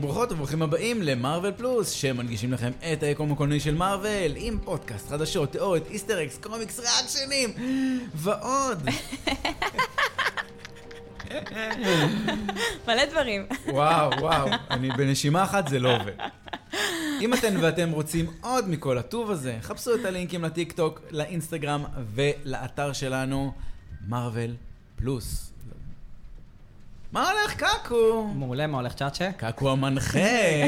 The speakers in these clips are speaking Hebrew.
ברוכות וברוכים הבאים למרוויל פלוס, שמנגישים לכם את היקום הקולנועי של מארוול, עם פודקאסט, חדשות, תיאוריות, איסטר אקס, קומיקס, ריאקשנים, ועוד. מלא דברים. וואו, וואו, אני בנשימה אחת זה לא עובד. אם אתן ואתם רוצים עוד מכל הטוב הזה, חפשו את הלינקים לטיק טוק, לאינסטגרם ולאתר שלנו, מארוול פלוס. מה הולך קקו? מעולה, מה הולך צ'אצ'ה? קקו המנחה,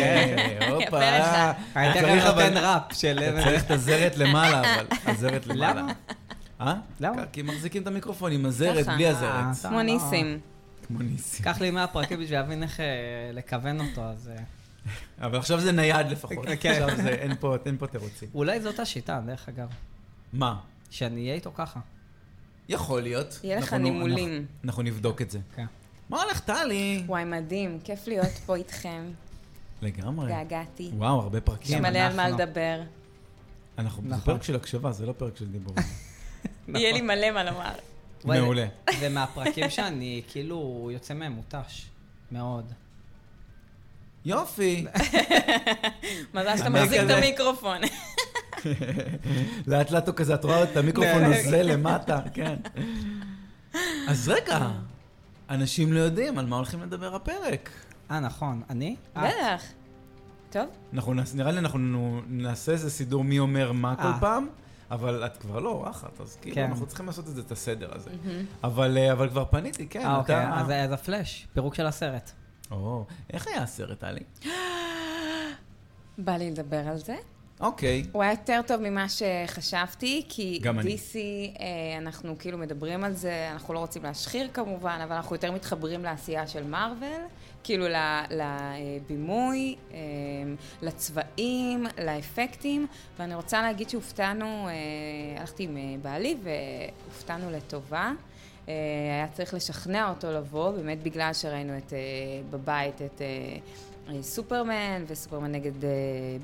יפה הופה. לך. אני אה, צריך תכף אבל- נותן ראפ של... אתה צריך את הזרת למעלה, אבל הזרת למעלה. למה? אה? למה? כי מחזיקים את המיקרופון עם הזרת, ככה. בלי אה, הזרת. אתה כמו לא- ניסים. כמו ניסים. קח לי 100 פרקים בשביל להבין איך אה, לכוון אותו, אז... אה, אבל עכשיו זה נייד לפחות. כן. עכשיו זה, אין פה- אין פה תירוצים. אולי זאת השיטה, דרך אגב. מה? שאני אהיה איתו ככה. יכול להיות. יהיה לך אנחנו- נימולים. אנחנו- אנחנו נבדוק את זה. כן. מה הולך, טלי? וואי, מדהים, כיף להיות פה איתכם. כן. לגמרי. התגעגעתי. וואו, הרבה יש פרקים. כן, מלא על מה אנחנו. לדבר. נכון. אנחנו, זה נכון. פרק של הקשבה, זה לא פרק של דיבור. יהיה לי מלא מה לומר. וואי, זה- מעולה. זה מהפרקים שאני כאילו יוצא מהם מותש. מאוד. יופי. מזל שאתה אני מחזיק את כזה- אה. המיקרופון. לאט לאט הוא כזה, את רואה את המיקרופון נהנה. נוזל למטה, כן. אז רגע, אנשים לא יודעים על מה הולכים לדבר הפרק. אה, נכון. אני? את? בטח. טוב, אנחנו נעש- נראה לי אנחנו נעשה איזה סידור מי אומר מה אה. כל פעם, אבל את כבר לא אורחת, אז כאילו כן. אנחנו צריכים לעשות את זה, את הסדר הזה. אבל אה, אבל כבר פניתי, כן. אה, אוקיי, אתה- אז אז הפלאש, פירוק של הסרט. או, איך היה הסרט, טלי? בא לי לדבר על זה. אוקיי. הוא היה יותר טוב ממה שחשבתי, כי גם אני. DC, אה, אנחנו כאילו מדברים על זה, אנחנו לא רוצים להשחיר כמובן, אבל אנחנו יותר מתחברים לעשייה של מארוול, כאילו ל- לבימוי, אה, לצבעים, לאפקטים, ואני רוצה להגיד שהופתענו, אה, הלכתי עם אה, בעלי והופתענו לטובה. אה, היה צריך לשכנע אותו לבוא, באמת בגלל שראינו את, אה, בבית את... אה, סופרמן, וסופרמן נגד אה,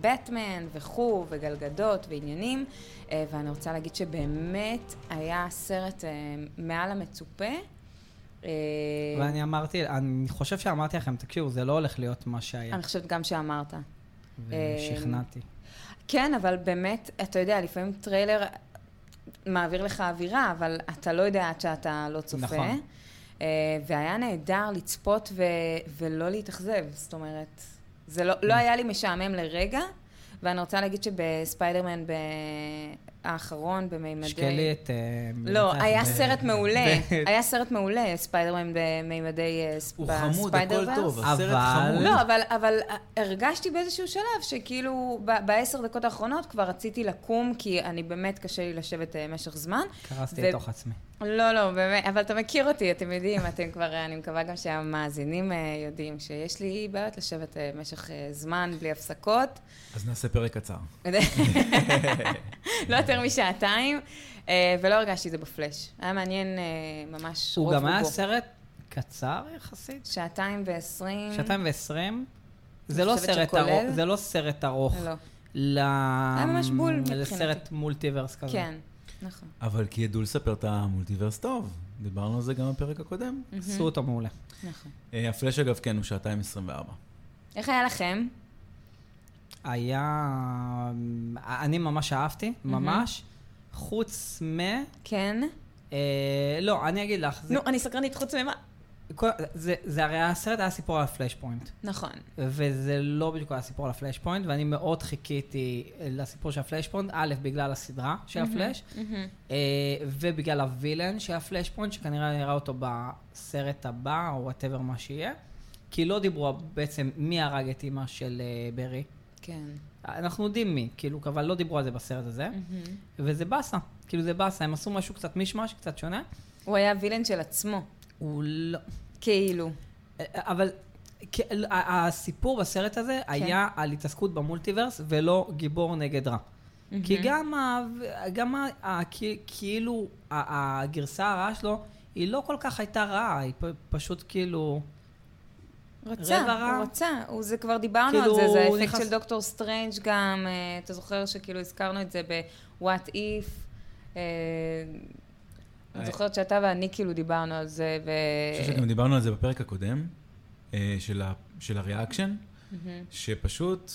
בטמן, וכו', וגלגדות, ועניינים. אה, ואני רוצה להגיד שבאמת היה סרט אה, מעל המצופה. אה, ואני אמרתי, אני חושב שאמרתי לכם, תקשיבו, זה לא הולך להיות מה שהיה. אני חושבת גם שאמרת. ושכנעתי. כן, אבל באמת, אתה יודע, לפעמים טריילר מעביר לך אווירה, אבל אתה לא יודע עד שאתה לא צופה. נכון. אה, והיה נהדר לצפות ו... ולא להתאכזב, זאת אומרת, זה לא, Mm. לא היה לי משעמם לרגע, ואני רוצה להגיד שבספיידרמן ב... האחרון, במימדי... שקלי את... אה, לא, מנצח היה ב- סרט מעולה, ב- היה סרט מעולה, ספיידרמן במימדי אה, ס- הוא חמוד, הכל בספיידרverse. טוב, אבל- הסרט חמוד. לא, אבל, אבל הרגשתי באיזשהו שלב שכאילו ב- בעשר דקות האחרונות כבר רציתי לקום, כי אני באמת קשה לי לשבת אה, משך זמן. קרסתי ו- לתוך עצמי. לא, לא, באמת, אבל אתה מכיר אותי, אתם יודעים, אתם כבר, אה, אני מקווה גם שהמאזינים אה, יודעים שיש לי בעיות לשבת אה, משך אה, זמן בלי הפסקות. אז נעשה פרק קצר. לא יותר משעתיים, אה, ולא הרגשתי את זה בפלאש. היה מעניין אה, ממש רוב הוא רובו. גם היה סרט קצר יחסית, שעתיים ועשרים. שעתיים ועשרים. אה. אני זה לא חושבת סרט שכולל? ארוך, זה לא סרט ארוך. לא. ל... היה ממש בול מבחינתי. לסרט מולטיברס כזה. כן, נכון. אבל כי ידעו לספר את המולטיברס טוב. דיברנו על זה גם בפרק הקודם. עשו אותו מעולה. נכון. אה, הפלאש אגב כן הוא שעתיים 24. איך היה לכם? היה... אה, אני ממש אהבתי, ממש. חוץ מ... כן. אה, לא, אני אגיד לך, זה, נו, אני סקרנית חוץ ממה. כל, זה, זה הרי הסרט היה סיפור על הפלאש פוינט. נכון. וזה לא בדיוק היה סיפור על הפלאש פוינט, ואני מאוד חיכיתי לסיפור של הפלאש פוינט, א', בגלל הסדרה של הפלאש, אה, ובגלל הווילן של הפלאש פוינט, שכנראה נראה אותו בסרט הבא, או וואטאבר מה שיהיה, כי לא דיברו בעצם מי הרג את אימא של אה, ברי. כן. אנחנו יודעים מי, כאילו, אבל לא דיברו על זה בסרט הזה, Mm. וזה באסה, כאילו זה באסה, הם עשו משהו קצת מישמש, קצת שונה, הוא היה וילן של עצמו, הוא לא... כאילו. אבל כ- ה- הסיפור בסרט הזה כן. היה על התעסקות במולטיברס ולא גיבור נגד רע. כי גם, ה, גם ה, ה, כי- כאילו ה- הגרסה הרעה שלו, היא לא כל כך הייתה רעה, היא פ, פשוט כאילו... רצה, רבע רע. הוא רצה. הוא- זה כבר דיברנו על כאילו, זה, זה הוא האפקט נכנס- של דוקטור סטרנג' גם. אה, אתה זוכר שכאילו הזכרנו את זה ב-What If? אה, אני אה. זוכרת שאתה ואני כאילו דיברנו על זה, ו... אני חושב שגם דיברנו על זה בפרק הקודם, אה, של ה- של הריאקשן. שפשוט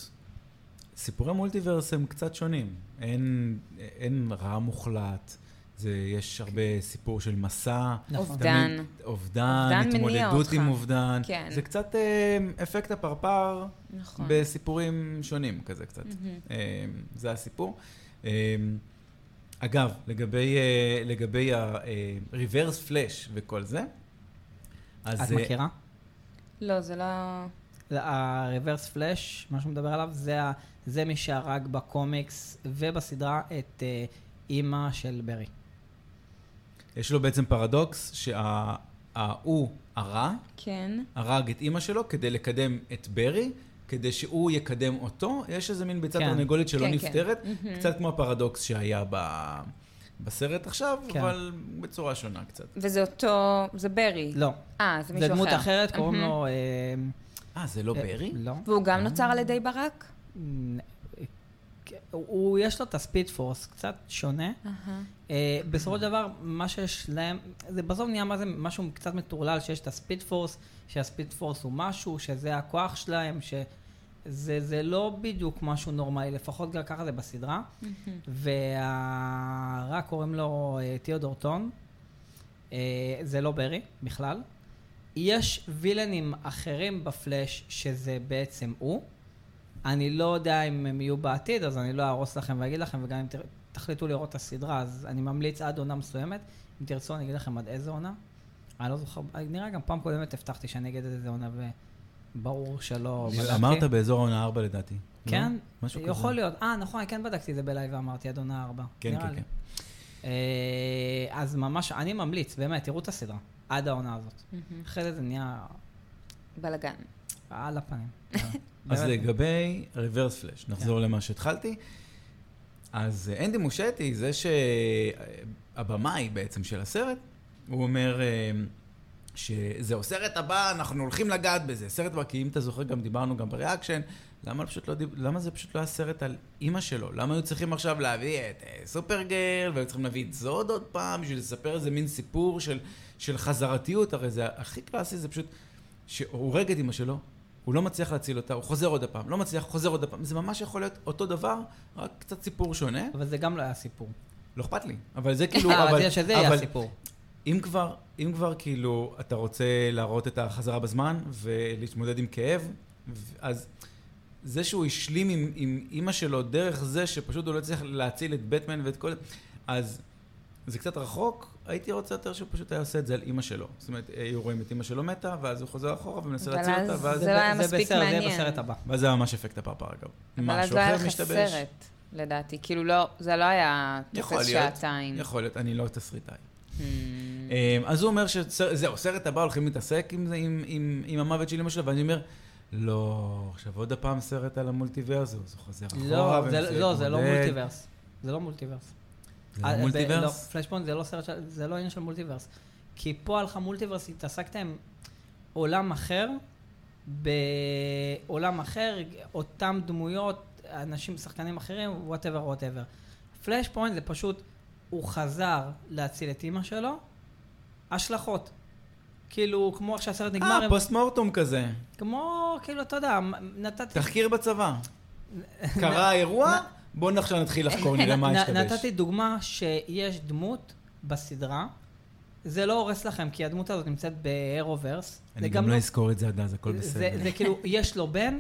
סיפורי מולטיברס הם קצת שונים. אין, אין רע מוחלט, זה, יש הרבה סיפור של מסע. נכון. כן. אובדן. תמיד- אובדן, אובדן מניע התמודדות אותך. עם אובדן. כן. זה קצת אה, אפקט הפרפר נכון. בסיפורים שונים כזה קצת. אה, זה הסיפור. אה, אגב, לגבי, אה, לגבי ה-reverse flash וכל זה, אז... את אה, מכירה? לא, זה לא... ה-reverse flash, מה שהוא מדבר עליו, זה, ה- זה מי שהרג בקומיקס ובסדרה את אה, אימא של ברי. יש לו בעצם פרדוקס שההוא הרע כן. הרג את אימא שלו כדי לקדם את ברי, כדי שהוא יקדם אותו. יש איזה מין ביצה כן. תרנגולת שלא כן, כן. נפתרת, קצת כמו הפרדוקס שהיה ב... בסרט עכשיו, כן. אבל בצורה שונה קצת. וזה אותו... זה ברי. לא. אה, זה מישהו זה אחר. דמות אחרת, קוראים מהמם. לו... אה, אה, זה לא אה, ברי? לא. והוא גם נוצר על ידי ברק? נ- כן, הוא- הוא, יש לו את הספיד פורס, קצת שונה. אהה. אה, בסופו של דבר, מה שיש להם, זה בסוף נהיה מה זה, משהו קצת מטורלל, שיש את הספיד פורס, שהספיד פורס הוא משהו, שזה הכוח שלהם, שזה זה לא בדיוק משהו נורמלי, לפחות גם ככה זה בסדרה. והרע קוראים לו אה, תיאודור טון, אה, זה לא ברי בכלל. יש וילנים אחרים בפלאש שזה בעצם הוא. אני לא יודע אם הם יהיו בעתיד, אז אני לא אהרוס לכם ואגיד לכם, וגם אם תר- תחליטו לראות את הסדרה, אז אני ממליץ עד עונה מסוימת. אם תרצו, אני אגיד לכם עד איזה עונה. אני לא זוכר, נראה גם פעם קודמת הבטחתי שאני אגיד עד איזה עונה, וברור שלא בדקתי. אמרת באזור העונה 4 לדעתי. לא? כן? משהו כזה. יכול להיות. אה, נכון, אני כן בדקתי את זה בלייב ואמרתי, עד עונה ארבע. כן, נראה כן, לי. כן. אה, אז ממש, אני ממליץ, באמת, תראו את הסדרה, עד העונה הזאת. אחרי זה זה נהיה בלאגן. על הפנים. אז באמת. כן. לגבי reverse flash, נחזור למה שהתחלתי. אז אה, אנדי מושטי, זה שהבמאי בעצם של הסרט, הוא אומר אה, שזהו, סרט הבא, אנחנו הולכים לגעת בזה. סרט הבא, כי אם אתה זוכר, גם דיברנו גם בריאקשן, למה, פשוט לא, דיב- למה זה פשוט לא היה סרט על אימא שלו? למה היו צריכים עכשיו להביא את אה, סופרגרל, והיו צריכים להביא את זוד עוד פעם, בשביל לספר איזה מין סיפור של, של חזרתיות? הרי זה הכי קלאסי, זה פשוט שהוא הורג את אימא שלו, הוא לא מצליח להציל אותה, הוא חוזר עוד הפעם, לא מצליח, חוזר עוד הפעם. זה ממש יכול להיות אותו דבר, רק קצת סיפור שונה. אבל זה גם לא היה סיפור. לא אכפת לי, אבל זה כאילו... אה, אבל- רציתי שזה יהיה אבל הסיפור. אם כבר, אם כבר כאילו אתה רוצה להראות את החזרה בזמן ולהתמודד עם כאב, ו- אז זה שהוא השלים עם, עם אימא שלו דרך זה שפשוט הוא לא הצליח להציל את בטמן ואת כל... אז זה קצת רחוק, הייתי רוצה יותר שהוא פשוט היה עושה את זה על אימא שלו. זאת אומרת, היו רואים את אימא שלו מתה, ואז הוא חוזר אחורה ומנסה אבל להציל אז אותה, ואז... זה לא היה זה מספיק בסרט, זה מעניין. יהיה בסרט הבא. ואז זה היה ממש אפקט הפרפר אגב. אבל אז משהו לא היה אחר לך משתבש. סרט, לדעתי. כאילו, לא, זה לא היה יכול תופס להיות, שעתיים. יכול להיות, אני לא תסריטאי. Hmm. אמ, אז הוא אומר שזהו, סרט הבא הולכים להתעסק עם, זה, עם, עם, עם המוות של אמא שלו, ואני אומר, לא, עכשיו עוד הפעם סרט על המולטיברס, הוא חוזר אחורה. לא, זה- ומנסה לא, זה לא להתמודד." מולטיברס. זה לא מולטיברס. זה אה, לא ב- לא, מולטיברס? פלשפוינט זה לא סרט, של- זה לא עניין של מולטיברס. כי פה הלכה מולטיברס, התעסקת עם עולם אחר, בעולם אחר, אותם דמויות, אנשים, שחקנים אחרים, וואטאבר וואטאבר. פלשפוינט זה פשוט, הוא חזר להציל את אימא שלו, השלכות. כאילו, כמו איך שהסרט נגמר, אה, הם- פוסט מורטום כזה. כמו, כאילו, אתה יודע, נתתי... תחקיר בצבא. קרה האירוע, בואו עכשיו נתחיל לחקור, נראה לא, מה נ- השתבש. נתתי דוגמה שיש דמות בסדרה, זה לא הורס לכם, כי הדמות הזאת נמצאת בארוברס. אני גם לא אזכור את זה עד אז, הכל זה, בסדר. זה כאילו, יש לו בן,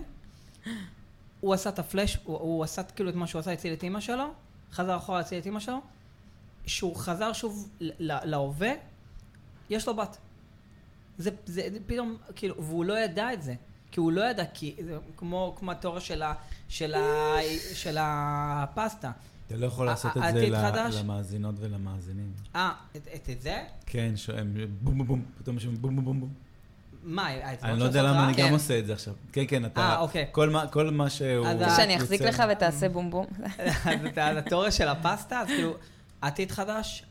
הוא עשה את הפלאש, הוא, הוא עשה כאילו את מה שהוא עשה, הציל את אימא שלו, חזר אחורה להציל את אימא שלו, שהוא חזר שוב ל- ל- להווה, יש לו בת. זה, זה פתאום, כאילו, והוא לא ידע את זה. כי הוא לא ידע, כי זה כמו, כמו התיאוריה של, ה, של, ה, של הפסטה. אתה לא יכול לעשות את ע- זה עתיד ל- חדש? למאזינות ולמאזינים. אה, את, את, את זה? כן, שהם בום בום בום, פתאום שהם בום בום בום בום. מה, האצבעות אני לא של יודע הסדרה? למה אני גם כן. עושה את זה עכשיו. כן, כן, אתה... אה, אוקיי. כל מה- כל מה שהוא... אז רוצה לא, שאני אחזיק יוצא- Hmm. לך ותעשה בום בום. אז את- אז התיאוריה של הפסטה, אז כאילו, עתיד חדש,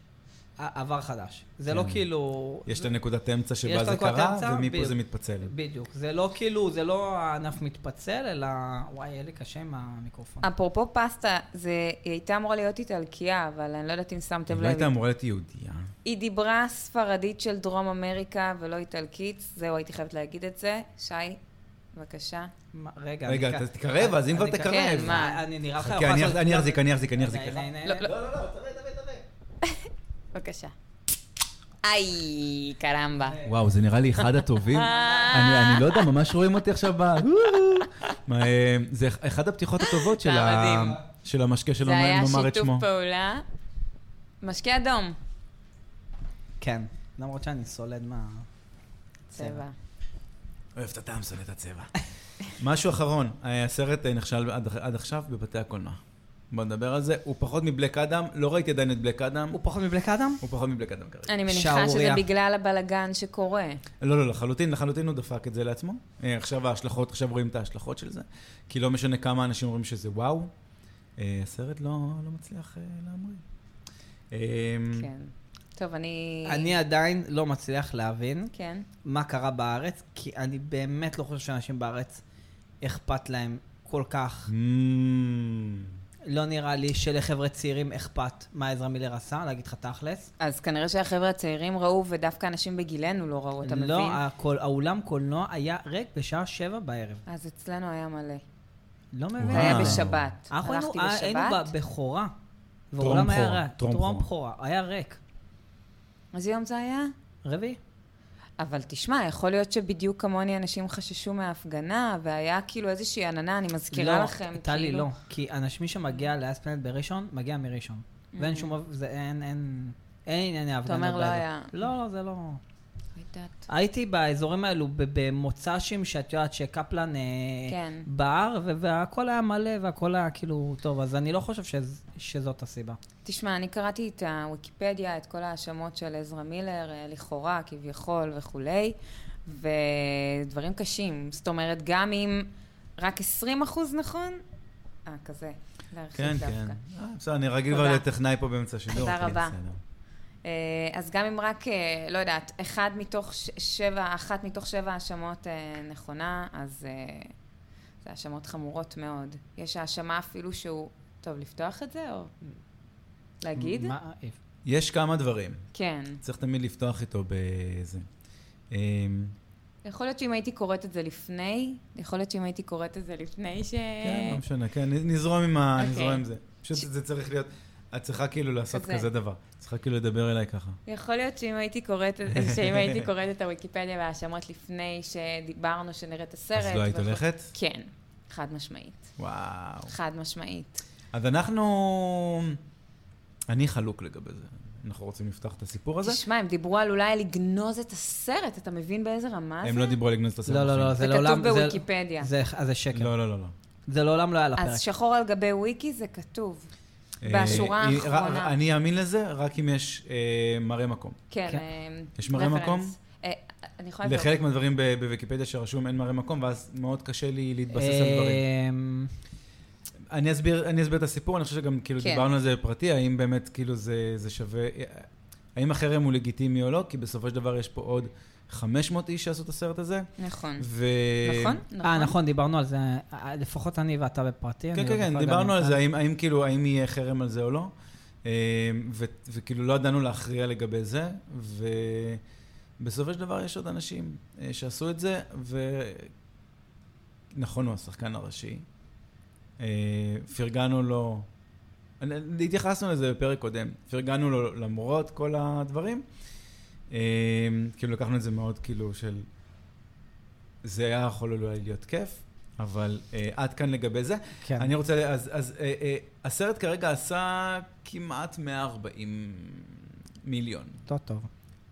ע- עבר חדש. זה לא כן. כאילו... יש את הנקודת אמצע שבה את זה הנקודת קרה, אמצע, ומפה זה בדיוק. מתפצל. בדיוק. זה לא כאילו, זה לא הענף מתפצל, אלא... וואי, יהיה לי קשה עם המיקרופון. אפרופו פסטה, זה, היא הייתה אמורה להיות איטלקייה, אבל אני לא יודעת אם שמתם היא לב. לא הייתה אמורה להיות יהודייה. היא דיברה ספרדית של דרום אמריקה ולא איטלקית, זהו, הייתי חייבת להגיד את זה. שי, בבקשה. מה- רגע, רגע, אני- אתה תקרב, אז אם כבר אני- תקרב. כן, מה? אני נראה לך... חכה, אני אחז- אני אחזיק, אני אחזיק, אני אחזיק לך. לא, לא, לא, לא, תראה, תראה, תראה. בבקשה. איי, קרמבה. וואו, זה נראה לי אחד הטובים. אני, אני לא יודע, ממש רואים אותי עכשיו ב... מה, אה, זה אח- אחת הפתיחות הטובות של, אתה ה... מדהים. של המשקה שלא זה היה נאמר את שיתוף שמו. פעולה. משקה אדום. כן, למרות שאני סולד מה... צבע. אוהב את הטעם, שונא את הצבע. משהו אחרון, אה, הסרט אה, נכשל עד, עד עכשיו בבתי הקולנוע. בוא נדבר על זה. הוא פחות מבלק אדם, לא ראיתי עדיין את בלק אדם. הוא פחות מבלק אדם? הוא פחות מבלק אדם כרגע. אני מניחה שזה שערורייה. Mm-hmm. בגלל הבלגן שקורה. לא, לא, לחלוטין, לחלוטין הוא דפק את זה לעצמו. אה, עכשיו ההשלכות, עכשיו רואים את ההשלכות של זה. כי לא משנה כמה אנשים אומרים שזה וואו, אה, הסרט לא, לא מצליח אה, להמריא. אה, כן. טוב, אני... אני עדיין לא מצליח להבין כן. מה קרה בארץ, כי אני באמת לא חושב שאנשים בארץ אכפת להם כל כך. אמ, לא נראה לי שלחבר'ה צעירים אכפת מה עזרא מילר עשה, להגיד לך תכלס. אז כנראה שהחבר'ה הצעירים ראו, ודווקא אנשים בגילנו לא ראו, אתה מבין? לא, הכל, האולם קולנוע היה ריק בשעה שבע בערב. אז אצלנו היה מלא. לא מבין. וואו. זה היה בשבת. אנחנו היינו- אה, הלכתי היינו בשבת, בבכורה. טרום והאולם היה בכורה, ריק. טרום טרום בכורה. בכורה. היה ריק. איזה יום זה היה? רביעי. אבל תשמע, יכול להיות שבדיוק כמוני אנשים חששו מההפגנה, והיה כאילו איזושהי עננה, אני מזכירה לא, לכם. טלי, כאילו- לא. כי אנשים שמגיע לאספלנט בראשון, מגיע מראשון. ואין שום... זה אין... אין... אין ענייני Mm-hmm. אתה הפגנות. אומר, לא באזור. היה. לא, לא, זה לא... לא יודעת. הייתי באזורים האלו ב- במוצ"שים, שאת יודעת שקפלן אה, כן. בער, ו- והכל היה מלא, והכל היה כאילו טוב, אז אני לא חושב שז- שזאת הסיבה. תשמע, אני קראתי את הוויקיפדיה, את כל ההאשמות של עזרא מילר, אה, לכאורה, כביכול וכולי, ודברים קשים. זאת אומרת, גם אם רק 20 אחוז נכון? אה, כזה. להרחיב כן, דווקא. כן. אה, בסדר, אני רגיל תודה. כבר לטכנאי פה באמצע השידור. תודה כן, רבה. בסדר. אה, אז גם אם רק, אה, לא יודעת, אחד מתוך ש- שבע, אחת מתוך שבע האשמות אה, נכונה, אז אה, זה האשמות חמורות מאוד. יש האשמה אפילו שהוא... טוב, לפתוח את זה או להגיד? מה- אה, יש כמה דברים. כן. צריך תמיד לפתוח איתו בזה. אמ, יכול להיות שאם הייתי קוראת את זה לפני, יכול להיות שאם הייתי קוראת את זה לפני ש... כן, לא משנה, כן, נזרום עם ה- אה. אוקיי. נזרום עם זה. פשוט זה צריך להיות, את צריכה כאילו לעשות כזה. כזה דבר. צריכה כאילו לדבר אליי ככה. יכול להיות שאם הייתי קוראת, את- שאם הייתי קוראת את הוויקיפדיה וההאשמות לפני שדיברנו שנראה את הסרט... אז לא היית וכו'. הולכת? כן, חד משמעית. וואו. חד משמעית. אז אנחנו... אני חלוק לגבי זה. אנחנו רוצים לפתוח את הסיפור הזה? תשמע, הם דיברו על אולי לגנוז את הסרט, אתה מבין באיזה רמה זה? הם לא דיברו על לגנוז את הסרט. לא, לא, לא, בחיים. זה כן. זה כתוב לעולם... זה- בוויקיפדיה. זה- אז זה שקר. לא, לא, לא, לא. זה לעולם לא היה לפרק. אז שחור על גבי וויקי זה כתוב. אה, בשורה היא- האחרונה. ר- אני אאמין לזה רק אם יש אה, מראה מקום. כן. כן. אה, יש מראה רפרנס. מקום? אה, אני יכולה לבדוק. לחלק מהדברים ב- בוויקיפדיה שרשום אין מראה מקום, ואז מאוד קשה לי להתבסס על דברים. אמ, אני אסביר, אני אסביר את הסיפור, אני חושב שגם כאילו כן. כן. דיברנו על זה בפרטי, האם באמת כאילו זה, זה שווה, אה, האם החרם הוא לגיטימי או לא, כי בסופו של דבר יש פה עוד 500 איש שעשו את הסרט הזה. נכון. ו... נכון? אה, נכון, דיברנו על זה, אה, לפחות אני ואתה בפרטי. אני כן, עוד כן, כן, בכלל דיברנו גם על יצא. זה, האם, האם כאילו, האם יהיה חרם על זה או לא, אה, ו, וכאילו לא ידענו להכריע לגבי זה, ובסופו של דבר יש עוד אנשים אה, שעשו את זה, ונכון, הוא השחקן הראשי, אה, פרגנו לו, אני- התייחסנו לזה בפרק קודם, פרגנו לו למרות כל הדברים, אה, כאילו לקחנו את זה מאוד כאילו של, זה היה יכול אולי להיות כיף. אבל אה, עד כאן לגבי זה. כן. אני רוצה, ל- אז, אז אה, אה, הסרט כרגע עשה כמעט 140 מיליון. לא טוב.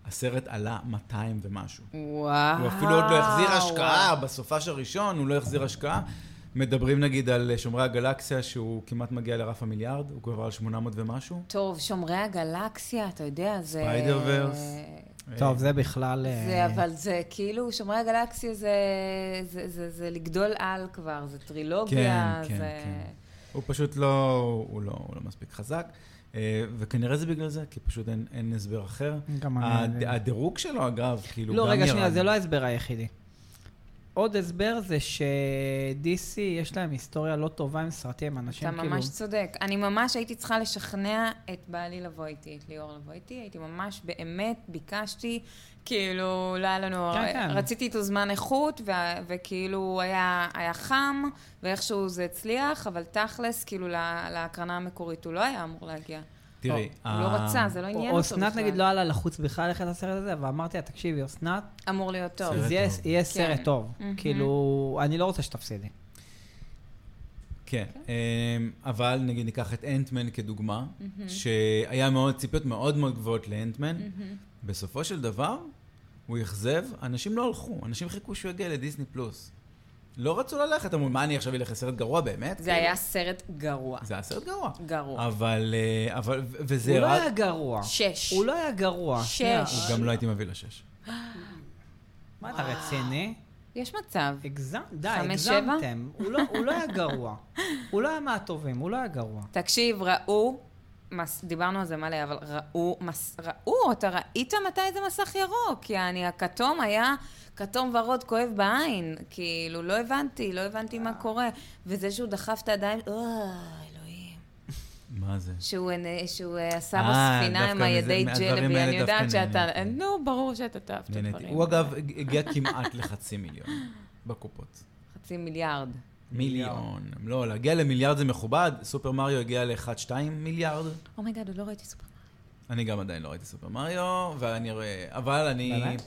הסרט עלה 200 ומשהו. וואו. הוא אפילו עוד לא החזיר השקעה, בסופש הראשון הוא לא החזיר השקעה. מדברים נגיד על אה, שומרי הגלקסיה, שהוא כמעט מגיע לרף המיליארד, הוא כבר על 800 ומשהו. טוב, שומרי הגלקסיה, אתה יודע, זה... ספיידרוורס. אה, טוב, זה בכלל... אה, זה, אבל זה כאילו, שומרי הגלקסיה זה, זה, זה, זה לגדול על כבר, זה טרילוגיה, כן, כן, זה... כן. הוא פשוט לא, הוא לא, הוא לא מספיק חזק, אה, וכנראה זה בגלל זה, כי פשוט אין, אין הסבר אחר. גם אני- הד, הדירוג שלו, אגב, כאילו, לא, גם רגע, שנייה, ירד. זה לא ההסבר היחידי. עוד הסבר זה ש-DC יש להם היסטוריה לא טובה עם סרטים, אנשים אתה כאילו... ממש צודק. אני ממש הייתי צריכה לשכנע את בעלי לבוא איתי, את ליאור לבוא איתי. הייתי ממש, באמת, ביקשתי, כאילו, לא היה לנו... כן, כן. רציתי איתו זמן איכות, וה- וכאילו, היה היה חם, ואיכשהו זה הצליח, אבל תכלס, כאילו, לה- להקרנה המקורית הוא לא היה אמור להגיע. תראי, הוא לא ה- רצה, זה לא עניין אותו אסנת בכלל. נגיד לא עלה לחוץ בכלל ללכת לסרט הזה, ואמרתי לה, תקשיבי, אסנת, אמור להיות טוב. סרט זה יהיה- טוב. יהיה סרט טוב. כן. מהמם. כאילו, אני לא רוצה שתפסידי. כן, אמ, אבל נגיד ניקח את אנטמן כדוגמה, שהיה מאוד, ציפיות מאוד מאוד גבוהות לאנטמן. בסופו של דבר, הוא אכזב, אנשים לא הלכו, אנשים חיכו שהוא יגיע לדיסני פלוס. לא רצו ללכת, אמרו, מה אני עכשיו אלך לסרט גרוע באמת? זה היה סרט גרוע. זה היה סרט גרוע. גרוע. אבל, אה, אבל, ו- וזה הוא לא רק- היה אה. גרוע. שש. הוא לא היה גרוע. שש. שנייה. הוא גם לא הייתי מביא לשש. מה אתה רציני? יש מצב. אה. הגזמת, די, חמש, שבע? הגזמתם. הוא לא- הוא לא היה גרוע. הוא לא היה מהטובים, הוא לא היה גרוע. תקשיב, ראו, מס, דיברנו על זה מלא, אבל ראו, מס, ראו, אתה ראית מתי זה מסך ירוק, יעני, הכתום היה כתום ורוד כואב בעין, כאילו, לא הבנתי, לא הבנתי אה. מה קורה, וזה שהוא דחף את הידיים, אוי, אלוהים. מה זה? שהוא, ענה- שהוא אה, עשה אה, בספינה עם דווקא מזה- הידי מהדברים ג'לבי, האלה אני יודעת דווקא שאתה... אה, נהניתי. נו, ברור שאתה תאהב את נהניתי. הדברים. הוא אגב הגיע כמעט לחצי מיליון בקופות. חצי מיליארד. מיליון. לא, להגיע למיליארד זה מכובד, סופר מריו הגיע ל-1.2 מיליארד. אומייגאד, עוד לא ראיתי סופר. אני גם עדיין לא ראיתי סופר מריו, ואני רואה... אבל אני... באמת?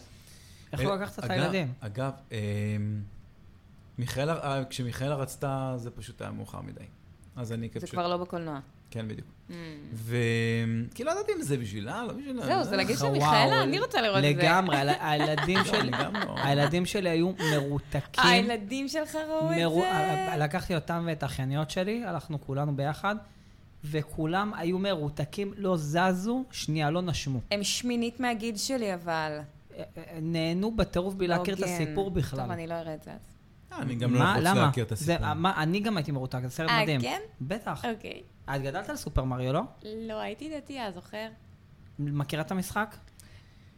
איך הוא לקח את אגב- הילדים? אגב, אמ, מיכאלה, אה, כשמיכאלה רצתה, זה פשוט היה מאוחר מדי. אז אני זה פשוט... כבר לא בקולנוע. כן, בדיוק. Mm. וכי לא ידעתי אם זה בשבילה, לא בשבילה. זהו, זה להגיד וואו, שמיכאלה, אני רוצה לראות את זה. לגמרי, הל- הילדים לא, שלי, אני גם לא. הילדים שלי היו מרותקים. הילדים שלך ראו מרו- את זה? לקחתי אותם ואת האחייניות שלי, הלכנו כולנו ביחד, וכולם היו מרותקים, לא זזו, שנייה, לא נשמו. הם שמינית מהגיל שלי, אבל. אה, אה, נהנו בטירוף בלי להכיר את לא הוגן. הסיפור בכלל. טוב, אני לא אראה את זה אז. אה, אני גם לא מה? רוצה למה? להכיר את זה- הסיפור. אה, מה, אני גם הייתי מרותק, זה סרט אה, מדהים. כן? בטח. אוקיי. את גדלת על סופר מריו, לא? לא, הייתי דתייה, זוכר? מכירה את המשחק?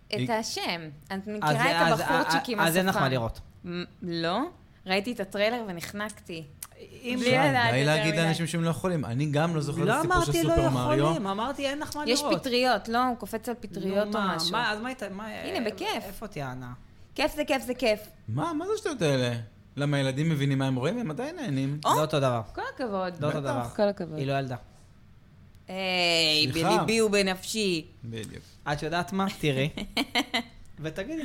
את היא- השם. את אז- מכירה את אז- הבחורצ'יק עם השפה. אז נכון, אין לך מה לראות. מ- לא? ראיתי את הטריילר ונחנקתי. אה, אם בלי לדעת די יותר להגיד מדי. לאנשים שהם לא יכולים. אני גם לא זוכר את לא הסיפור של אמרתי לא סופר מריו. יכולים, אמרתי אין לך מה יש לראות. פטריות, לא? הוא קופץ על נו, פטריות או מה, משהו. מה, אז מה הייתה, מה... אה, הנה, בכיף. איפה תיענה? כיף זה כיף זה כיף. מה, מה זה השטויות האלה? למה ילדים מבינים מה הם רואים? הם עדיין נהנים. או? לא אותו דבר. כל הכבוד. לא אותו דבר. כל הכבוד. היא לא ילדה. היי, סליחה. בליבי ובנפשי. בדיוק. את יודעת מה? תראי. ותגידי.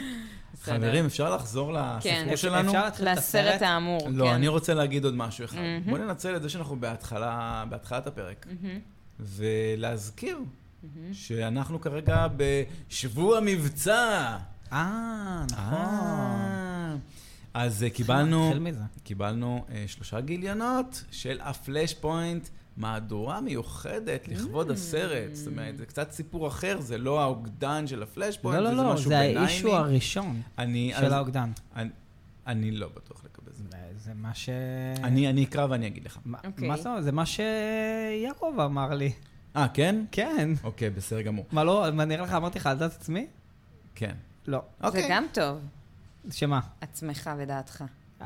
בסדר. חברים, אפשר לחזור לסיפור כן. שלנו? אפשר להתחיל את לסרט הסרט? האמור, כן. לא, אני רוצה להגיד עוד משהו אחד. בואו ננצל את זה שאנחנו בהתחלה, בהתחלת הפרק, ולהזכיר שאנחנו כרגע בשבוע מבצע. אה, נכון. אה. אז אה, קיבלנו, נתחיל מזה. קיבלנו אה, שלושה גיליונות של הפלאש פוינט, מהדורה מיוחדת Mm. לכבוד הסרט. זאת אומרת, זה קצת סיפור אחר, זה לא האוגדן של הפלאש לא, פוינט, לא, זה לא, משהו זה ביניים. האישו הראשון אני- אז- של האוגדן. אני- אני לא בטוח לגבי זה. זה מה ש... אה. אני אני אקרא ואני אגיד לך. מה אוקיי. מה זה? זה מה שיעקב אמר לי. אה, כן? כן. אוקיי, בסדר גמור. מה לא, מה נראה לך, אמרתי לך על דעת עצמי? כן. לא. זה אוקיי. גם טוב. שמה? עצמך ודעתך.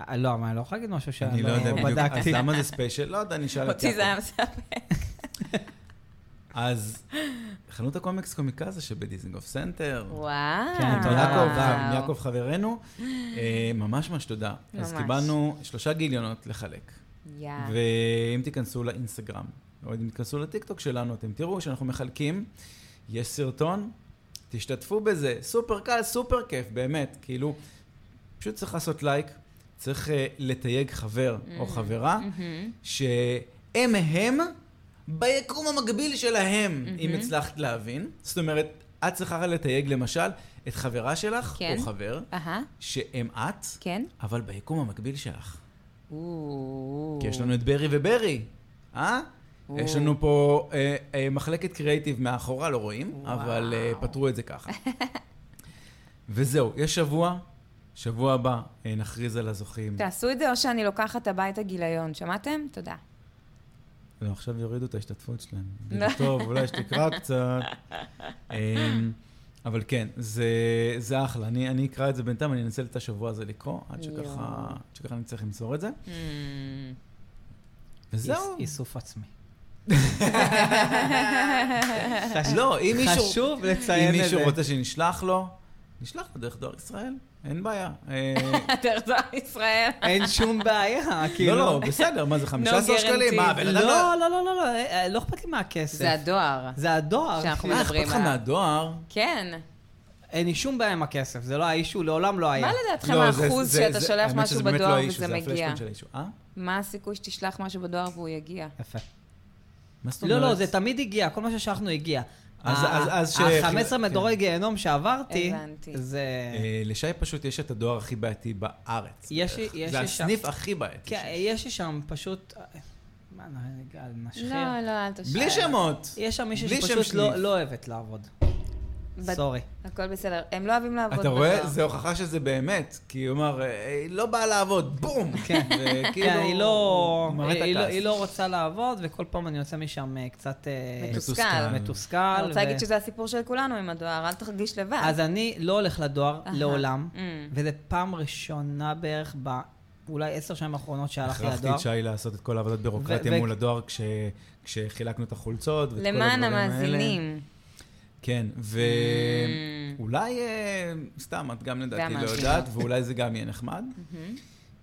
אה, לא, מה, אני לא יכול להגיד משהו שאני אני לא יודע בדיוק. אז בדקתי. למה זה ספיישל? לא יודע, אני אשאל את אה, אותי זה היה יעקב. מספק. אז חנות הקומיקס קומיקזה שבדיזנגוף סנטר. וואו. כן, עם תודה. יעקב, וואו. עם יעקב חברנו, אה, ממש ממש תודה. אז ממש. קיבלנו שלושה גיליונות לחלק. יאה. ואם תיכנסו לאינסטגרם, או אם תיכנסו לטיקטוק שלנו, אתם תראו שאנחנו מחלקים, יש סרטון, תשתתפו בזה, סופר קל, סופר כיף, באמת, כאילו, פשוט צריך לעשות לייק, צריך אה, לתייג חבר או חברה, Mm-hmm. שהם הם ביקום המקביל שלהם, אם הצלחת להבין. זאת אומרת, את צריכה לתייג למשל את חברה שלך, כן. או חבר, אהה, שהם את, כן? אבל ביקום המקביל שלך. או. כי יש לנו את ברי וברי, אה? או. יש לנו פה אה, אה, מחלקת קריאיטיב מאחורה, לא רואים, אבל אה, פתרו את זה ככה. וזהו, יש שבוע, שבוע הבא אה, נכריז על הזוכים. תעשו את זה או שאני לוקחת הביתה גיליון, שמעתם? תודה. לא, עכשיו יורידו את ההשתתפות שלהם. לא. טוב, אולי שתקרא קצת. אמ, אבל כן, זה, זה אחלה. אני, אני אקרא את זה בינתיים, אני אנצל את השבוע הזה לקרוא, עד שככה, יואו. עד שככה אני צריך למסור את זה. Hmm. וזהו. איס- איסוף עצמי. לא, אם מישהו... חשוב אם לציין את זה. מישהו רוצה שנשלח לו, נשלח לו דרך דואר ישראל, אין בעיה. אה, דרך זו ישראל. אין שום בעיה, כאילו. לא, לא, בסדר, מה זה, 15 שקלים? guarantee. מה, בן אדם לא, לא, לא, לא, לא, אה, לא אכפת לי מהכסף. זה הדואר. זה הדואר. שאנחנו אחי. מה מדברים. אכפת לך עליו. מהדואר? כן. אין לי שום בעיה עם הכסף, זה לא האישו, לעולם לא היה. מה לדעתכם לא, זה- האחוז זה- שאתה זה- שולח האמת משהו שזה באמת לא בדואר האישו, וזה זה מגיע? הפלשבק של האישו. אה? מה הסיכוי שתשלח משהו בדואר והוא יגיע? יפה. מה זאת אומרת? לא, לא, זה תמיד הגיע, כל מה ששלחנו הגיע. אז- אז- אז ש- ה-15 כן. מדורי גיהנום שעברתי, הבנתי. זה... אה, לשי פשוט יש את הדואר הכי בעייתי בארץ. יש- בערך. יש- זה יש- הסניף הכי בעייתי. כן, שיש. יש לי שם פשוט... אה, מה, נ- גל, נשחיר. לא, לא, אל תשאל. בלי שמות. יש שם מישהי בלי שם שפשוט לא שניף. לא אוהבת לעבוד. בד- סורי. הכל בסדר. הם לא אוהבים לעבוד אתה בדואר. רואה? זה הוכחה שזה באמת. כי הוא אמר, אה, היא לא באה לעבוד, בום! כן. וכאילו, כן, היא לא... הוא מראה את היא לא- הכעס. היא לא רוצה לעבוד, וכל פעם אני יוצא משם אה, קצת... אה, מתוסכל. מתוסכל. אני רוצה ו- להגיד שזה הסיפור של כולנו עם הדואר, אל תרגיש לבד. אז אני לא הולך לדואר אהה. לעולם, Mm. וזה פעם ראשונה בערך ב... אולי עשר שנים האחרונות שהלכתי הכרחתי לדואר. את שי לעשות את כל העבודת בירוקרטיה ו- מול הדואר כש- כשחילקנו את החולצות ואת כל הדברים האלה. למען המאזינים. כן, Mm. ואולי, סתם, את גם לדעתי לא והמאזינות. יודעת, ואולי זה גם יהיה נחמד. Mm-hmm. מהמם.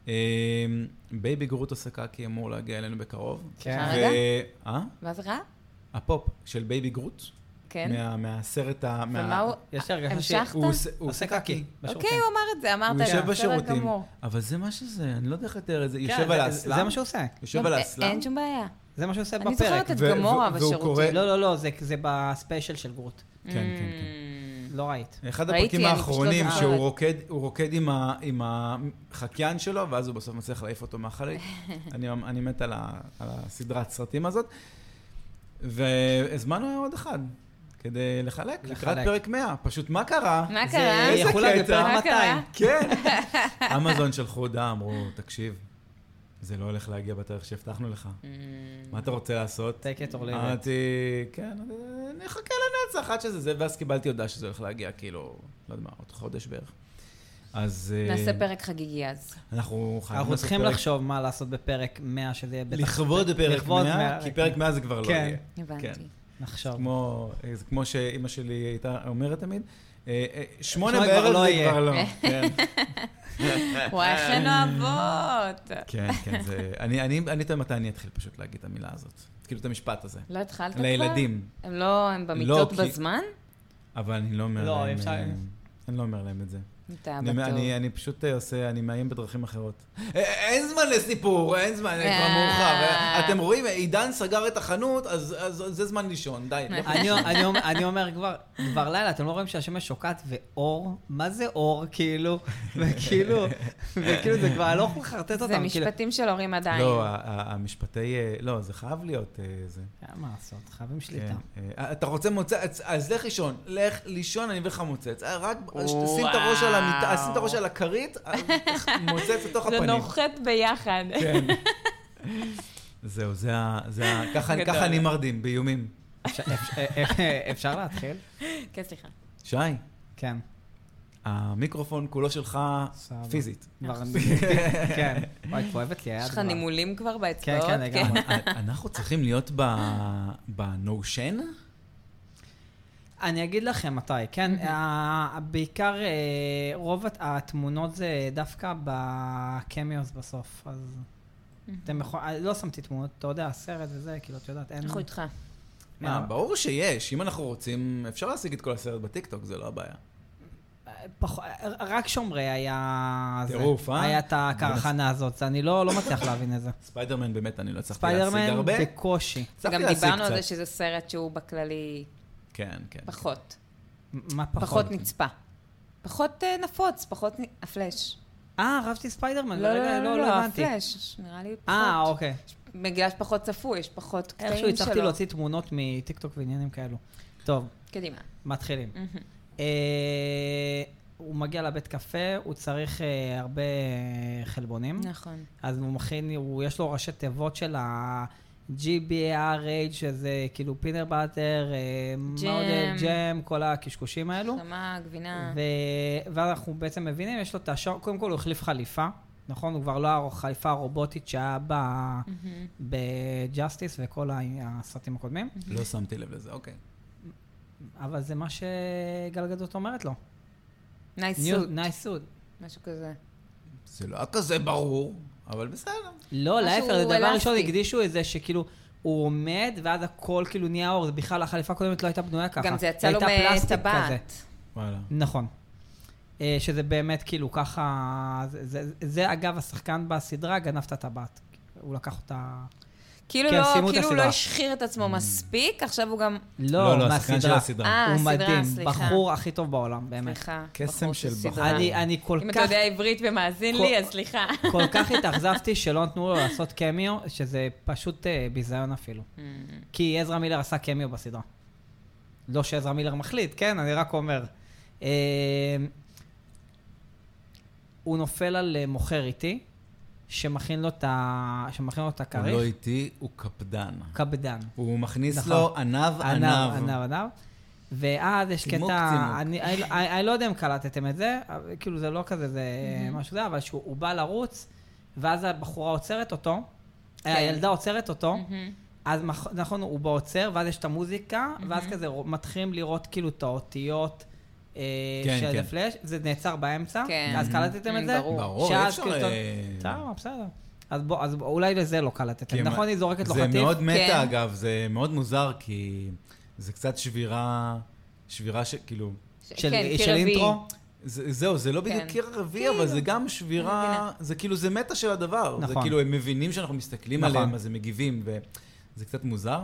אה, בייבי גרוטו סקקי אמור להגיע אלינו בקרוב. כן. ו- רגע. אה? ואז רע? הפופ של בייבי גרוט. כן. מה- מהסרט ה... מה- ומה הוא... יש לי הרגשה ש- המשכת? הוא עושה- הוא עושה עושה קקי. קקי. אוקיי, הוא אמר את זה, אמרת את הוא זה. יושב בסדר בשירותים. גמור. אבל זה מה שזה, אני לא יודע איך לתאר את זה. כן, יושב זה- על זה האסלאם. מה שהוא עושה. יושב גם על א- האסלאם. אין שום בעיה. זה מה שהוא עושה אני זוכרת בפרק. את ו- גמורה ו- והוא קורא- בשירותים. לא, לא, לא, זה- זה בספיישל של גרוט. כן, כן, כן. Mm. לא ראית. אחד ראיתי, הפרקים אני פשוט לא האחרונים זוכרת. שהוא רוקד, הוא רוקד עם, ה, עם החקיין שלו, ואז הוא בסוף מצליח להעיף אותו מהחלק. אני, אני מת על, ה, על הסדרת סרטים הזאת. והזמנו עוד אחד כדי לחלק, לחלק. לקראת פרק 100. פשוט מה קרה? מה זה קרה? איזה יחולק קטע? בפרק מה קרה? 200. כן. אמזון שלחו הודעה, אמרו, תקשיב, זה לא הולך להגיע בתאריך שהבטחנו לך. מה אתה רוצה לעשות? take it or leave it. אמרתי, כן, אני אחכה לנצח עד שזה זה, ואז קיבלתי הודעה שזה הולך להגיע, כאילו, לא יודע מה, עוד חודש בערך. אז... אה, נעשה פרק חגיגי אז. אנחנו חייבים אנחנו לעשות צריכים פרק- לחשוב מה לעשות בפרק 100, שזה יהיה בטח... לכבוד פרק לכבוד 100, מאה, כי כן. פרק 100 זה כבר לא כן. יהיה. כן. הבנתי. נחשוב. כמו, אה, זה כמו שאימא שלי הייתה אומרת תמיד, אה, אה, שמונה שמונה כבר בערב לא זה יהיה. כבר לא. כן. וואי, איך הן אוהבות. כן, כן, זה... אני- אני אני תוהה מתי אני אתחיל פשוט להגיד את המילה הזאת. כאילו, את המשפט הזה. לא התחלת כבר? לילדים. הם לא, הם לא, במיטות כי- בזמן? אבל אני לא אומר לא, להם... אפשר- אה, אני לא אומר להם את זה. אתה אני, אומר- בטוב. אני, אני פשוט אה, עושה, אני מאיים בדרכים אחרות. אה, אין זמן לסיפור, אין זמן, אה, כבר מאוחר. אה, אתם רואים, עידן סגר את החנות, אז, אז זה זמן לישון, די. לא. אני, אני, אומר- אני אומר כבר, כבר לילה, אתם לא רואים שהשמש שוקעת ואור? מה זה אור, כאילו? וכאילו, וכאילו זה כבר לא יכול לחרטט אותם. זה כאילו, משפטים של הורים עדיין. לא, ה- ה- המשפטי... אה, לא, זה חייב להיות אה, זה. אה, מה לעשות, חייבים שליטה. כן. אה, אתה רוצה מוצץ, אז לך לישון. לך לישון, אני אביא לך מוצץ. אה, רק וואו. שים את הראש על המיטה, שים את הראש על הכרית, אה, מוצץ לתוך זה הפנים. נוחת ביחד. כן. זהו, זה ה... זה ה- ככה- גדול. ככה אני מרדים, באיומים. אפשר- אפ- אפשר להתחיל? כן, סליחה. שי, כן. המיקרופון כולו שלך סבבה. פיזית. כבר- כן. וואי, כואבת לי היד. יש לך כבר. נימולים כבר כן, באצבעות? כן, לגמרי. אה, אנחנו צריכים להיות בנושן? אני אגיד לכם מתי, כן, ה- בעיקר אה, רוב הת- התמונות זה דווקא בקמיוס בסוף, אז אתם יכולים, לא שמתי תמונות, אתה יודע, סרט וזה, כאילו, את יודעת, אין... אנחנו איתך. מה, אין- ברור שיש. אם אנחנו רוצים, אפשר להשיג את כל הסרט בטיקטוק, זה לא הבעיה. פחות, רק שומרי היה... זה. טירוף, אה? היה את הקרחנה הזאת, זה- אני לא לא מצליח להבין את זה. ספיידרמן, באמת, אני לא הצלחתי להשיג ספיידרמן הרבה. בקושי. הצלחתי גם להשיג דיברנו על קצת. זה שזה סרט שהוא בכללי כן, כן. פחות. מ- מה פחות? פחות נצפה. פחות אה, נפוץ, פחות נ- הפלאש. אה, רבתי ספיידרמן, לא, לרגע, לא, לא, לא, הבנתי. הפלאש. נראה לי פחות. אה, אוקיי. בגלל שפחות צפוי, יש פחות קטעים שלו. איכשהו הצלחתי להוציא תמונות מטיקטוק ועניינים כאלו. טוב, קדימה. מתחילים. מהמם. אה, הוא מגיע לבית קפה, הוא צריך אה, הרבה אה, חלבונים. נכון. אז הוא מכין, הוא- יש לו ראשי תיבות של ה... GBRH, שזה כאילו אה, פינר באטר, מאודר, ג'ם, כל הקשקושים האלו. חמה, גבינה. ו- ואנחנו בעצם מבינים, יש לו את השעון, קודם כל הוא החליף חליפה, נכון? הוא כבר לא החליפה הרובוטית שהיה ב- Mm. Mm-hmm. בג'אסטיס וכל ה- הסרטים הקודמים, לא שמתי לב לזה, אוקיי. אבל זה מה שגלגדות אומרת לו. נייס סוד, נייס סוד. משהו כזה. זה לא היה כזה ברור, אבל בסדר. לא, משהו להפך, זה דבר אלסטי. ראשון, הקדישו את זה שכאילו... הוא עומד, ואז הכל כאילו נהיה אור, זה בכלל החליפה הקודמת לא הייתה בנויה ככה. גם זה יצא לו הייתה פלסטיק כזה. מטבעת. וואלה. נכון. אה, שזה באמת כאילו ככה, זה, זה, זה אגב השחקן בסדרה גנב את הטבעת. הוא לקח אותה... כאילו כן, סיימו לא, את כאילו הוא לא הסדרה. Mm. השחיר את עצמו מספיק, עכשיו הוא גם... לא, לא, השחקן של מהסדרה. הסדרה. אה, הוא הסדרה, מדהים, סליחה. בחור הכי טוב בעולם, באמת. סליחה. קסם בחור של סדרה. בחור. אני, אני כל אם אתה כך, יודע עברית ומאזין כל- לי, אז סליחה. כל כך התאכזבתי שלא נתנו לו לעשות קמיו, שזה פשוט אה, ביזיון אפילו. Mm-hmm. כי עזרא מילר עשה קמיו בסדרה. לא שעזרא מילר מחליט, כן? אני רק אומר. אה, הוא נופל על אה, מוכר איתי, שמכין לו את ה- שמכין לו את הוא הכריך. לא איטי, הוא קפדן. קפדן. הוא מכניס נכון. לו ענב ענב, ענב. ענב, ענב. ואז יש צימוק, קטע, צימוק. אני- אני- אני אני לא יודע אם קלטתם את זה, אבל כאילו זה לא כזה, זה משהו זה, אבל שהוא הוא בא לרוץ, ואז הבחורה עוצרת אותו, אה, הילדה עוצרת לא? אותו, Mm-hmm. אז מכ- נכון, הוא בעוצר, ואז יש את המוזיקה, ואז כזה רוא- מתחילים לראות כאילו את האותיות אה, כן, של כן. הפלאש, זה נעצר באמצע, כן. אז קלטתם Mm, את זה? ברור. ברור, אי שאז אפשר... כאילו אתה- אה, טוב, בסדר. אז בוא, אז אולי לזה לא כי קלטתם. הם- נכון, היא זורקת לו חטיף? זה מאוד כן. מטה, אגב, זה מאוד מוזר, כי זה קצת שבירה, שבירה כאילו, שכאילו... ש- של, כן, של קרבי. אינטרו? זה, זהו, זה לא בדיוק כן. קיר רביעי, אבל זה גם שבירה, זה כאילו, זה מטה של הדבר. זה נכון. כאילו, הם מבינים שאנחנו מסתכלים נכון. עליהם, אז הם מגיבים, וזה קצת מוזר.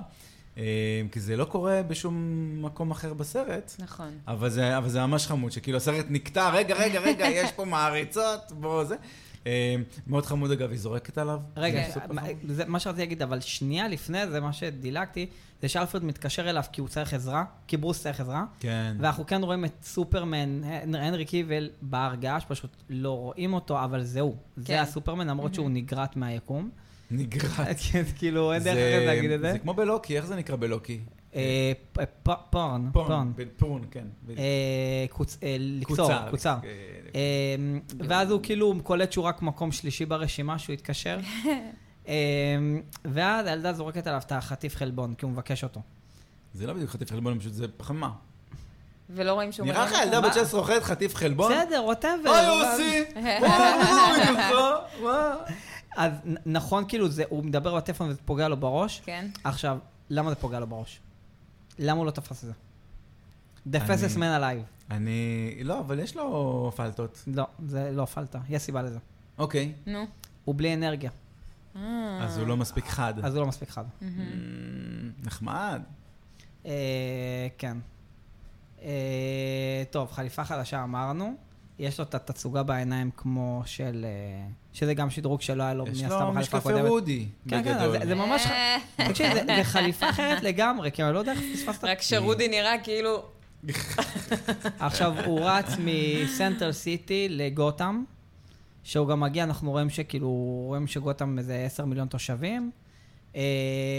אה, כי זה לא קורה בשום מקום אחר בסרט. נכון. אבל זה, אבל זה ממש חמוד, שכאילו הסרט נקטע, רגע, רגע, רגע, יש פה מעריצות, בוא זה. אה, מאוד חמוד אגב, היא זורקת עליו. רגע, כן. זה סופר מה- חמוד. זה מה שרציתי להגיד, אבל שנייה לפני זה, מה שדילגתי, זה שאלפרד מתקשר אליו כי הוא צריך עזרה, כי ברוס צריך עזרה, כן. ואנחנו כן רואים את סופרמן, הנ- הנרי קיבל בהרגעה, שפשוט לא רואים אותו, אבל זה הוא. כן. זה הסופרמן, למרות שהוא נגרט מהיקום. נגרט. כן, כאילו, אין דרך אחרת להגיד את זה. זה כמו בלוקי, איך זה נקרא בלוקי? אה, פ- פ- פורן, פורן. פורן. פורן, כן. בדיוק. אה, קוצ- אה, לקצור, קוצר, קוצר. אה, אמ, ואז הוא כאילו קולט שהוא רק מקום שלישי ברשימה, שהוא התקשר. אמ, ואז הילדה זורקת עליו את החטיף חלבון, כי הוא מבקש אותו. זה לא בדיוק חטיף חלבון, פשוט זה פחמה. ולא רואים שהוא נראה לך ילדה בת 16 אוכלת חטיף חלבון? בסדר, ווטאבר. אוי, יוסי! אוי, יוסי! מה? אז נ- נכון, כאילו, זה- הוא מדבר בטלפון וזה פוגע לו בראש. כן. עכשיו, למה זה פוגע לו בראש? למה הוא לא תפס את זה? The fastest man alive. אני... לא, אבל יש לו פלטות. לא, זה לא פלטה. יש סיבה לזה. אוקיי. נו. הוא בלי אנרגיה, אה, אז הוא לא מספיק חד. אז הוא לא מספיק חד. אמ, נחמד. אה, כן. אה, טוב, חליפה חדשה אמרנו. יש לו את התצוגה בעיניים כמו של... אה, שזה גם שדרוג שלא היה לו מן יש הסתם לו בחליפה משקפי הקודמת. וודי, כן, כן, אז בגדול. זה ממש... ח- אה. תקשיב, זה- זה חליפה אחרת לגמרי, כי אני לא יודע איך פספסת. רק שרודי נראה כאילו... עכשיו, הוא רץ מסנטרל סיטי לגותם, שהוא גם מגיע, אנחנו רואים שכאילו, רואים שגותם איזה 10 מיליון תושבים. אה,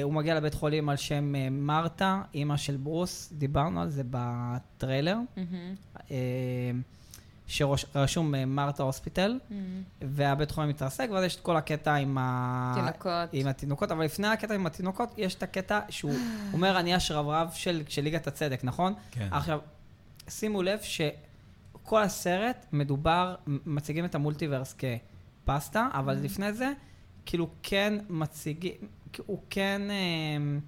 הוא מגיע לבית חולים על שם אה, מרתה, אימא של ברוס, דיברנו על זה בטריילר. Mm-hmm. אה, שרשום אה, מרתה הוספיטל, והבית חולים מתרסק, ואז יש את כל הקטע עם, ה... תינוקות. עם התינוקות, אבל לפני הקטע עם התינוקות, יש את הקטע שהוא אומר, אני השרברב של, של ליגת הצדק, נכון? כן. עכשיו, שימו לב שכל הסרט מדובר, מ- מציגים את המולטיברס כפסטה, אבל לפני זה, כאילו כן מציגים, הוא כן... אה,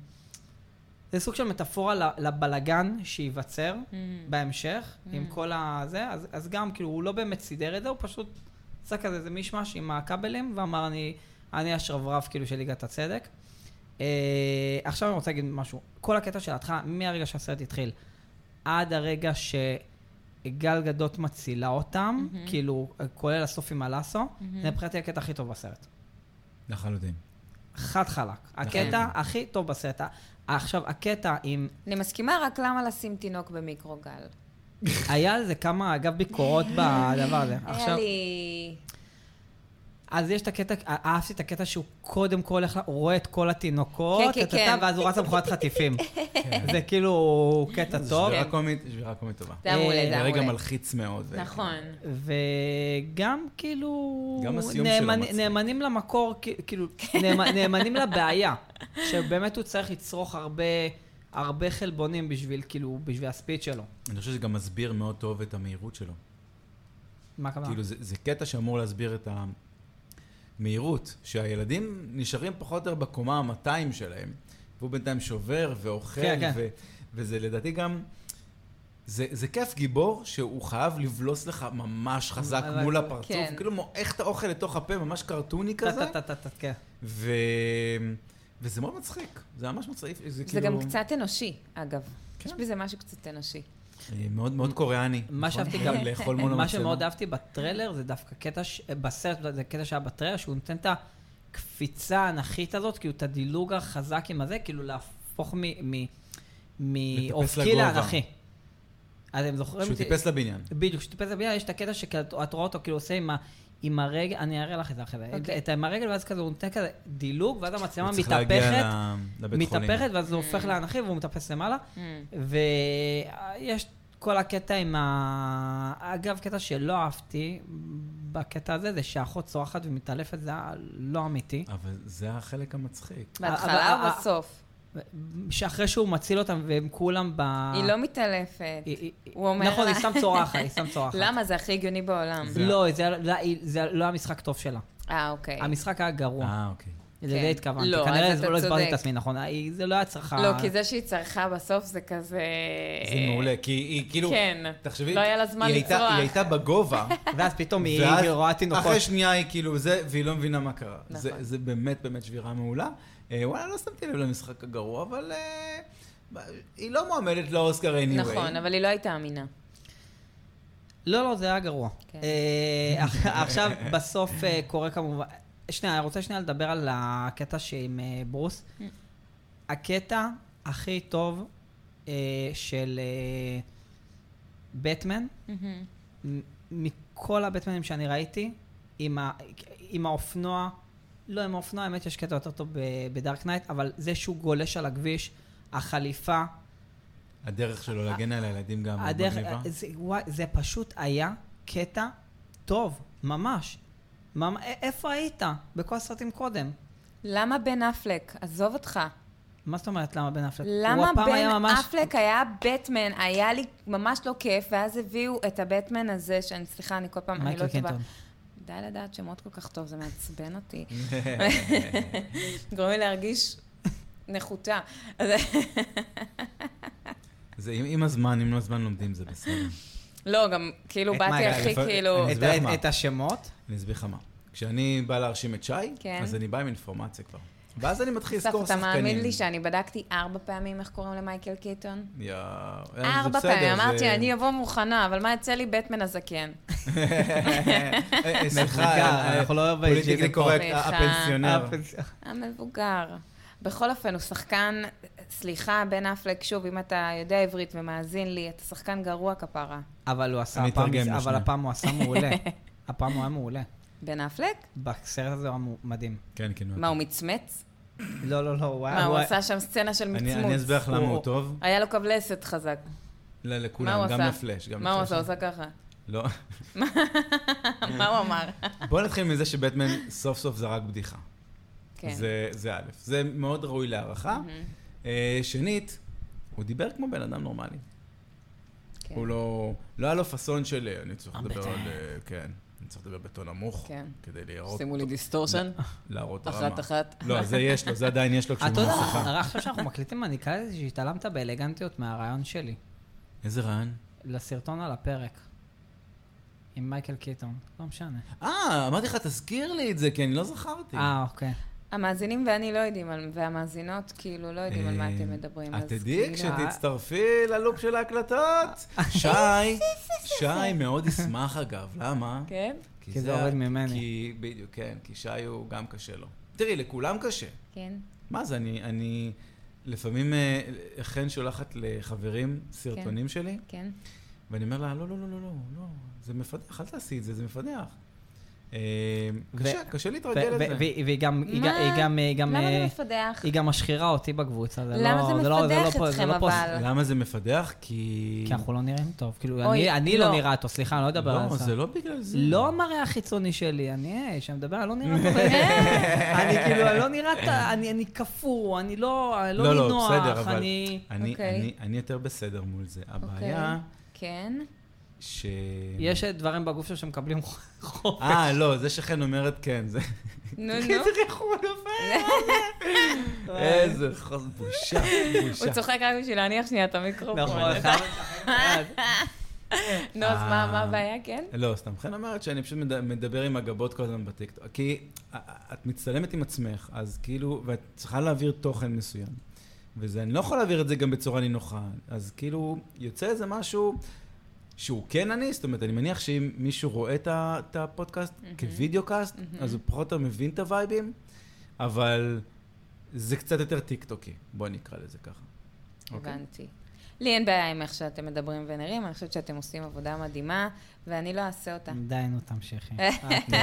זה סוג של מטאפורה ל- לבלגן שייווצר Mm. Mm-hmm. בהמשך, עם כל הזה, אז, אז גם כאילו הוא לא באמת סידר את זה, הוא פשוט עשה כזה איזה מישמש עם הכבלים, ואמר אני, אני השרברב כאילו של ליגת הצדק. אה, עכשיו אני רוצה להגיד משהו, כל הקטע של ההתחלה, מהרגע שהסרט התחיל, עד הרגע שגל גדות מצילה אותם, כאילו, כולל הסוף עם הלאסו, זה מבחינתי הקטע הכי טוב בסרט. לחלוטין. חד חלק. הקטע הכי טוב בסרט. עכשיו, הקטע עם... אני מסכימה רק למה לשים תינוק במיקרוגל. היה על זה כמה, אגב, ביקורות בדבר הזה. היה עכשיו, לי... אז יש את הקטע, אהבתי את הקטע שהוא קודם כל הולך, הוא רואה את כל התינוקות, כן, כן, כן. טה-טה-טה, ואז הוא רץ למכונת חטיפים. כן. זה כאילו קטע טוב. שבירה קומית, שבירה קומית טובה. אה, זה היה מעולה, זה היה רגע מעולה. מלחיץ מאוד. ו- נכון. וגם כאילו... גם הסיום שלו מצחיק. נאמנים למקור, כ- כאילו, נאמ- נאמנים לבעיה, שבאמת הוא צריך לצרוך הרבה, הרבה חלבונים בשביל, כאילו, בשביל הספיד שלו. אני חושב שגם מסביר מאוד טוב את המהירות שלו. מה הכוונה? כאילו, זה, זה קטע שאמור להסביר את המהירות, שהילדים נשארים פחות או יותר בקומה ה-200 שלהם, והוא בינתיים שובר ואוכל, כן, כן. ו- וזה לדעתי גם... זה, זה כיף גיבור שהוא חייב לבלוס לך ממש חזק אבל- מול הפרצוף, כן. הוא כאילו מועך את האוכל לתוך הפה, ממש קרטוני כזה, טה-טה-טה-טה, כן. ו... וזה מאוד מצחיק, זה ממש מצחיק, זה זה כאילו... גם קצת אנושי, אגב. כן. יש בזה משהו קצת אנושי. אה, מאוד מאוד קוריאני. מה נכון? שאהבתי גם, לאכול מול מה המצלמה. שמאוד אהבתי בטריילר זה דווקא קטע, ש- בסרט, זה קטע שהיה בטריילר, שהוא נותן את הקפיצה האנכית הזאת, כאילו את הדילוג החזק עם הזה, כאילו להפוך מ- מ- לטפס מאופקי לגובה. לאנכי. אתם זוכרים? שהוא את- טיפס לבניין. בדיוק, כשטיפס לבניין, יש את הקטע שאת את רואה אותו כאילו עושה עם ה... עם הרגל, אני אראה לך את זה אחרי זה, אוקיי. את- עם הרגל ואז כזה הוא נותן כזה דילוג ואז המצלמה הוא צריך להגיע מתהפכת, ל- לבית חולים. מתהפכת ואז זה הופך לאנכי והוא מטפס למעלה, ויש כל הקטע עם ה... אגב, קטע שלא אהבתי בקטע הזה, זה שהאחות צורחת ומתעלפת, זה היה לא אמיתי. אבל זה החלק המצחיק. אבל- בהתחלה או בסוף? אה, שאחרי שהוא מציל אותם והם כולם ב... היא לא מתעלפת. אה, היא- היא- הוא אומר נכון, לה- היא סתם צורחת, היא סתם צורחת. למה? זה הכי הגיוני בעולם. זה- לא, זה לא- זה לא היה משחק טוב שלה. אה, אוקיי. המשחק היה גרוע. אה, אוקיי. לזה כן. התכוונתי. לא, כנראה אז זה אתה לא הסברתי את צודק. עצמי נכון. היא- זה לא היה צריכה... לא, כי זה שהיא צרכה בסוף זה כזה... זה מעולה, כי היא כאילו... כן. תחשבי, לא היה לה זמן היא הייתה- לצרוח. היא הייתה בגובה, ואז פתאום היא ואז רואה תינוקות. אחרי שנייה היא כאילו זה, והיא לא מבינה מה קרה. נכון. זה- זה באמת באמת שבירה מעולה. אה, וואלה, לא שמתי לב למשחק הגרוע, אבל... אה, היא לא מועמדת לאוסקר anyway. נכון, אבל היא לא הייתה אמינה. לא, לא, זה היה גרוע. כן. אה, אח- עכשיו, בסוף אה, קורה כמובן... שנייה, אני רוצה שנייה לדבר על הקטע שעם אה, ברוס. הקטע הכי טוב אה, של אה, בטמן, מ- מכל הבטמנים שאני ראיתי, עם, ה, עם האופנוע, לא עם האופנוע, האמת שיש קטע יותר טוב ב- בדארק נייט, אבל זה שהוא גולש על הכביש, החליפה, הדרך שלו להגן על הילדים גם מאוד הדרך, אה, מגניבה. זה, וואי, זה פשוט היה קטע טוב, ממש. ממ, א- איפה היית? בכל הסרטים קודם. למה בן אפלק? עזוב אותך. מה זאת אומרת למה בן אפלק? הוא למה הפעם היה בן ממש- אפלק היה בטמן? היה לי ממש לא כיף, ואז הביאו את הבטמן הזה, שאני, סליחה, אני כל פעם, אני מייקל לא טובה. קינטון. די לדעת שמות כל כך טוב, זה מעצבן אותי. גורם לי להרגיש נחותה. אז- זה עם- עם הזמן, אם לא הזמן לומדים זה בסדר. לא, גם כאילו את באתי מה, הכי לפ- כאילו... אני את, אסביר לך מה. את, את השמות? אני אסביר לך מה. כשאני בא להרשים את שי, כן. אז אני בא עם אינפורמציה כבר. ואז אני מתחיל אסף, לזכור אתה שחקנים. מאמין לי שאני בדקתי ארבע פעמים איך קוראים למייקל קיטון? יואו. ארבע אה, זה פעמים, בסדר, זה- אמרתי, אני אבוא מוכנה, אבל מה יצא לי בטמן הזקן? אה, מבוגר, סליחה, אנחנו לא בייג'ים פוליטיקלי פה. קורקט, אה, סליחה. הפנסיונר. אה, המבוגר. בכל אופן, הוא שחקן, סליחה, בן אפלק, שוב, אם אתה יודע עברית ומאזין לי, אתה שחקן גרוע כפרה. אבל הוא עשה אני הפעם, אתרגם אבל לשנייה. הפעם הוא עשה מעולה. הפעם הוא היה מעולה. בן אפלק? בסרט הזה הוא היה מו- מדהים. כן, כן. מה, הוא מצמץ? לא, לא, לא, הוא היה... מה, הוא היה- עשה שם סצנה של אה, אני אני מצמוץ. אסביר לך למה הוא הוא- טוב. היה לו קבלסת חזק. ל- מה הוא לכולם, עשה? גם לפלאש. גם מה הוא לפלאש. עשה? הוא עושה ככה. לא. מה הוא אמר? בואו נתחיל מזה שבטמן סוף סוף זרק בדיחה. כן. זה- זה א', זה מאוד ראוי להערכה. אה, שנית, הוא דיבר כמו בן אדם נורמלי. כן, הוא לא, לא היה לו פסון של אה, אני צריך לדבר אמבטה. על, אה, כן, אני צריך לדבר בטון נמוך, כן. כדי להראות, שימו לי דיסטורשן, לא. להראות רמה. אחת אחת. אה, לא, זה יש לו, זה עדיין יש לו כשהוא אתה יודע, במסכה. רק עכשיו שאנחנו מקליטים, אני קלטתי שהתעלמת באלגנטיות מהרעיון שלי. איזה רעיון? לסרטון על הפרק. עם מייקל קיטון. לא משנה. אה, אמרתי לך, תזכיר לי את זה, כי אני לא זכרתי. אה, אוקיי. המאזינים ואני לא יודעים, על- והמאזינות כאילו לא יודעים על מה אה, אתם מדברים. אה, את אז תדעי, כאילו- כשתצטרפי ללופ של ההקלטות. אה, שי, שי מאוד ישמח אגב, למה? כן? כי זה עובד ממני. כי, בדיוק, כן, כי שי הוא גם קשה לו. תראי, לכולם קשה. כן. מה זה, אני, אני לפעמים אה, חן שולחת לחברים סרטונים שלי, כן. ואני אומר לה, לא, לא, לא, לא, לא, לא, זה מפתח, אל תעשי את זה, זה מפתח. אה, קשה, קשה להתרגל ו- לזה. ו- והיא והיא גם, היא מה? גם- היא גם, היא גם, למה לא אה, זה מפדח? היא גם משחירה אותי בקבוצה, זה לא... למה זה לא- לא מפדח פה- זה לא אתכם, פה- אבל? למה זה מפדח? כי... כי אנחנו לא נראים טוב. כאילו, אוי, אני- אני לא לא. נראה טוב, סליחה, אני לא אדבר על לא, זה. זה לא בגלל זה. לא המראה החיצוני שלי, אני, אה, שמדבר, אני לא נראה טוב. אה. אני כאילו, אני לא נראה, ט- אני אני קפוא, אני לא אני לא נינוח, אני... אוקיי. אני, אוקיי. אני, אני יותר בסדר מול זה. הבעיה כן. ש... יש דברים בגוף שלו שמקבלים חופש. אה, לא, זה שכן אומרת כן, זה... נו, נו. איזה ריח הוא נופל! אוקיי. איזה חוז... בושה, הוא בושה. צוחק רק בשביל להניח שנייה את המיקרופון. נכון, אתה- אחד- אה, אחד. נו, אז מה אה. מה הבעיה, כן? לא, סתם חן אומרת שאני פשוט מד- מדבר עם הגבות כל הזמן בטיקטוק. כי א- א- את מצטלמת עם עצמך, אז כאילו, ואת צריכה להעביר תוכן מסוים. וזה, אני לא יכול להעביר את זה גם בצורה נינוחה. אז כאילו, יוצא איזה משהו שהוא כן אני, זאת אומרת, אני מניח שאם מישהו רואה את ה- את הפודקאסט כווידאו קאסט, אז הוא פחות או יותר מבין את הווייבים, אבל זה קצת יותר טיקטוקי, בוא נקרא לזה ככה. אוקיי? הבנתי. לי אין בעיה עם איך שאתם מדברים ונראים, אני חושבת שאתם עושים עבודה מדהימה, ואני לא אעשה אותה. די, נו, תמשיכי. אה.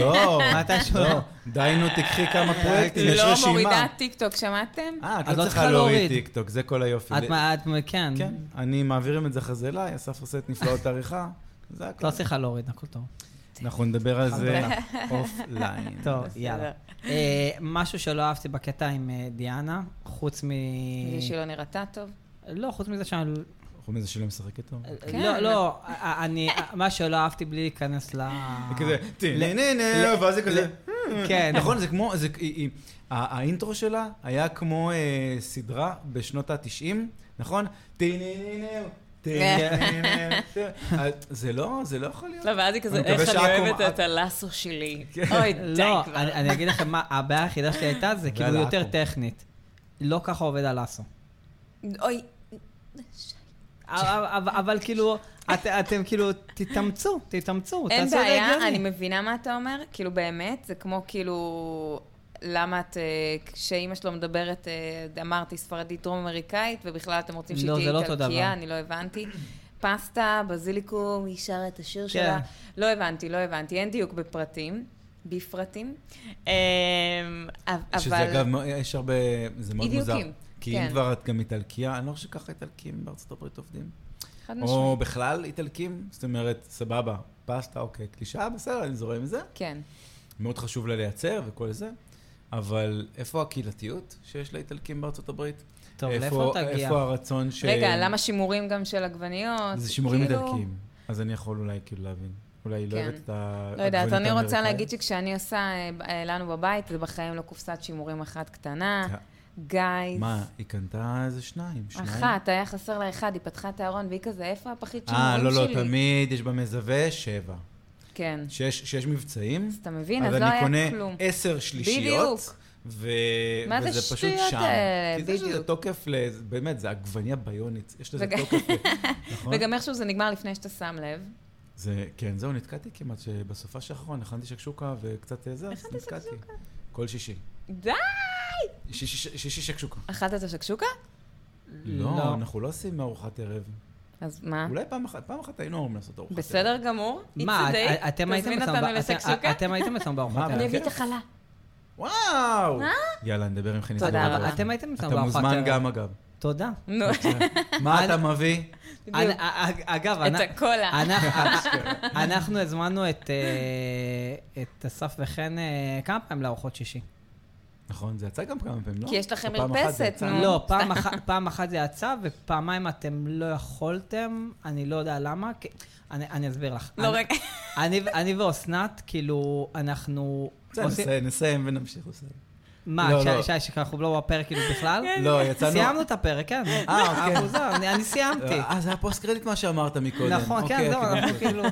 לא, מתישהו. לא. די נו, תקחי כמה פרויקטים, יש לא רשימה. מורידה טיקטוק, שמעתם? אה, את את לא צריכה לא צריכה להוריד להוריד. טיקטוק, זה כל היופי. את, מה- את, כן. כן, אני מעבירים את זה אחרי זה אליי, אסף עושה את נפלאות העריכה, זה את הכל. לא צריכה להוריד, הכל טוב. אנחנו נדבר על זה חמודה. אוף-ליין. טוב, בסדר. יאללה. אה, משהו שלא אהבתי בקטע עם אה, דיאנה, חוץ מ... בגלל שהיא לא נראתה טוב. לא, חוץ מזה שאני... חוץ מזה שלא משחק איתו. כן. לא, לא, אה, אני... מה שלא אהבתי בלי להיכנס ל... כזה, אה, טיננה, לא", ואז זה כזה. כן. נכון, זה כמו, זה- היא- היא- ה- האינטרו שלה היה כמו אה, סדרה בשנות ה-90, נכון? טיננה, טיננה, טיננה. זה לא, זה לא יכול להיות. לא, ואז היא כזה, אני מקווה איך אני שעכו- אה, כן. אוהבת את הלאסו שלי. אוי, די לא, כבר. אני אני אגיד לכם מה, הבעיה היחידה שלי הייתה, זה כאילו ועל יותר העכו. טכנית. לא ככה עובד אה, הלאסו. אוי, אה, אבל אבל כאילו, את- אתם כאילו, תתאמצו, תתאמצו, אין תעשו את זה בעיה, הגיוני. אני מבינה מה אתה אומר. כאילו, באמת, זה כמו כאילו... למה את, אה, כשאימא שלו מדברת, אה, אמרתי ספרדית דרום-אמריקאית, ובכלל אתם רוצים לא, שהיא זה תהיה לא אותו איטלקייה, דבר. אני לא הבנתי. פסטה, בזיליקום, היא שרה את כן. השיר שלה. לא הבנתי, לא הבנתי, אין דיוק בפרטים, בפרטים. אה, אב- אבל... שזה אגב, מאוד- יש הרבה, זה מאוד מוזר. אי-דיוקים, כי אם כן. כבר את גם איטלקייה, אני לא חושב שככה איטלקים בארצות הברית עובדים. חד או משמעית. בכלל איטלקים, זאת אומרת, סבבה, פסטה, אוקיי, קלישאה, בסדר, אני זורם עם זה. כן. מאוד חשוב לה לייצר וכל זה, אבל איפה הקהילתיות שיש לאיטלקים בארצות הברית? טוב, איפה- לאיפה תגיע? איפה הרצון ש... רגע, למה שימורים גם של עגבניות? זה שימורים כאילו- איטלקיים, אז אני יכול אולי כאילו להבין. אולי היא לא כן. אוהבת את ה... לא יודעת, העגבנית אני רוצה האמריקאית. להגיד שכשאני עושה אה, ב- אה, לנו בבית, זה בחיים לא קופסת שימורים אחת קטנה. אה. גייז. מה, היא קנתה איזה שניים, שניים? אחת, היה חסר לה אחד, היא פתחה את הארון, והיא כזה, איפה הפחית שימורים אה, שלי? לא, לא, תמיד יש במזווה שבע. כן. שיש, שיש מבצעים, אז אתה מבין, אז אז לא אני היה קונה כלום. עשר שלישיות, בדיוק. ו... מה זה וזה פשוט השטויות שם. האלה? כי זה יש לזה בדיוק. תוקף, ל... באמת, זה עגבניה ביונית, יש לזה וגם- תוקף, ל- נכון? וגם איכשהו זה נגמר לפני שאתה שם לב. זה, כן, זהו, נתקעתי כמעט, שבסופה שהאחרון הכנתי שקשוקה וקצת אה, זה, אז נתקעתי. כל שישי. די! שישי- שישי שישי שקשוקה. אכלת את השקשוקה? לא, אנחנו לא עושים ארוחת ערב. אז מה? אולי פעם אחת, פעם אחת היינו אמורים לעשות ארוחת ערב. אה. בסדר גמור. מה, It's a את- date. אתם הייתם תזמין אצלם אותנו ב- אתם- לשקשוקה? אתם הייתם אצלם בארוחות מה, ערב. אני אביא את בכיף. החלה. וואו! יאללה, נדבר עם חני. תודה סבבה. רבה. אתם הייתם אה. אצלם אתה בארוחת מוזמן ערב. גם, אגב. תודה. נו, מה אתה מביא? אני- בדיוק. א- א- אה, אגב, את אה, אנ- הקולה. אנחנו- אה, אנחנו הזמנו את אה, את אסף וחן אה, כמה פעמים לארוחות שישי. נכון, זה יצא גם כמה פעמים, לא? כי יש לכם או פעם אחת זה מרפסת, יצא. נו. לא, פעם אחת- פעם אחת זה יצא, ופעמיים אתם לא יכולתם, אני לא יודע למה. כי- אני- אני אסביר לך. לא, אני- רגע. אני ו- אני ואסנת, כאילו, אנחנו... בסדר, עושים- נסיים, נסיים ונמשיך לסיים. מה, לא, ש- לא. ש- שאנחנו לא בפרק כאילו בכלל? לא, יצאנו... סיימנו את הפרק, כן. אה, אוקיי. מוזר, אני אני סיימתי. אה, זה היה פוסט קרדיט מה שאמרת מקודם. נכון, כן, אוקיי, זהו, אוקיי. אנחנו כאילו,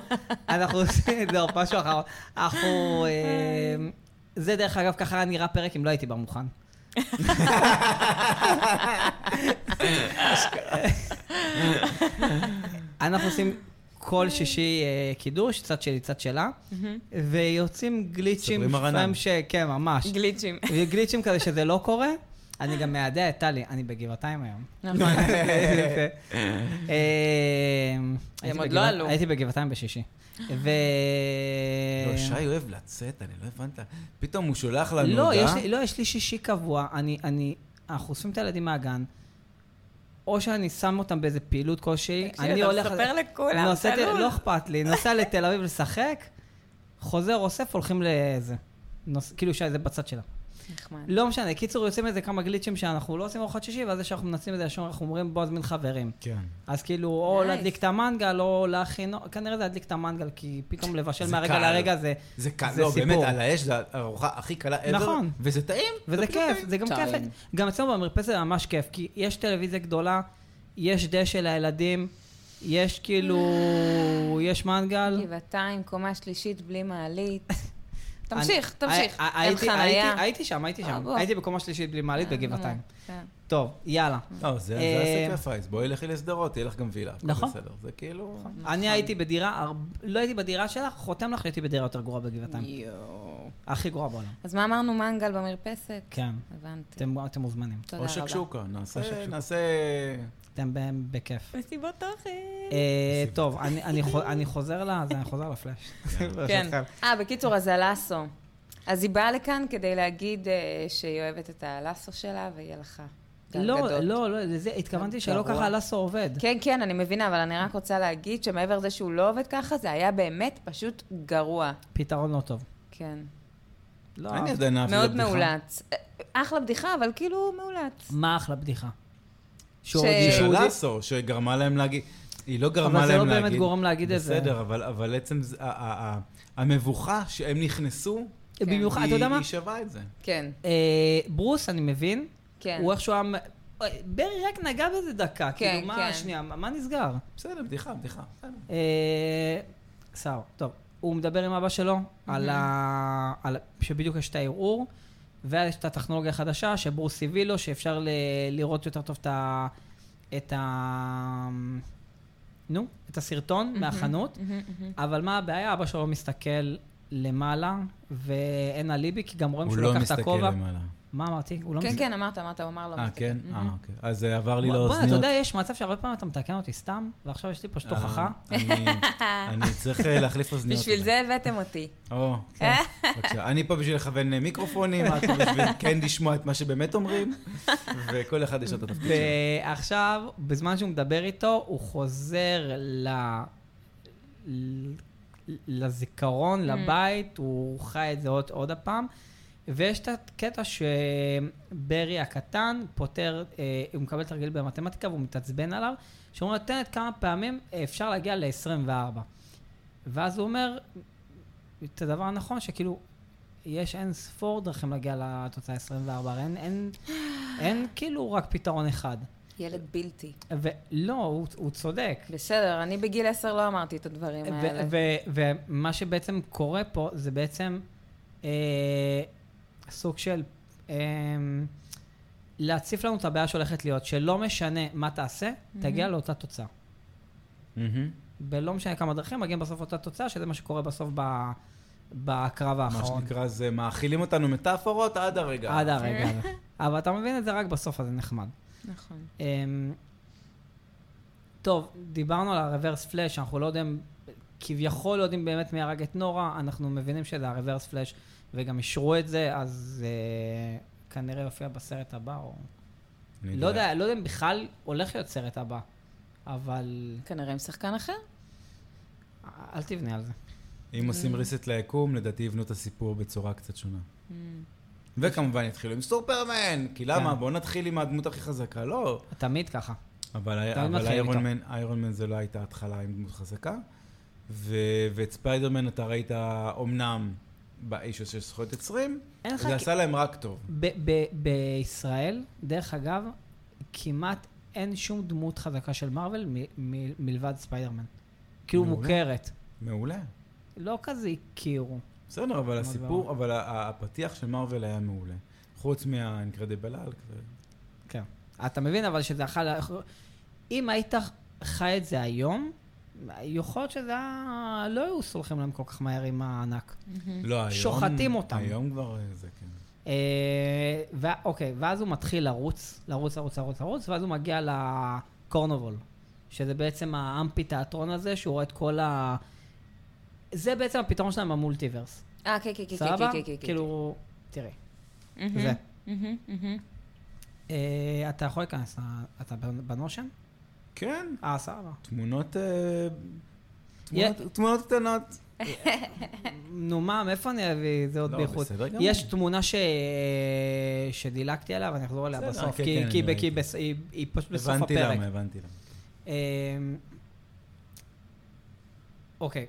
אנחנו עושים, זהו, משהו אחר. אנחנו, אה, זה דרך אגב, ככה היה נראה פרק אם לא הייתי בא מוכן. לא, אנחנו עושים כל שישי אה, קידוש, צד שלי, צד שלה, ויוצאים גליצ'ים, סוגרים ארנב. לפעמים ש... כן, ממש. גליצ'ים. גליצ'ים כזה שזה לא קורה, אני גם מיידע את טלי, אני בגבעתיים היום. נכון. יפה. אמ, הייתי עוד בגבע- לא עלו. הייתי בגבעתיים בשישי. ו... אה. לא, שי אוהב לצאת, אני לא הבנת. פתאום הוא שולח לנו לא, הודעה. יש לי, לא, יש לי שישי קבוע, אני, אני, אנחנו אוספים את הילדים מהגן, או שאני שם אותם באיזה פעילות כלשהי, תקשיב, אני אתה הולך... מספר לכולם, נוסע ת- צלול. לא אכפת לי, נוסע לתל אביב לשחק, חוזר, אוסף, הולכים לאיזה... נוס... כאילו שי, זה בצד שלה. נחמד. לא משנה, קיצור, יוצאים איזה כמה גליצ'ים שאנחנו לא עושים ארוחת שישי, ואז כשאנחנו מנצלים את זה ישר, אנחנו אומרים, בוא, נזמין חברים. כן. אז כאילו, או Nice. להדליק את המנגל, או להכין, כנראה זה להדליק את המנגל, כי פתאום לבשל זה מהרגע קל. לרגע זה זה קל, זה לא, באמת, סיפור. על האש זו הארוחה הכי קלה ever. נכון. וזה טעים. וזה כיף, זה גם כיף. טעים. גם אצלנו במרפסת זה ממש כיף, כי יש טלוויזיה גדולה, יש דשא לילדים, יש כאילו, יש מנגל. גבעתיים, קומה שלישית בלי מעלית. תמשיך, אני- תמשיך. הי- אין הייתי- חנייה. הייתי- הייתי שם, הייתי אה, שם. בוא. הייתי בקומה שלישית בלי מעלית בגבעתיים. כן. טוב, יאללה. לא, זה אה, הסקרפייס. בואי לכי לשדרות, תהיה לך גם וילה. הכל נכון. בסדר. זה כאילו... נכון. אני הייתי בדירה, הר- לא הייתי בדירה שלך, חותם לך שהייתי בדירה יותר גרועה בגבעתיים. יואו. הכי גרועה בעולם. אז מה אמרנו, מנגל במרפסת? כן. הבנתי. אתם אתם מוזמנים. תודה או רבה. שקשוקה, נעשה, או שקשוקה. נעשה... אתם ב- בכיף. מסיבות אוכל. אה, טוב, אני- אני חו- אני חוזר לזה, אני חוזר לפלאש. כן. ברשותכם. אה, בקיצור, אז הלאסו. אז היא באה לכאן כדי להגיד אה, שהיא אוהבת את הלאסו שלה, ויהיה לך גלגדות. לא, לא, לא, לזה התכוונתי שלא כן, גרוע. ככה הלאסו עובד. כן, כן, אני מבינה, אבל אני רק רוצה להגיד שמעבר לזה שהוא לא עובד ככה, זה היה באמת פשוט גרוע. פתרון לא טוב. כן. לא, אני עדיין אהבתי את מאוד הבדיחה. מאולץ. אה, אחלה בדיחה, אבל כאילו מאולץ. מה אחלה בדיחה? ש- הודיע- של הודיע- אה, לאסו, שגרמה להם להגיד... היא לא גרמה להם אה, אבל זה להגיד... לא באמת גורם להגיד את זה. בסדר, אבל- אבל עצם זה- ה- ה- ה- המבוכה שהם נכנסו, כן. במיוחד, אתה היא יודע מה? היא שווה את זה. כן, אה, ברוס, אני מבין. כן. הוא איכשהו היה... מ- אוי, ברי רק נגע בזה דקה. כן, כאילו, מה, כן. שנייה, מה מה נסגר? בסדר, בדיחה, בדיחה. בסדר. אה, סער, טוב. הוא מדבר עם אבא שלו על ה... על... ה- שבדיוק יש את הערעור, ויש את הטכנולוגיה החדשה שברוס הביא לו, שאפשר ל... לראות יותר טוב את ה... את ה... נו, את הסרטון מהחנות, Mm-hmm. אבל מה הבעיה? אבא שלו מסתכל למעלה, ואין אליבי, כי גם רואים הוא שהוא לא לקח את מסתכל הכובע. לא למעלה. מה אמרתי? הוא לא כן, מסתכל. כן, אמרת, אמרת, הוא אמר Mm-hmm. לו. אה, כן? אה, אוקיי. אז זה עבר לי בוא'נה, אתה לאוזניות. יודע, יש מצב שהרבה פעמים אתה מתקן אותי סתם, ועכשיו יש לי פשוט אה, הוכחה. אני- אני צריך אה, להחליף אוזניות. בשביל אבל. זה הבאתם אותי. או, כן. בבקשה. אני פה בשביל לכוון אה, מיקרופונים, את פה בשביל כן לשמוע את מה שבאמת אומרים, וכל אחד יש לו את התפקיד שלו. ועכשיו, בזמן שהוא מדבר איתו, הוא חוזר ל... ל- לזיכרון, לבית, הוא חי את זה עוד, עוד הפעם. ויש את הקטע שברי הקטן פותר, אה, הוא מקבל תרגיל במתמטיקה והוא מתעצבן עליו, שאומרים לו, תן את כמה פעמים אה, אפשר להגיע ל-24. ואז הוא אומר את הדבר הנכון, שכאילו, יש אין ספור דרכים להגיע לתוצאה 24, הרי אין, אין, אין כאילו רק פתרון אחד. ילד בלתי. ולא, לא, הוא, הוא צודק. בסדר, אני בגיל עשר לא אמרתי את הדברים האלה. ו- ו- ומה שבעצם קורה פה, זה בעצם אה, סוג של אה, להציף לנו את הבעיה שהולכת להיות, שלא משנה מה תעשה, תגיע לאותה תוצאה. מהמם. ולא משנה כמה דרכים, מגיעים בסוף לאותה תוצאה, שזה מה שקורה בסוף ב- בקרב מה האחרון. שנקרא, זה מאכילים אותנו מטאפורות עד הרגע. נכון. עד הרגע הזה. אבל אתה מבין את זה רק בסוף, אז זה נחמד. נכון. אמ, טוב, דיברנו על הרוורס פלאש, אנחנו לא יודעים, כביכול לא יודעים באמת מי הרג את נורה, אנחנו מבינים שזה הרוורס פלאש, וגם אישרו את זה, אז אה, כנראה יופיע בסרט הבא, או... אני לא יודע, לא יודע אם בכלל הולך להיות סרט הבא, אבל כנראה עם שחקן אחר. אל תבנה על זה. אם עושים ריסט ליקום, לדעתי יבנו את הסיפור בצורה קצת שונה. Mm-hmm. וכמובן יתחילו עם סופרמן, כי למה? כן. בואו נתחיל עם הדמות הכי חזקה. לא, תמיד ככה. אבל תמיד ה- אבל מתחילים איירון לא איתו. מן, איירון מן זה לא הייתה התחלה עם דמות חזקה. ו- ואת ספיידרמן אתה ראית אומנם באישו של זכויות יוצרים, אין לך זה כי- עשה להם רק טוב. ב- ב- בישראל, דרך אגב, כמעט אין שום דמות חזקה של מארוול מ- מ- מלבד ספיידרמן. כאילו מעולה. מוכרת. מעולה. לא כזה הכירו. בסדר, אבל מאוד הסיפור, ברור. אבל ה- ה- הפתיח של מארוול היה מעולה. חוץ מהאינקרדיבל אלק. כן. אתה מבין, אבל שזה יכול... אם היית חי את זה היום, יכול להיות שזה היה... לא היו סולחים להם כל כך מהר עם הענק. Mm-hmm. לא, היום... שוחטים אותם. היום כבר אה, זה, כן. אה, ו- אוקיי, ואז הוא מתחיל לרוץ, לרוץ, לרוץ, לרוץ, לרוץ, ואז הוא מגיע לקורנובול, שזה בעצם האמפי תיאטרון הזה, שהוא רואה את כל ה... זה בעצם הפתרון שלהם במולטיברס. אה, כן, כן, כן, כן, סבבה? כן, כן, Mm-hmm. כן. כאילו, תראי, מהמם, זה. מהמם, מהמם. אה, אתה יכול להיכנס, ל- אתה בנ- בנושן? כן, אה, סבבה. תמונות... אה, תמונות- תמונות קטנות. נו מה, מאיפה אני אביא את זה עוד לא, באיחוד? בסדר גמור. יש תמונה ש... שדילגתי עליה, ואני אחזור אליה בסדר, בסוף, כן, כי- כן, כי אני ב- כי ראיתי. בס- היא היא פשוט בסוף הבנתי הפרק. למה, הבנתי למה. אמ, אוקיי.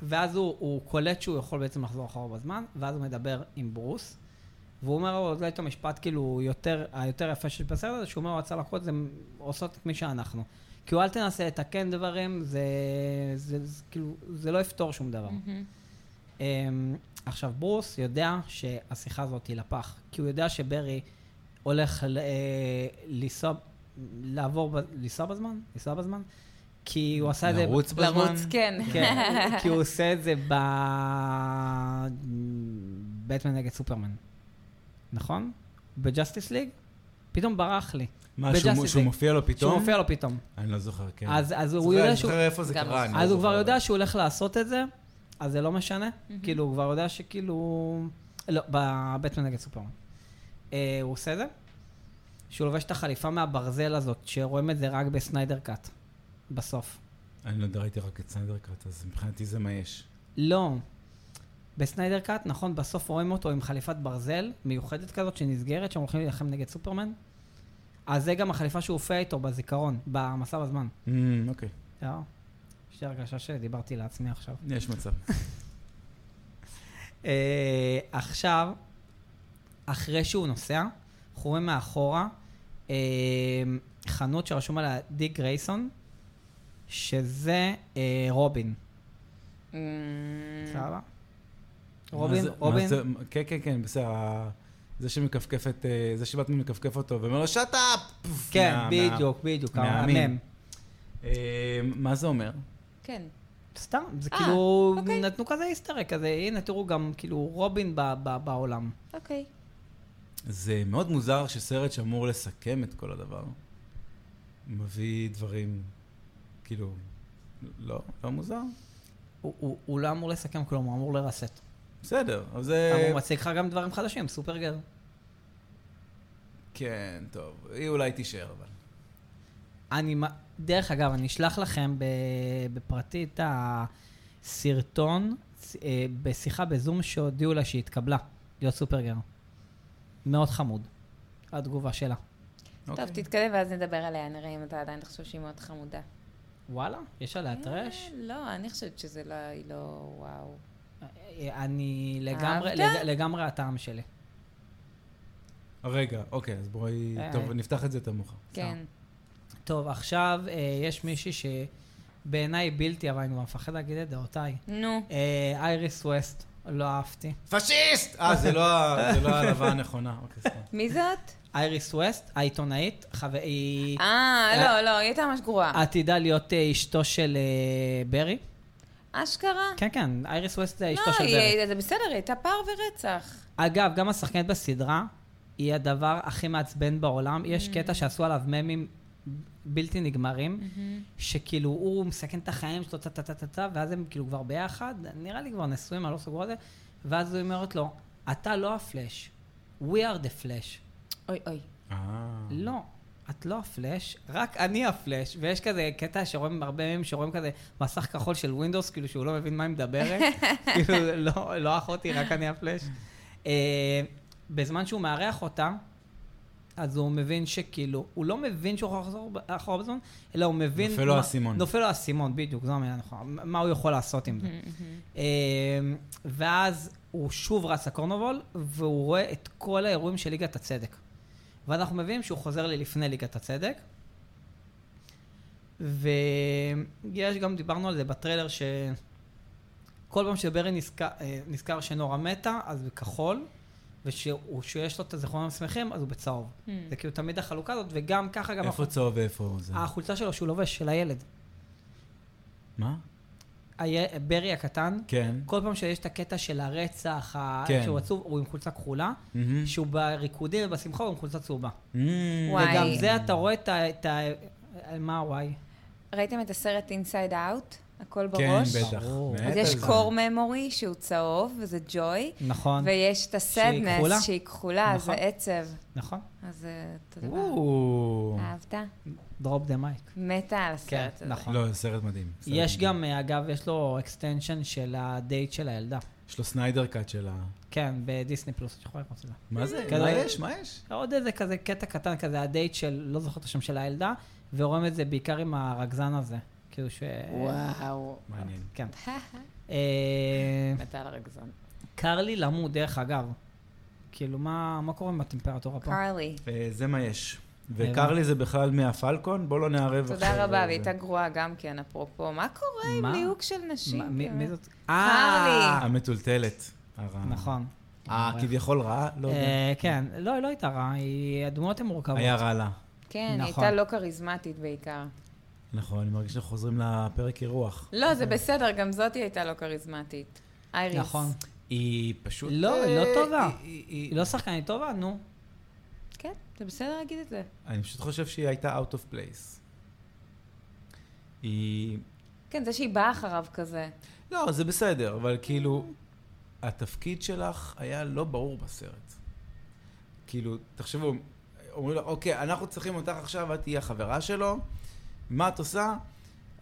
ואז הוא, הוא קולט שהוא יכול בעצם לחזור אחורה בזמן, ואז הוא מדבר עם ברוס, והוא אומר לו, זה את המשפט כאילו יותר, היותר יפה שיש בסרט הזה, שהוא אומר, הצלחות זה עושות את מי שאנחנו. כאילו, אל תנסה לתקן דברים, זה, זה, זה כאילו, זה לא יפתור שום דבר. מהמם. אמ, עכשיו, ברוס יודע שהשיחה הזאת היא לפח, כי הוא יודע שברי הולך ל- אה, לנסוע, לעבור, ב- לנסוע בזמן? לנסוע בזמן? כי הוא עשה את זה... לרוץ בזמן? לרוץ, כן. כן, כי הוא עושה את זה ב... בטמן נגד סופרמן, נכון? בג'סטיס ליג? פתאום ברח לי. מה, שהוא- ב-Justice שהוא League. מופיע לו פתאום? שהוא מופיע לו פתאום. אני לא זוכר, כן. אז אז הוא זוכר- יודע אני שהוא... זוכר איפה זה גם קרה. אז אני לא אז הוא כבר זוכר. יודע שהוא הולך לעשות את זה, אז זה לא משנה. כאילו, הוא כבר יודע שכאילו... לא, בבטמן נגד סופרמן. אה, הוא עושה את זה, שהוא לובש את החליפה מהברזל הזאת, שרואים את זה רק בסניידר קאט, בסוף. אני לא יודע, ראיתי רק את סנדר קאט, אז מבחינתי זה מה יש. לא. בסניידר קאט, נכון, בסוף רואים אותו עם חליפת ברזל מיוחדת כזאת שנסגרת, שהם הולכים להילחם נגד סופרמן. אז זה גם החליפה שהוא הופיע איתו בזיכרון, במסע בזמן. Mm, אוקיי, לא. יש לי הרגשה שדיברתי לעצמי עכשיו. יש מצב. אה, עכשיו, אחרי שהוא נוסע, אנחנו רואים מאחורה אה, חנות שרשום עליה דיק גרייסון, שזה אה, רובין. Mm. מהמם. סבבה? מה רובין, זה- מה רובין. זה- כן, כן, כן, בסדר. ה- זה שמכפכף את... אה, זה שבטמן מכפכף אותו ואומר לו, שאט אפ! כן, בדיוק, בדיוק. מהעמים. המם. אה, מה זה אומר? כן. סתם, זה אה, כאילו, אוקיי. נתנו כזה היסטרק כזה, הנה תראו גם כאילו רובין ב- ב- בעולם. אוקיי. זה מאוד מוזר שסרט שאמור לסכם את כל הדבר, מביא דברים, כאילו, לא, לא מוזר? הוא- הוא הוא לא אמור לסכם כלום, הוא אמור לרסט. בסדר, אבל זה... הוא מציג לך גם דברים חדשים, סופרגר. כן, טוב, היא אולי תישאר, אבל. אני, מ- דרך אגב, אני אשלח לכם ב- בפרטי את הסרטון אה, בשיחה בזום שהודיעו לה שהיא התקבלה להיות סופרגר. מאוד חמוד, התגובה שלה. אוקיי. טוב, תתקדם ואז נדבר עליה, נראה אם אתה עדיין תחשוב שהיא מאוד חמודה. וואלה, יש עליה טרש? אה, לא, אני חושבת שזה לא, היא לא, וואו. אה, אני לגמרי, אהבת? לג- לגמרי הטעם שלי. רגע, אוקיי, אז בואי, אה, טוב, אה. נפתח את זה יותר מאוחר. כן. טוב, עכשיו אה, יש מישהי שבעיניי היא בלתי, אבל אני כבר מפחד להגיד את דעותיי. נו. אה, אייריס ווסט, לא אהבתי. פשיסט! אה, זה לא ה- זה לא ההלווה הנכונה, אוקיי, סליחה. מי זאת? אייריס ווסט, העיתונאית, חו- היא אה, לא, לא, היא הייתה ממש גרועה. עתידה להיות אה, אשתו של אה, ברי. אשכרה? כן, כן, אייריס ווסט זה אשתו לא, של היא- ברי. זה בסדר, היא הייתה פער ורצח. אגב, גם השחקנית בסדרה היא הדבר הכי מעצבן בעולם. Mm. יש קטע שעשו עליו ממים בלתי נגמרים, Mm. שכאילו הוא מסכן את החיים שלו, טה טה טה טה טה, ואז הם כאילו כבר ביחד, נראה לי כבר נשואים, אני לא סגור על זה, ואז היא אומרת לו, אתה לא הפלאש, we are the flash. אוי, אוי. אה. לא, את לא הפלאש, רק אני הפלאש. ויש כזה קטע שרואים הרבה ימים, שרואים כזה מסך כחול של ווינדוס, כאילו שהוא לא מבין מה היא מדברת. כאילו, לא, לא אחותי, רק אני הפלאש. אה, בזמן שהוא מארח אותה, אז הוא מבין שכאילו, הוא לא מבין שהוא יכול לחזור ב- אחורה בזמן, אלא הוא מבין... נופל לו מה- האסימון. נופל לו האסימון, בדיוק, זו המילה הנכונה. מה הוא יכול לעשות Mm-hmm. עם זה. אה, ואז הוא שוב רץ לקורנובול, והוא רואה את כל האירועים של ליגת הצדק. ואז אנחנו מבינים שהוא חוזר ללפני ליגת הצדק. ויש גם, דיברנו על זה בטריילר, שכל פעם שברי נזכר, אה, נזכר שנורה מתה, אז בכחול, וכשיש לו את הזיכרונות המסמכים, אז הוא בצהוב. Hmm. זה כאילו תמיד החלוקה הזאת, וגם ככה גם איפה החולצה, אה, צהוב ואיפה זה? החולצה שלו שהוא לובש, של הילד. מה? היה- ברי הקטן, כן. כל פעם שיש את הקטע של הרצח, ה- כן. שהוא עצוב, הוא עם חולצה כחולה, מהמם. שהוא בריקודים ובשמחה הוא עם חולצה צהובה. Mm. וואי. וגם זה אתה רואה את ה... את ה... על מה וואי? ראיתם את הסרט Inside Out? הכל בראש? כן, בטח. ברור. מת אז על יש זה. קור ממורי שהוא צהוב, וזה ג'וי, נכון, ויש את שהיא כחולה. הסדנס שהיא כחולה, זה נכון. עצב. נכון. אז זה אותו דבר. או. אהבת? דרופ דה מייק. מתה על הסרט הזה. נכון. לא, זה סרט מדהים. סרט יש מדהים. גם, אה, אגב, יש לו אקסטנשן של הדייט של הילדה. יש לו סניידר קאט של ה... כן, בדיסני פלוס, אתה יכול לראות את זה. מה זה? כזה- מה יש? מה יש? עוד איזה כזה קטע קטן כזה, הדייט של, לא זוכר את השם של הילדה, ורואים את זה בעיקר עם הרגזן הזה. כאילו ש... וואו. מעניין. כן. אה, מתה על הרגזון. קר לי למות, דרך אגב. כאילו, מה מה קורה עם הטמפרטורה פה? קרלי, אה, זה מה יש. וקרלי זה בכלל מהפלקון? בוא לא נערב תודה רבה, אה, והיא זה. הייתה גרועה גם כן, אפרופו. מה קורה עם מה? ליהוק של נשים? מה- מי- מי כאילו? זאת? אה! המטולטלת. הרעה. נכון. הכביכול רעה? לא יודע. אה, לא כן, לא, היא לא הייתה רעה, היא- הדמויות הן מורכבות. היה רע לה. כן, היא נכון. הייתה לא כריזמטית בעיקר. נכון, אני מרגיש שאנחנו חוזרים לפרק אירוח. לא, זה בסדר, גם זאתי הייתה לא כריזמטית. אייריס. נכון. היא פשוט... לא, היא לא אה, טובה. היא- היא- היא לא שחקנית טובה, נו. כן, זה בסדר להגיד את זה. אני פשוט חושב שהיא הייתה out of place. היא... כן, זה שהיא באה אחריו כזה. לא, זה בסדר, אבל כאילו, התפקיד שלך היה לא ברור בסרט. כאילו, תחשבו, אומרים לה, אוקיי, אנחנו צריכים אותך עכשיו, את תהיי החברה שלו, מה את עושה?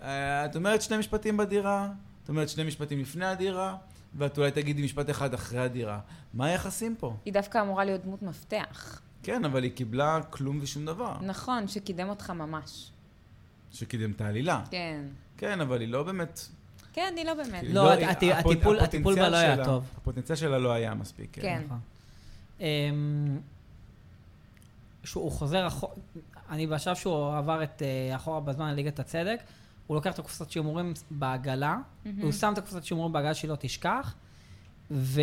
אה, את אומרת שני משפטים בדירה, את אומרת שני משפטים לפני הדירה, ואת אולי תגידי משפט אחד אחרי הדירה. מה היחסים פה? היא דווקא אמורה להיות דמות מפתח. כן, אבל היא קיבלה כלום ושום אה. דבר, נכון, שקידם אותך ממש. שקידם את העלילה. כן. כן, אבל היא לא באמת... כן, אני לא באמת. כאילו, לא, היא- הט- הטיפול- הפוט- הטיפול הפוטנציאל בה לא היה שלה- טוב. הפוטנציאל שלה לא היה מספיק. כן. נכון. אמ, שהוא חוזר אחורה, אני בשלב שהוא עבר את אה, אחורה בזמן לליגת הצדק, הוא לוקח את הקופסת שימורים בעגלה, הוא שם את הקופסת שימורים בעגלה שהיא לא תשכח, ו...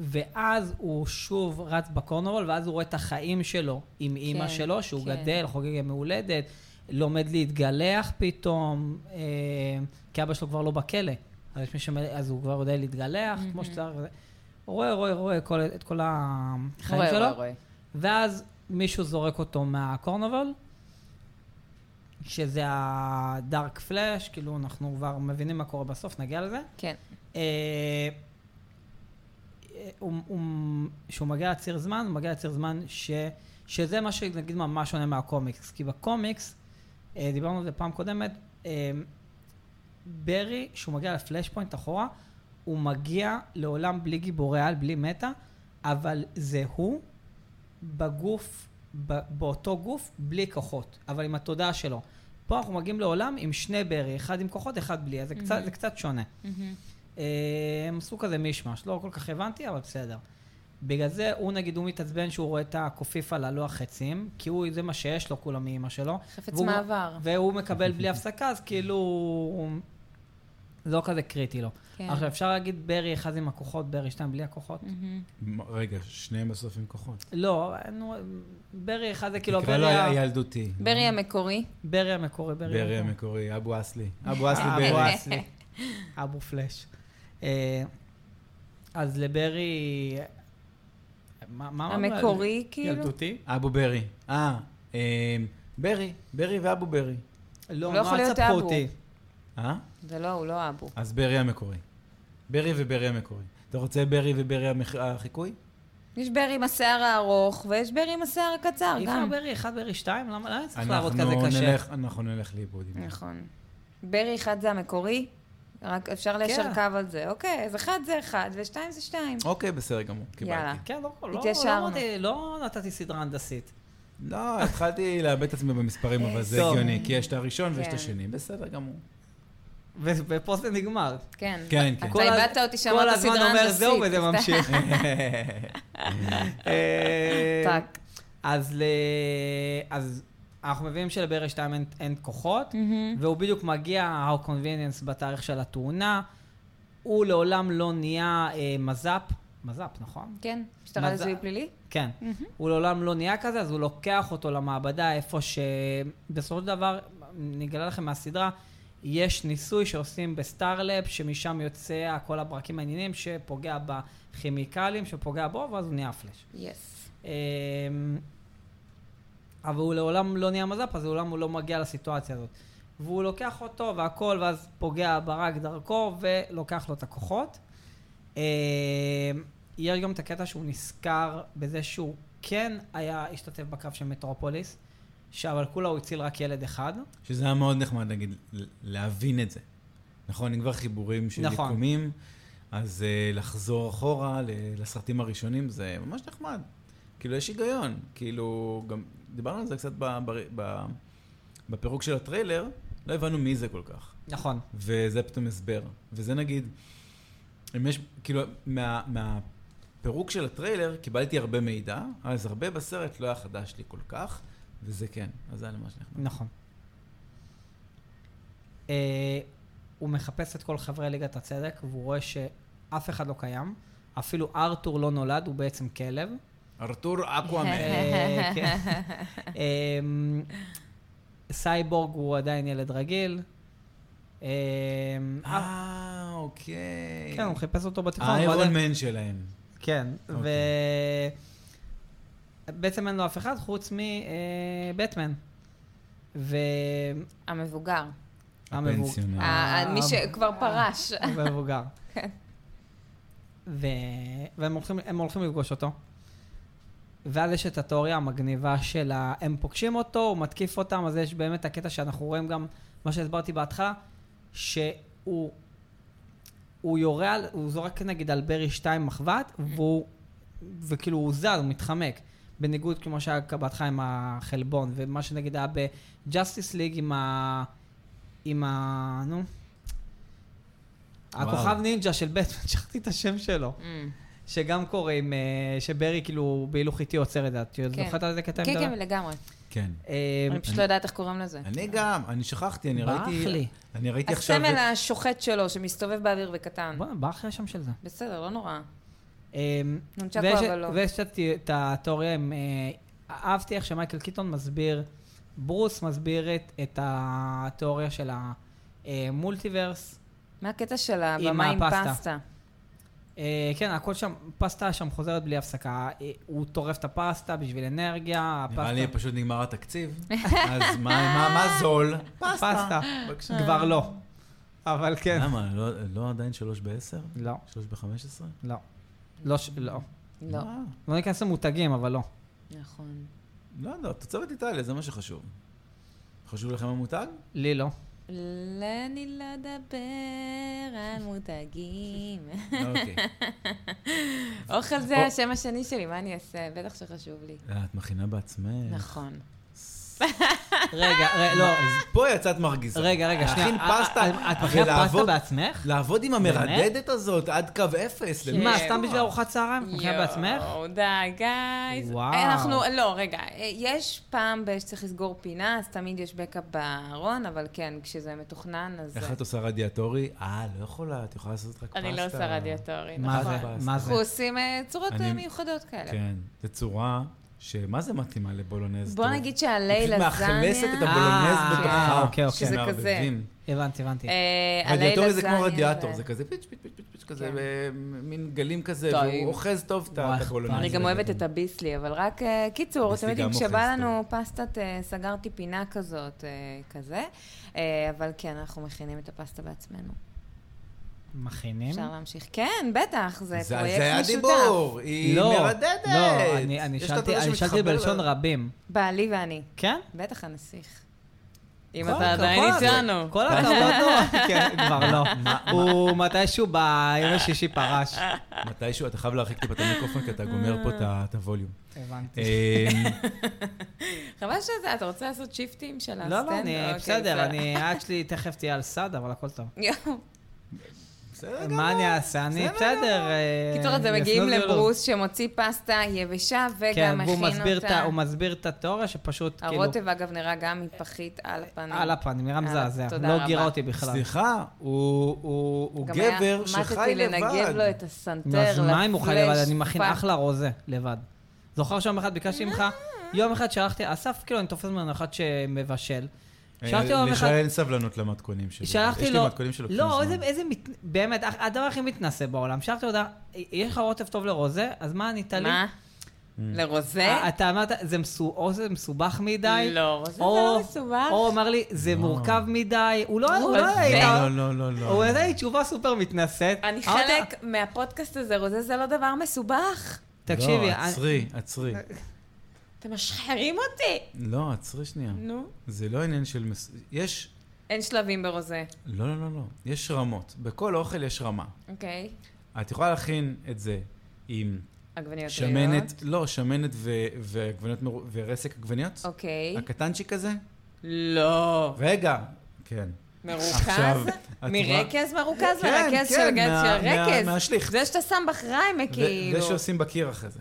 ואז הוא שוב רץ בקורנרול, ואז הוא רואה את החיים שלו עם אימא כן, שלו, שהוא כן. גדל, חוגג יום הולדת, לומד להתגלח פתאום, אה, כי אבא שלו כבר לא בכלא. אז, יש מי שמ... אז הוא כבר יודע להתגלח, כמו שצריך. וזה. רואה, רואה, רואה כל, את כל החיים רואה, שלו. רואה, רואה. ואז מישהו זורק אותו מהקורנבל, שזה הדארק פלאש, כאילו אנחנו כבר מבינים מה קורה בסוף, נגיע לזה. כן. אה, הוא, הוא, שהוא מגיע לציר זמן, הוא מגיע לציר זמן ש, שזה מה שנגיד ממש שונה מהקומיקס. כי בקומיקס, אה, דיברנו על זה פעם קודמת, אה, ברי, כשהוא מגיע לפלאש פוינט אחורה, הוא מגיע לעולם בלי גיבורי על, בלי מטה, אבל זה הוא בגוף, ב, באותו גוף, בלי כוחות, אבל עם התודעה שלו. פה אנחנו מגיעים לעולם עם שני ברי, אחד עם כוחות, אחד בלי, אז זה, קצת, זה קצת שונה. אה, הם עשו כזה מישמש, לא כל כך הבנתי, אבל בסדר. בגלל זה הוא נגיד, הוא מתעצבן שהוא רואה את הקופיף על הלוח חצים, כי הוא, זה מה שיש לו כולה מאימא שלו. חפץ והוא- מעבר. והוא מקבל בלי הפסקה, אז כאילו... זה לא כזה קריטי לו. כן. עכשיו, אפשר להגיד ברי אחד עם הכוחות, ברי שתיים בלי הכוחות? Mm-hmm. Mm-hmm. מ- רגע, שניהם בסוף עם כוחות. לא, נו, ברי אחד זה כאילו נקרא ברי, לו ה- הילדותי. ברי המקורי. ברי המקורי, ברי, ברי המקורי. המקורי, אבו אסלי. אבו אסלי אה, אבו ברי. אסלי. אבו פלאש. אה, אז לברי... מה- מה אמרנו? המקורי, כאילו? ילדותי? אבו ברי. אה, אמ, ברי, ברי ואבו ברי. לא, לא יכול מה להיות תספרו אבו. אותי? אה? זה לא, הוא לא אבו. אז ברי המקורי. ברי וברי המקורי. אתה רוצה ברי וברי המח- החיקוי? יש ברי עם השיער הארוך, ויש ברי עם השיער הקצר אי אפשר אה, גם. ברי אחד, ברי שתיים? למה למה צריך להראות אנחנו כזה קשה? נלך- אנחנו נלך לאיבוד. עם זה. נכון. ברי אחד זה המקורי, רק אפשר ליישר כן. קו על זה. אוקיי, אז אחד זה אחד, ושתיים זה שתיים. אוקיי, בסדר גמור. יאללה. קיבלתי. כן, לא- לא- לא התיישרנו. אמרתי- לא נתתי סדרה הנדסית. לא, התחלתי לאבד את עצמי במספרים, אבל זה טוב. הגיוני, כי יש את הראשון ויש את כן. השני. בסדר גמור. ו- ופה זה נגמר. כן. כן, כן. אתה איבדת אותי כל שאמרת הזמן סדרה אומר זהו הנדסית. וזה ממשיך. אה, טאק. אז ל- אז אנחנו מבינים שלברי 2 אין- אין כוחות, Mhm. והוא בדיוק מגיע, How convenience בתאריך של התאונה. הוא לעולם לא נהיה אה, מז"פ, מז"פ, נכון? כן, משטרה מזל- לזיהוי פלילי? כן. Mhm. הוא לעולם לא נהיה כזה, אז הוא לוקח אותו למעבדה איפה ש... בסופו של דבר, נגלה לכם מהסדרה, יש ניסוי שעושים בסטארלאפ, שמשם יוצא כל הברקים העניינים, שפוגע בכימיקלים, שפוגע בו, ואז הוא נהיה פלאש. יס. אמ, אבל הוא לעולם לא נהיה מז"פ, אז לעולם הוא לא מגיע לסיטואציה הזאת. והוא לוקח אותו והכל, ואז פוגע ברק דרכו, ולוקח לו את הכוחות. אמ, יש גם את הקטע שהוא נזכר בזה שהוא כן היה, השתתף בקרב של מטרופוליס, אבל כולה הוא הציל רק ילד אחד. שזה היה מאוד נחמד, נגיד, ל- להבין את זה. נכון, אין כבר חיבורים של נכון. יקומים, אז uh, לחזור אחורה ל- לסרטים הראשונים זה ממש נחמד. כאילו, יש היגיון. כאילו, גם דיברנו על זה קצת ב- ב- ב- בפירוק של הטריילר, לא הבנו מי זה כל כך. נכון. וזה פתאום הסבר. וזה נגיד, אם יש, כאילו, מה, מהפירוק של הטריילר קיבלתי הרבה מידע, אז הרבה בסרט לא היה חדש לי כל כך, וזה כן. אז זה היה ממש נחמד. נכון. אה, הוא מחפש את כל חברי ליגת הצדק, והוא רואה שאף אחד לא קיים. אפילו ארתור לא נולד, הוא בעצם כלב. ארתור אקוואמן. אה, כן. אה, סייבורג הוא עדיין ילד רגיל. אה, אה, אוקיי. כן, הוא חיפש אותו בתיכון. הוא האיירון עדיין- מן שלהם. כן, ו... בעצם אין לו אף אחד חוץ אה, מבטמן. והמבוגר. המבוגר. הפנסיונר. ה- אה, מי שכבר פרש. ומבוגר. ו... והם הולכים, הם הולכים לפגוש אותו. ואז יש את התיאוריה המגניבה של ה... הם פוגשים אותו, הוא מתקיף אותם, אז יש באמת הקטע שאנחנו רואים גם, מה שהסברתי בהתחלה, שהוא הוא יורה על, הוא זורק נגיד על ברי 2 מחבת, והוא, וכאילו הוא זז, הוא מתחמק. בניגוד כמו שהיה בהתחלה עם החלבון, ומה שנגיד היה בג'אסטיס ליג עם ה... עם ה... נו. וואו. הכוכב נינג'ה של בטמן, שכחתי את השם שלו. אמ, שגם קורה עם... אה, שברי כאילו בהילוך איטי עוצר את זה. את כן. זוכרת על זה קטע? כן, כן, לגמרי. כן. אה, אני פשוט לא יודעת איך קוראים לזה. אני גם, אני שכחתי, אני ברח ראיתי... לי. אני ראיתי עכשיו... הסמל את- השוחט שלו, שמסתובב באוויר וקטן. בוא'נה, ברח לי השם של זה. בסדר, לא נורא. אמ, נונצ'קו, ויש- אבל לא. ויש את את התיאוריה עם... אה, אהבתי איך שמייקל קיטון מסביר, ברוס מסביר את- את התיאוריה של אה, המולטיברס. מה הקטע של הבמה עם הפסטה. פסטה? אה, כן, הכל שם, פסטה שם חוזרת בלי הפסקה. אה, הוא טורף את הפסטה בשביל אנרגיה, הפסטה... נראה לי פשוט נגמר התקציב, אז מה- מה מה זול? פסטה. בבקשה. כבר לא. אבל כן. למה, לא- לא עדיין שלוש בעשר? לא, שלוש בחמש עשרה? לא. לא, ש- לא. לא. מה? לא ניכנס למותגים, אבל לא. נכון. לא יודע, תוצרת איטליה, זה מה שחשוב. חשוב לכם המותג? לי לא. אני לא אדבר על מותגים. אוקיי. אוכל זה או- השם השני שלי, מה אני אעשה? בטח שחשוב לי. אה, את מכינה בעצמך. נכון. רגע, ר- לא. אז פה יצאת מרגיזה. רגע, רגע, שנייה. להכין אה, פסטה אה, את מכינה פסטה ולעבוד- בעצמך? לעבוד עם המרדדת הזאת עד קו אפס. כן. למי מה, יש סתם כוח? בשביל ארוחת צהריים? את מכינה בעצמך? יואו, די, גייז. וואו. אנחנו, לא, רגע, יש פעם ב- שצריך לסגור פינה, אז תמיד יש בקאפ בארון, אבל כן, כשזה מתוכנן, אז... איך את עושה רדיאטורי? אה, לא יכולה, את יכולה לעשות רק פסטה. אני לא עושה רדיאטורי, מה נכון. זה? נכון. מה זה? אנחנו עושים אה, צורות אה, אני- מיוחדות כאלה. כן, זו צורה שמה זה מתאימה לבולונז? בוא טוב. נגיד שהלי היא פשוט מאכלסת את לזניה... הבולונז אה, בתוכה. אוקיי, אוקיי. שזה כזה. מערבבים. הבנתי, הבנתי. אה, הלי רדיאטורי זה לזניה כמו רדיאטור, זה כזה פיץ' פיץ' פיץ' פיץ' פיץ' כזה, כן. מין גלים כזה, טוב. והוא אוחז טוב את ה- וואי, את הבולונז. אני גם הזה. אוהבת את הביסלי, אבל רק, אה, קיצור, אתם ביסלי יודעים, גם כשבא אוכל לנו פסטת, אה, סגרתי פינה כזאת, אה, כזה, אה, אבל כן, אנחנו מכינים את הפסטה בעצמנו. מכינים? אפשר להמשיך. כן, בטח, זה זה- זה היה פרויקט משותף. דיבור, היא לא, מרדדת. לא, אני- אני יש לה שאלתי- תודה אני שאלתי שמתחבר בלשון לה. רבים. בעלי ואני. כן? בטח הנסיך. אם כל אתה הכבוד. עדיין איתנו. כל הכבוד לו. כן, כבר לא. הוא מתישהו ביום השישי פרש. מתישהו אתה חייב להרחיק טיפה את המיקרופון, כי אתה גומר פה את ה- את הווליום. הבנתי. אמ, חבל שזה, אתה רוצה לעשות שיפטים של הסטנד? לא, לא, אני אוקיי, בסדר, בסדר. אני, עד שלי תכף תהיה על סד, אבל הכל טוב. יואו. בסדר לא גמור. מה אני אעשה? אני בסדר בסדר. אה, קיצור, אז הם אני מגיעים אפילו לא- לברוס שמוציא פסטה יבשה כן, וגם והוא מכין מסביר את ה- אותה. הוא מסביר את התיאוריה שפשוט, כאילו, הרוטב, אגב, נראה גם מפחית על הפנים. על הפנים, נראה על- מזעזע. תודה לא רבה. גירה אותי בכלל. סליחה, הוא- הוא הוא גם היה- גבר שחי לבד. מתתי לנגב לו את נו, הסנטר, אז מה אם הוא חי לבד? לפלאש, אני מכין פאק. אחלה רוזה לבד. אה. זוכר שיום אחד ביקשתי ממך, יום אחד שלחתי, אסף, כאילו, אני תופס ממנו אחד שמבשל, שאלתי יום אחד- לשי אין סבלנות למתכונים שלי. שלחתי אה, יש לו... לי מתכונים שלוקחים לא, זמן. איזה, איזה מת... באמת, הח- הדבר הכי מתנשא בעולם. שלחתי הודעה, יש לך רוטב טוב לרוזה, אז מה ענית לי? מה? Mm. לרוזה? אה, אתה אמרת, זה, מסו... או זה מסובך מדי. לא, רוזה זה או- לא מסובך. או אמר לי, זה מורכב מדי. הוא לא... הוא לא... רוזה. היה- לא, לא, לא, לא. הוא נתן לי תשובה סופר מתנשאת. אני אמרתי, חלק מהפודקאסט הזה, רוזה זה לא דבר מסובך. תקשיבי, לא, אני- עצרי, עצרי. אתם משחררים אותי. לא, עצרי שנייה. נו. זה לא עניין של... מס- יש... אין שלבים ברוזה. לא, לא, לא, לא. יש רמות. בכל אוכל יש רמה. אוקיי. את יכולה להכין את זה עם עגבניות טריות. שמנת, לא, שמנת ו- ועגבניות מרו- ורסק עגבניות? אוקיי. הקטנצ'יק הזה? לא. רגע. כן. עכשיו, מרוכז? את רואה- מרקז מרוכז כן, לרכז כן, של גז מה- של מה- רקז. מהשליך. זה שאתה שם בחריימה, כאילו. זה שעושים בקיר אחרי זה.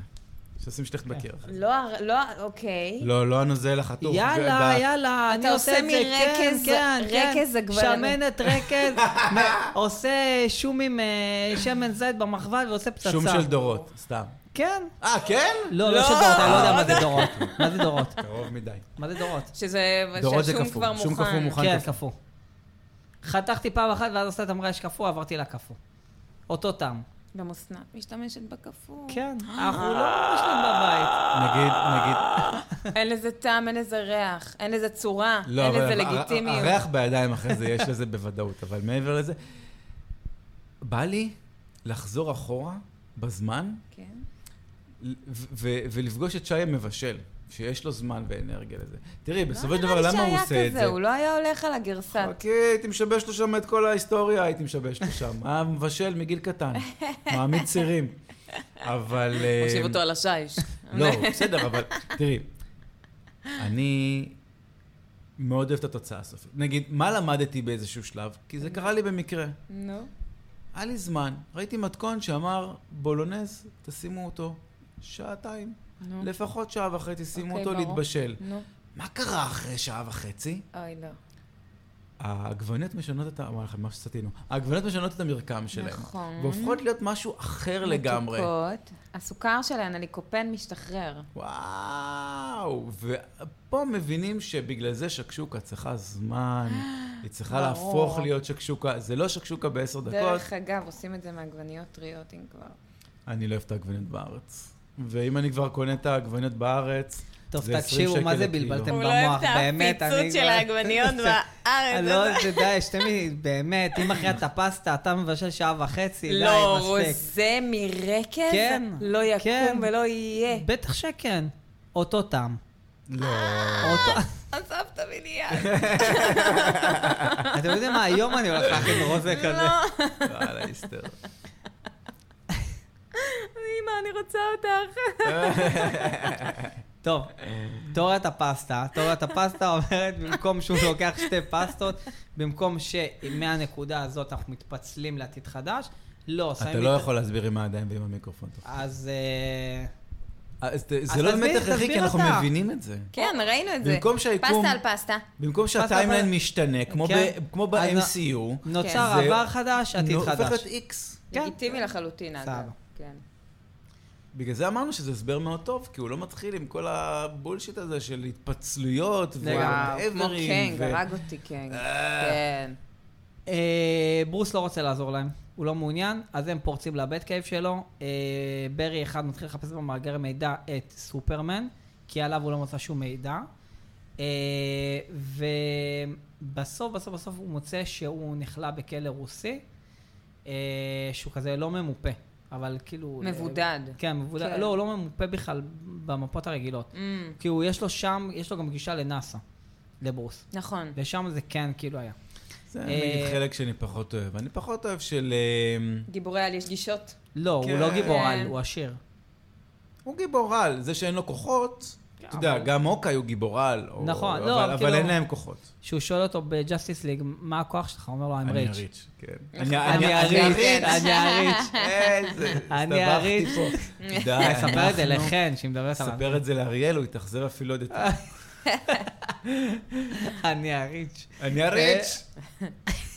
שעושים שליחת בקיר אחרי זה. לא, הר- לא, אוקיי. לא, לא הנוזל החטוף. יאללה, וה- יאללה, אני אתה עושה עושה את זה, כן, מרקז- כן, כן. רקז עגבניות. שמנת רקז, מ- עושה שום עם אה, שמן זית במחבת ועושה פצצה. שום של דורות, סתם. כן. אה, כן? לא, לא של דורות, אני לא יודע מה זה דורות. מה זה דורות? קרוב מדי. מה זה דורות? שזה, דורות לא, זה שהשום קפוא, כבר מוכן. שום קפוא מוכן. כן, קפוא. קפוא. חתכתי פעם אחת ואז עשתה את המרש קפוא, עברתי לקפוא. אותו טעם. גם אסנת משתמשת בקפוא. אה. כן, אנחנו לא משנים בבית. נגיד, נגיד... אין לזה טעם, אין לזה ריח, אין לזה צורה, לא, אין לזה אבל הר- לגיטימיות. הריח בידיים אחרי זה, יש לזה בוודאות, אבל מעבר לזה... בא לי לחזור אחורה בזמן כן. ו- ו- ולפגוש את שי המבשל, שיש לו זמן ואנרגיה לזה. תראי, בסופו לא של דבר, נראה לי למה הוא שהיה עושה את כזה, זה? אוקיי. הוא לא היה הולך על הגרסה. חכי, הייתי משבש לו שם את כל ההיסטוריה, הייתי משבש לו שם. היה מבשל מגיל קטן, מעמיד צירים. אבל... אה, מושיב אותו על השיש. לא, בסדר, אבל תראי, אני מאוד אוהב את התוצאה הסופית. נגיד, מה למדתי באיזשהו שלב? כי זה קרה לי במקרה. נו. היה לי זמן, ראיתי מתכון שאמר, בולונז, תשימו אותו שעתיים. נו. לפחות שעה וחצי, שימו אוקיי, אותו ברור. להתבשל. נו. מה קרה אחרי שעה וחצי? אוי, לא. העגבניות משנות את ה... אמר לכם מה שסטינו. העגבניות משנות את המרקם שלהם. נכון. והופכות להיות משהו אחר לגמרי. מתוקות. הסוכר שלהן, הליקופן, משתחרר. וואו, ופה מבינים שבגלל זה שקשוקה צריכה זמן, היא צריכה ברור. להפוך להיות שקשוקה, זה לא שקשוקה בעשר דקות, דרך אגב, עושים את זה מעגבניות טריות, אם כבר. אני לא אוהב את העגבניות בארץ. ואם אני כבר קונה את העגבניות בארץ, טוב, זה 20 תקשיבו, מה שקל זה לקילו. בלבלתם הוא במוח, לא אוהב את באמת, אני... הפיצוץ של כבר- העגבניות בארץ. אני לא, אתה יודע, שתי מ... באמת, אם אחרי את הפסטה, אתה מבשל שעה וחצי, די, לא, מספיק. רוזה מרקז? כן, לא כן. יקום ולא יהיה. בטח שכן. אותו טעם. לא. אותו... עזוב את הבניין. אתם יודעים מה, היום אני הולך להכין לא. רוזה כזה. וואלה, היסטר. אמא, אני רוצה אותך. טוב, תיאוריית הפסטה. תיאוריית הפסטה אומרת, במקום שהוא לוקח שתי פסטות, במקום שמהנקודה הזאת אנחנו מתפצלים לעתיד חדש, לא, שמים... אתה לי לא את- יכול להסביר עם הידיים ועם המיקרופון. אז... אה, אז ת- זה אז לא תסביר- באמת הכרחי, כי תסביר אנחנו אתה. מבינים את זה. כן, ראינו את זה. במקום שהיקום... פסטה על פסטה. במקום אבל- שהטיימליין משתנה, כמו כן. ב- כמו אז- ב-MCU, נוצר זה- עבר חדש, עתיד הופך חדש. את איקס. כן. לגיטימי לחלוטין, אגב. סבבה. כן. בגלל זה אמרנו שזה הסבר מאוד טוב, כי הוא לא מתחיל עם כל הבולשיט הזה של התפצלויות לגמרי. וואו, ו- כמו whatever'ים קנג, ו- הרג אותי קנג. אה. כן. אה, ברוס לא רוצה לעזור להם, הוא לא מעוניין, אז הם פורצים לבית קייב שלו. אה, ברי אחד מתחיל לחפש במאגר מידע את סופרמן, כי עליו הוא לא מצא שום מידע. אה, ובסוף, בסוף, בסוף הוא מוצא שהוא נכלא בכלא רוסי, אה, שהוא כזה לא ממופה, אבל כאילו... מבודד. כן, מבודד. כן. לא, הוא לא ממופה בכלל במפות הרגילות. אמ, כי הוא יש לו שם, יש לו גם גישה לנאסא, לברוס. נכון. ושם זה כן כאילו היה. זה אה, נגיד חלק שאני פחות אוהב. אני פחות אוהב של... אה, גיבורי על יש גישות. לא, הוא כן. לא גיבור על, כן. הוא עשיר. הוא גיבור על, זה שאין לו כוחות, אתה יודע, אבל- גם הוקאי הוא גיבור על. או- כן. נכון, אבל- לא, אבל כאילו- אין להם כוחות. שהוא שואל אותו בג'סטיס ליג, מה הכוח שלך? הוא אומר לו, I'm אני rich. הריץ', כן. אני אני הריץ', אני הריץ'. איזה, אני הסתבכתי הריץ'. פה. די, אני אספר את זה אנחנו- לחן, שהיא מדברת עליו. ספר את זה לאריאל, הוא יתאכזב אפילו עוד יותר. אני הריץ'. אני הריץ'.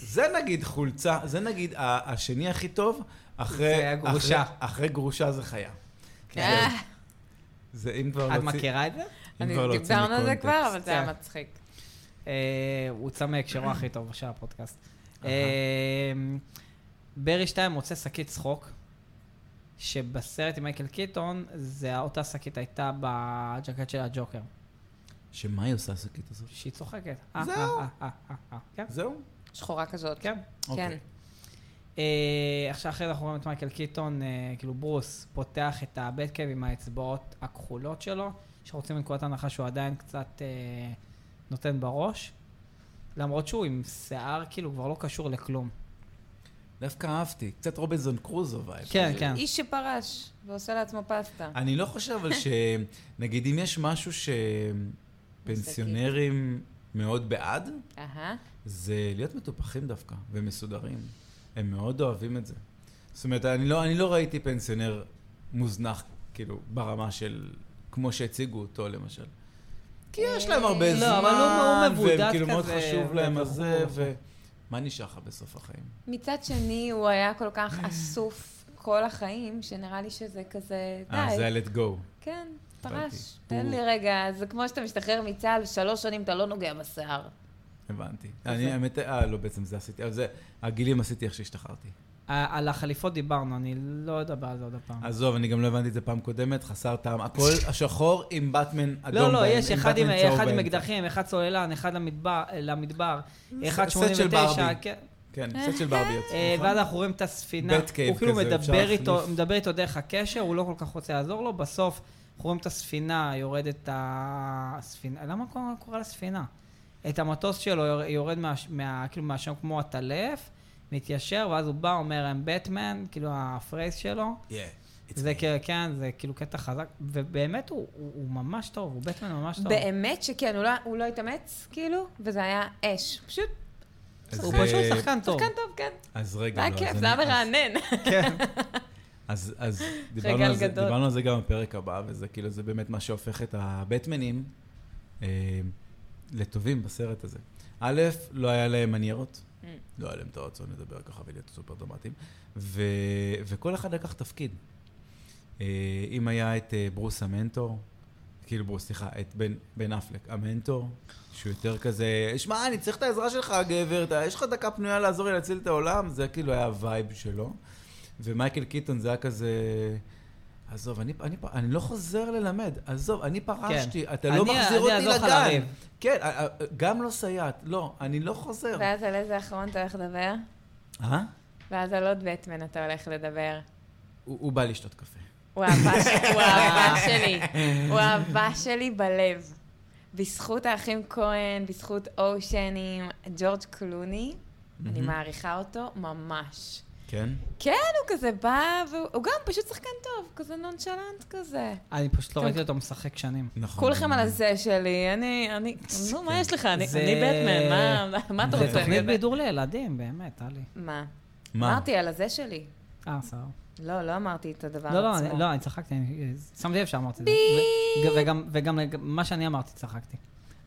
זה נגיד חולצה, זה נגיד ה- השני הכי טוב, אחרי... זה הגרושה. אחרי- אחרי גרושה זה חיה. כן. אה, זה אם כבר את להוציא- מכירה את זה? אם אני- כבר להוציא דיברנו על זה מקונטקסט. כבר, אבל זה היה כן. מצחיק. אה, הוא יצא מהקשרו הכי טוב של הפודקאסט. אה, ברי 2 מוצא שקית צחוק, שבסרט עם מייקל קיטון, זה אותה שקית הייתה בג'קט של הג'וקר. שמה היא עושה השקית הזאת? שהיא צוחקת. אה, זהו. אה, אה, אה, אה, כן, זהו? שחורה כזאת. כן. כן. אוקיי. אה, עכשיו אחרי זה אנחנו רואים את מייקל קיטון, אה, כאילו ברוס, פותח את הבטקאב עם האצבעות הכחולות שלו, שרוצים לנקודת הנחה שהוא עדיין קצת אה, נותן בראש, למרות שהוא עם שיער כאילו כבר לא קשור לכלום. דווקא אהבתי, קצת רובינזון קרוזו וייב. כן, כן. איש שפרש ועושה לעצמו פסטה. אני לא חושב אבל ש... נגיד, אם יש משהו שפנסיונרים מאוד בעד, אהה. זה להיות מטופחים דווקא, ומסודרים. הם מאוד אוהבים את זה. זאת אומרת, אני לא, אני לא ראיתי פנסיונר מוזנח, כאילו, ברמה של... כמו שהציגו אותו, למשל. כי יש להם הרבה לא, זמן, אבל הוא- הוא מבודד והם כאילו מאוד כזה, חשוב להם וברור. הזה, ו... מה נשאר לך בסוף החיים? מצד שני, הוא היה כל כך אסוף כל החיים, שנראה לי שזה כזה, אה, זה די. ה-let go. כן, פרש. הבנתי. תן לי רגע, זה כמו שאתה משתחרר מצה"ל, שלוש שנים אתה לא נוגע בשיער. הבנתי. אני, האמת, אה, לא, בעצם זה עשיתי, אבל זה, הגילים עשיתי איך שהשתחררתי. אה, על החליפות דיברנו, אני לא אדבר על זה עוד הפעם. עזוב, אני גם לא הבנתי את זה פעם קודמת, חסר טעם. הכל השחור עם באטמן אדום. לא, לא, באמצע, יש אחד עם- באטמן צהוב אחד עם באמצע. אקדחים, אחד צוללן, אחד למדבר, למדבר, אחד סט של 89, ברבי. כן. כן, סט של ברביות. אה, נכון? ואז אנחנו רואים את הספינה, Bat cave הוא כאילו כזה, אפשר מדבר איתו, להחליף. מדבר איתו דרך הקשר, הוא לא כל כך רוצה לעזור לו, בסוף אנחנו רואים את הספינה, יורדת הספינה, למה כל הזמן קורא לספינה? את המטוס שלו יור- יורד מה, מה, כאילו מהשם כמו הטלף, מתיישר, ואז הוא בא, אומר, I'm Batman, כאילו הפרייז שלו. Yeah, it's זה me. כאילו, כן, זה כאילו קטע חזק, ובאמת הוא, הוא, הוא ממש טוב, הוא בטמן ממש טוב. באמת שכן, הוא לא- הוא לא התאמץ, כאילו, וזה היה אש. פשוט, אז, הוא אה, פשוט שחקן טוב. שחקן טוב, כן. אז רגע, זה היה לא, כיף, אז זה היה אני- אז- מרענן. אז אז דיברנו על על זה- גדול. דיברנו על זה גם בפרק הבא, וזה כאילו, זה באמת מה שהופך את הבטמנים אה, לטובים בסרט הזה. א', לא היה להם מניירות, Mm. לא היה להם את הרצון לדבר ככה ולהיות סופר דרמטיים, ו- וכל אחד לקח תפקיד. אה, אם היה את אה, ברוס המנטור, כאילו ברוס, סליחה, את בן, בן אפלק, המנטור, שהוא יותר כזה, שמע, אני צריך את העזרה שלך, גבר, אתה, יש לך דקה פנויה לעזור לי להציל את העולם, זה כאילו היה הווייב שלו. ומייקל קיטון זה היה כזה, עזוב, אני, אני, אני, אני לא חוזר ללמד, עזוב, אני פרשתי, כן. אתה לא אני- אני מחזיר אותי אעזור לך לגן. לריב. כן, אה, אה, גם לא סייעת, לא, אני לא חוזר. ואז על איזה אחרון אתה הולך לדבר? אה? ואז על עוד בטמן אתה הולך לדבר. הוא, הוא בא לשתות קפה. הוא האהבה ש- הוא האהבה שלי. הוא האהבה שלי בלב. בזכות האחים כהן, בזכות אושנים, ג'ורג' קלוני, אני מהמם. מעריכה אותו ממש. כן? כן, הוא כזה בא, והוא גם פשוט שחקן טוב, כזה נונשלנט כזה. אני פשוט לא כן. ראיתי אותו משחק שנים. נכון. כולכם על הזה שלי, אני, אני, נו, מה יש לך? אני זה- אני בטמן, מה- מה אתה זה רוצה? תוכנית בידור לילדים, באמת, טלי. מה? מה? אמרתי על הזה שלי. אה, סבבה. לא, לא אמרתי את הדבר עצמו. לא, לא, אני- לא, אני צחקתי, אני- אה, שמתי לב שאמרתי את זה. ביפ. ו- וגם- וגם לג- מה שאני אמרתי, צחקתי.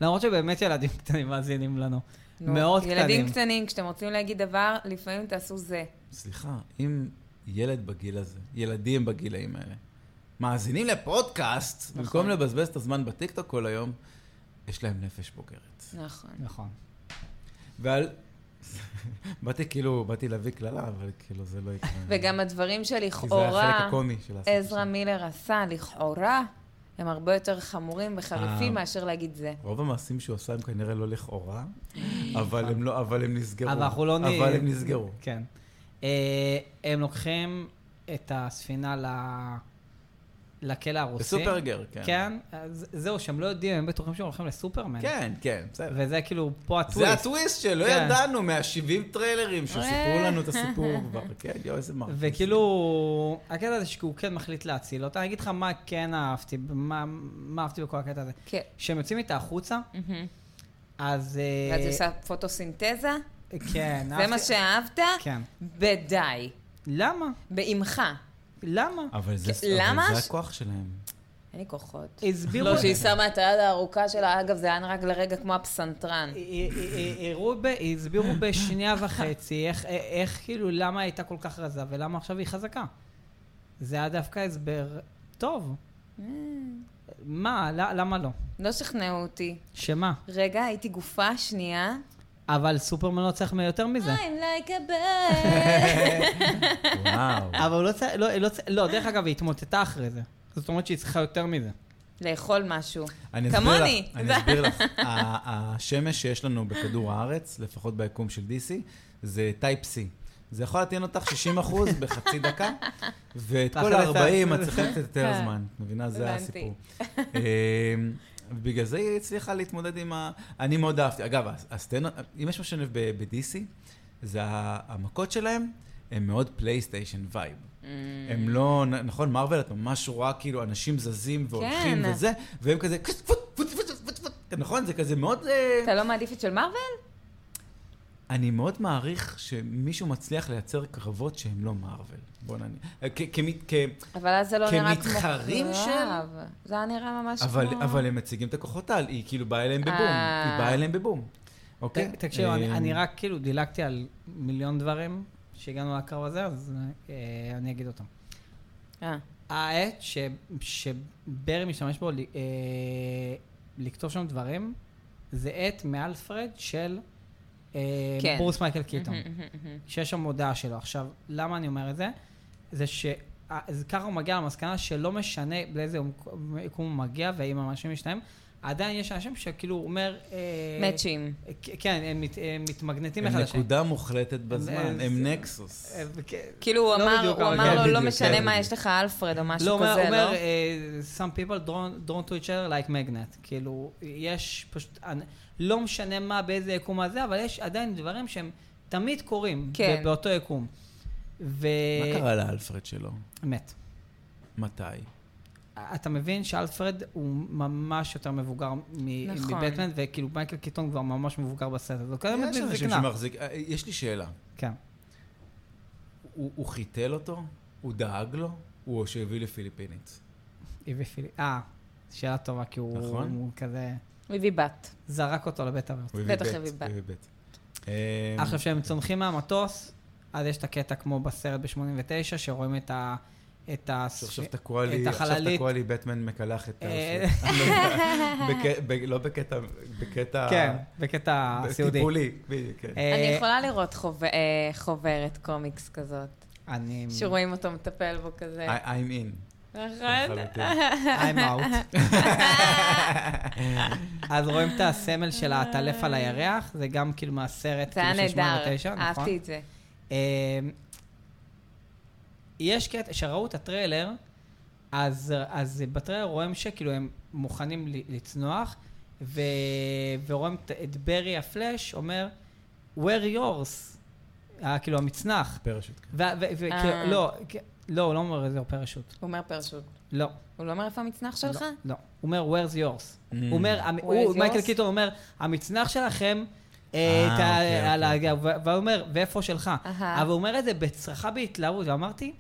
למרות שבאמת ילדים קטנים מאזינים לנו. נו, מאוד קטנים. ילדים קטנים, כשאתם רוצים להגיד דבר, לפעמים תעשו זה. סליחה, אם ילד בגיל הזה, ילדים בגילאים האלה, מאזינים לפודקאסט, נכון. במקום לבזבז את הזמן בטיקטוק כל היום, יש להם נפש בוגרת. נכון. נכון. ועל... באתי כאילו, באתי להביא קללה, אבל כאילו זה לא יקרה. וגם הדברים כי זה החלק שלכאורה הקומי של הסרט. עזרא מילר עשה, לכאורה, הם הרבה יותר חמורים וחריפים אה. מאשר להגיד זה. רוב המעשים שהוא עשה הם כנראה לא לכאורה, אבל הם לא, אבל הם נסגרו. אבל אנחנו לא... נ- אבל הם נסגרו. כן. אה, הם לוקחים את הספינה ל- לכלא הרוסי. בסופרגר, כן. כן. אז זהו, שהם לא יודעים, הם בטוחים שהם הולכים לסופרמן. כן, כן, בסדר. וזה כאילו, פה זה הטוויסט. הטוויסט שלא כן. ידענו מה-70 טריילרים שסיפרו לנו את הסיפור כבר. כן, יואו, איזה מרק. וכאילו, הקטע הזה שהוא כן מחליט להציל אותה, אני אגיד לך מה כן אהבתי, מה מה אהבתי בכל הקטע הזה. כן. כשהם יוצאים איתה החוצה, מהמם. אז... אה, ואז היא עושה פוטוסינתזה, כן, זה מה שאהבת? כן. בדי. למה? באימך. למה? אבל זה כן, למה אבל זה ש- הכוח שלהם. אין לי כוחות. אה, הסבירו... לא, שהיא שמה את היד הארוכה שלה, אגב, זה היה נראה לרגע כמו הפסנתרן. אה, אה, אה, הראו ב- הסבירו בשנייה וחצי איך- אה, איך כאילו, למה היא הייתה כל כך רזה אה. ולמה עכשיו היא חזקה. זה היה דווקא הסבר טוב. מה? ל- למה לא? לא שכנעו אותי. שמה? רגע, הייתי גופה שנייה. אבל סופרמן לא צריך יותר מזה. I'm like a bird. וואו. אבל הוא לא צריך, לא, לא, צ- לא, דרך אגב, היא התמוטטה אחרי זה. זאת אומרת שהיא צריכה יותר מזה. לאכול משהו. אני אסביר כמוני. לך, אני אסביר לך. ה- השמש שיש לנו בכדור הארץ, לפחות ביקום של DC, זה טייפ C. זה יכול להטעין אותך 60% בחצי דקה, ואת כל ואחרי זה- ה-40 את צריכה קצת יותר כן. זמן. את מבינה? זה הבנתי. הסיפור. אמ, בגלל זה היא הצליחה להתמודד עם ה... אני מאוד אהבתי. אגב, הסצנות, אם יש משהו שאני אוהב ב-DC, זה ה- המכות שלהם, הן מאוד פלייסטיישן וייב. הם לא, נ- נכון, מרוויל, את ממש רואה כאילו אנשים זזים והולכים כן. וזה, והם כזה, "כס, פוט, פוט, פוט, פוט, פוט." נכון, זה כזה מאוד... אה, אתה לא מעדיף את של מארוול? אני מאוד מעריך שמישהו מצליח לייצר קרבות שהם לא מארוול. בוא נניח. אה, כ- כמי- כ- אבל אז זה לא נראה כמו כמתחרים של? קרב. זה היה נראה ממש כמו... אבל, אבל הם מציגים את הכוחות על, היא כאילו באה אליהם בבום, אה. היא באה אליהם בבום. אוקיי? ת- תקשיבו, אמ, אני אני רק כאילו דילגתי על מיליון דברים שהגענו לקרב הזה, אז אה, אני אגיד אותם. אה, העט ש- שברי משתמש בו ל- אה, לכתוב שם דברים, זה עט מאלפרד של אה, כן. ברוס מייקל קיטון. מהמם, מהמם, מהמם. שיש שם הודעה שלו. עכשיו, למה אני אומר את זה? זה שככה הוא מגיע למסקנה שלא משנה לאיזה יקום הוא מגיע ואם המאשים משתנים, עדיין יש אנשים שכאילו הוא אומר... אה, מאצ'ים. אה, כ- כן, הם מת- הם מתמגנטים הם אחד לשני. נקודה מוחלטת בזמן, אה, הם זה- נקסוס. אה, וכ- כאילו הוא לא אמר, בדיוק, הוא אבל אמר כן, לו, לא בדיוק, משנה כן, מה בדיוק. יש לך, אלפרד, או משהו לא, הוא כזה, אומר, לא? אה, some people drawn, drawn to each other like magnet. כאילו, יש פשוט, אנ- לא משנה מה, באיזה יקום הזה, אבל יש עדיין דברים שהם תמיד קורים כן. ב- באותו יקום. ו... מה קרה לאלפרד שלו? מת. מתי? לא אתה מבין שאלפרד הוא ממש יותר מבוגר מ- נכון. מבטמן, וכאילו מייקל קיטון כבר ממש מבוגר בסט הזה. אה, הוא קודם יש מזקנה. אנשים שמחזיק... אה, יש לי שאלה. כן. הוא הוא חיתל אותו? הוא דאג לו? הוא או שהביא לפיליפינית? איבי פילי. אה, שאלה טובה, כי הוא נכון. הוא כזה הוא הביא בת. זרק אותו לבית אבות. הוא הביא בטח בית, הביא הוא בת. הביא בית. אה, עכשיו, כשהם צונחים מהמטוס, אז יש את הקטע כמו בסרט ב-89, שרואים את ה... את ה... שעכשיו תקוע לי, את עכשיו החללית. תקוע לי בטמן מקלח את אה. האלפרד. לא בקטע, בקטע... כן, בקטע סיעודי. טיפולי, בדיוק, כן. אה, אני יכולה לראות חוב- אה, חוברת קומיקס כזאת, Mm. אני... שרואים אותו מטפל בו כזה. I- I'm in. נכון? אה, לחלוטין. I'm out. אז רואים את הסמל של העטלף על הירח, זה גם כאילו מהסרט, זה היה כאילו של נהדר, 89, נכון? אהבתי את זה. אמ, יש קטע, כשראו את הטריילר, אז, אז בטריילר רואים שכאילו הם מוכנים ל- לצנוח, ו, ורואים את- את ברי הפלאש אומר, where yours, אה, כאילו המצנח. פרשוט. ו, ו, ו, אה. כאילו, לא, כ- לא, הוא לא אומר איזה פרשוט. הוא אומר פרשוט. לא. הוא לא אומר איפה המצנח שלך? לא, לא. הוא אומר, where's yours. Mm. הוא אומר, המ- Where's הוא- yours? מייקל קיטון אומר, המצנח שלכם, אה, אה, את ה- אוקיי, על אוקיי. הגב, ו- והוא אומר, ואיפה שלך? אהה. אבל הוא אומר את זה בצרחה בהתלהבות, ואמרתי,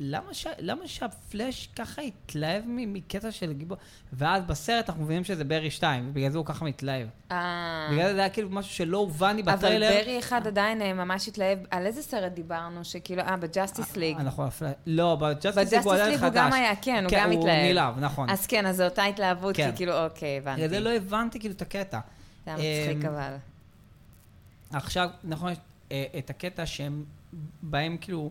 למה ש- למה שהפלאש ככה התלהב מ- מקטע של גיבור? ואז בסרט אנחנו מבינים שזה ברי 2, ובגלל זה הוא ככה מתלהב. אה. בגלל זה זה היה כאילו משהו שלא הובן לי אבל בטריילר. ברי אחד עדיין אה, ממש התלהב, על איזה סרט דיברנו? שכאילו, אה, בג'אסטיס ליג. אנחנו הפלאש... לא, בג'סטיס ליג בג'אסטיס הוא עדיין ליג חדש. הוא גם היה, כן, הוא גם הוא התלהב. נלהב, נכון. אז כן, אז זו אותה התלהבות, כן. כי כאילו, אוקיי, הבנתי. בגלל זה לא הבנתי כאילו את הקטע. זה היה מצחיק אמ, אבל. עכשיו, נכון, יש אה, את הקטע שהם באים כאילו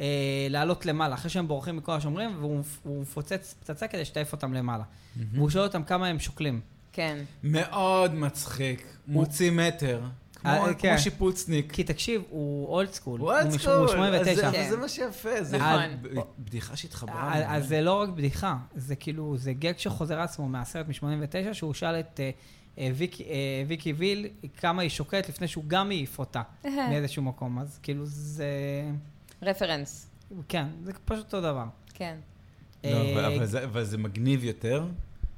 אה, לעלות למעלה, אחרי שהם בורחים מכל השומרים, והוא הוא מפוצץ פצצה כדי שתעיף אותם למעלה. והוא שואל אותם כמה הם שוקלים. כן. מאוד מצחיק. מוציא מטר. כמו אה, כמו כן. שיפוצניק. כי תקשיב, הוא אולד סקול. וואט הוא מש- סקול. הוא 89. אז זה- כן. זה מה שיפה. זה נכון. ב- בדיחה שהתחברה. אז- אז זה לא רק בדיחה, זה כאילו, זה גג שחוזר על עצמו מהסרט מ-89, שהוא שאל את אה, אה, ויקי- אה, ויקי ויל כמה היא שוקלת לפני שהוא גם העיף אותה כן. מאיזשהו מקום. אז כאילו, זה... רפרנס. כן, זה פשוט אותו דבר. כן. לא, אה, אבל- אבל זה- אבל זה מגניב יותר,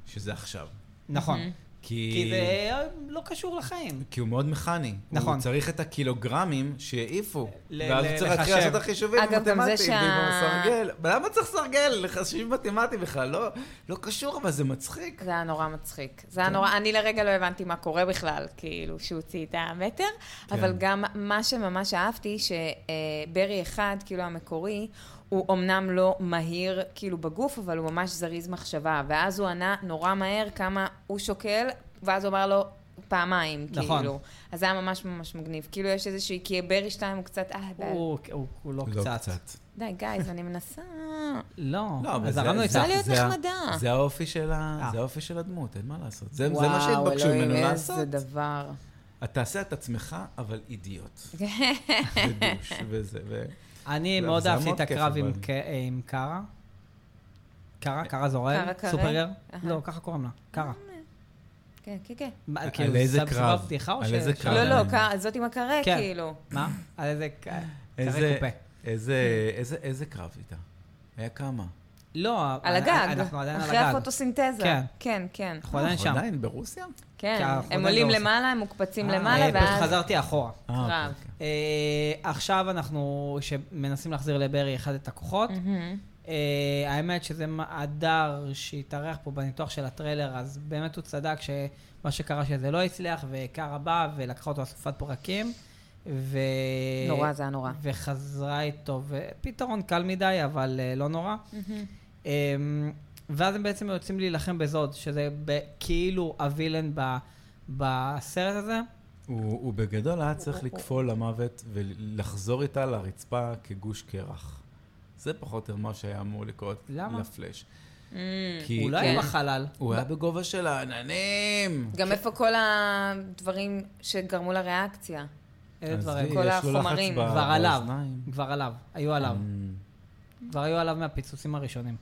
שזה עכשיו. נכון. כי... אה, כי זה לא קשור לחיים. כי הוא מאוד מכני. נכון. הוא צריך את הקילוגרמים שהעיפו. ל- ואז ל- הוא צריך להתחיל לחשב. לעשות את החישובים אגב, גם זה המתמטיים. שה- ועם הסרגל. אבל למה צריך סרגל? לחשיב מתמטי בכלל. לא- לא קשור, אבל זה מצחיק. זה היה נורא מצחיק. זה כן. היה נורא, אני לרגע לא הבנתי מה קורה בכלל, כאילו, שהוא הוציא את המטר, כן. אבל גם מה שממש אהבתי, שברי אחד, כאילו המקורי, הוא אמנם לא מהיר כאילו בגוף, אבל הוא ממש זריז מחשבה. ואז הוא ענה נורא מהר כמה הוא שוקל, ואז הוא אמר לו פעמיים, נכון. כאילו. אז זה היה ממש ממש מגניב. כאילו יש איזושהי, כי ברי שתיים הוא קצת, אה, די, הוא הוא- הוא לא קצת. די, גייז, אני מנסה. לא, לא, אבל אז זה- הרמנו את זה- ה... צריכה להיות זה ה- נחמדה. זה האופי של ה- אה. זה האופי של הדמות, אין מה לעשות. זה זה מה שהתבקשו וואו, ממנו אלוהים, לעשות. איזה דבר. את תעשה את עצמך, אבל אידיוט. כן, ודוש וזה, ו... אני לא, מאוד זה היה אהבתי מאוד את כיף, הקרב עם אבל. ק- אה, עם קארה. קארה? קארה זורל? קארה קרה? סופרגר? אהה. אה. לא, ככה קוראים לה. קארה. כן, כן, כן. מה, על כאילו, איזה זה בסיבוב קרב? הפתיחה או על ש- איזה ש- קרב? לא, לא, כן. קר- זאת עם הקרה, כן. כאילו. מה? על איזה ק- קרי איזה, קופה. איזה, איזה, איזה קרב איתה? היה כמה? לא, על אנ- הגג. אנחנו עדיין על אחרי הגג. הפוטוסינתזה. כן. כן, כן. אנחנו עדיין שם. עדיין ברוסיה? כי כן, אנחנו הם עדיין עולים לא עושים. למעלה, הם מוקפצים אה, למעלה, פשוט ואז... חזרתי אחורה. אה, אוקיי, קרב. אוקיי. אה, עכשיו אנחנו, שמנסים להחזיר לברי אחד את הכוחות. מהמם. אה, האמת שזה מה- הדר שהתארח פה בניתוח של הטריילר, אז באמת הוא צדק שמה שקרה שזה לא הצליח, וקארה באה ולקחה אותו לאסופת פרקים. ו... אה, נורא, זה היה נורא. וחזרה איתו, ופתרון קל מדי, אבל אה, לא נורא. אמ, ואז הם בעצם יוצאים להילחם בזוד, שזה ב- כאילו הווילן ב- בסרט הזה. הוא, הוא בגדול היה צריך הוא- הוא- לקפול למוות ולחזור איתה לרצפה כגוש קרח. זה פחות או יותר מה שהיה אמור לקרות למה? לפלאש. Mm, כי הוא לא כן. היה בחלל. הוא היה בגובה של העננים. גם איפה כל הדברים שגרמו לריאקציה? אלה אז דברים. לי, כל יש לו לחץ החומרים. ב- כבר עליו, באוזניים. כבר עליו, היו עליו. אמ, כבר היו עליו מהפיצוצים הראשונים.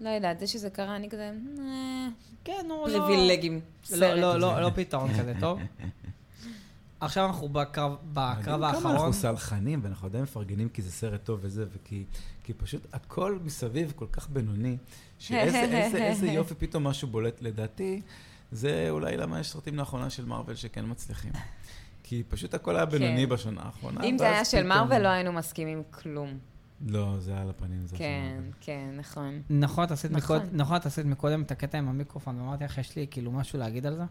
לא יודעת, זה שזה קרה, אני כזה... אה, כן, הוא לא... פריבילגים. לא, סרט. לא, לא, לא פתרון כזה, טוב? עכשיו אנחנו בקרב, בקרב מדהים כמה האחרון. אנחנו סלחנים, ואנחנו עדיין מפרגנים כי זה סרט טוב וזה, וכי כי פשוט הכל מסביב כל כך בינוני, שאיזה איזה, איזה יופי פתאום משהו בולט לדעתי, זה אולי למה יש סרטים לאחרונה של מארוול שכן מצליחים. כי פשוט הכל היה בינוני כן. בשנה האחרונה. אם זה ואז היה של פתאום- מארוול, לא היינו מסכימים כלום. לא, זה היה על הפנים, זה כן, כן, נכון. נכון, את עשית נכון. מקוד- נכון, את עשית מקודם את הקטע עם המיקרופון, ואמרתי לך, יש לי כאילו משהו להגיד על זה?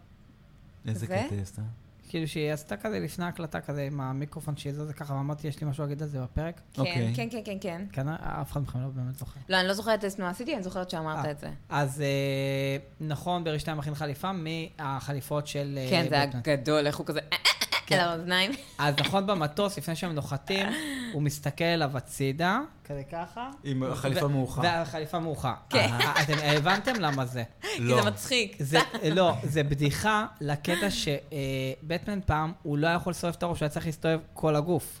איזה זה? קטע עשתה? כאילו שהיא עשתה כזה לפני ההקלטה כזה עם המיקרופון שהיא זזה ככה, ואמרתי, יש לי משהו להגיד על זה בפרק. כן, אוקיי. כן, כן, כן, כן. כנראה, אף אחד מכם לא באמת זוכר. לא, אני לא זוכרת איזה תנועה עשיתי, אני זוכרת שאמרת אה. את זה. אז אה, נכון, ברי שתיים מכין חליפה מהחליפות של... אה, כן, זה היה בטמן. גדול, איך הוא כזה... "אה, אה, אה, כן. אה", על האוזניים. אז נכון, במטוס, לפני שהם נוחתים, הוא מסתכל עליו הצידה. כזה ככה. עם החליפה ו- מעוכה. והחליפה מעוכה. כן. אה, אתם הבנתם למה זה. כי כאילו, זה מצחיק. זה, לא, זה בדיחה לקטע שבטמן פעם, הוא לא יכול לסובב את הראש, הוא היה צריך להסתובב כל הגוף.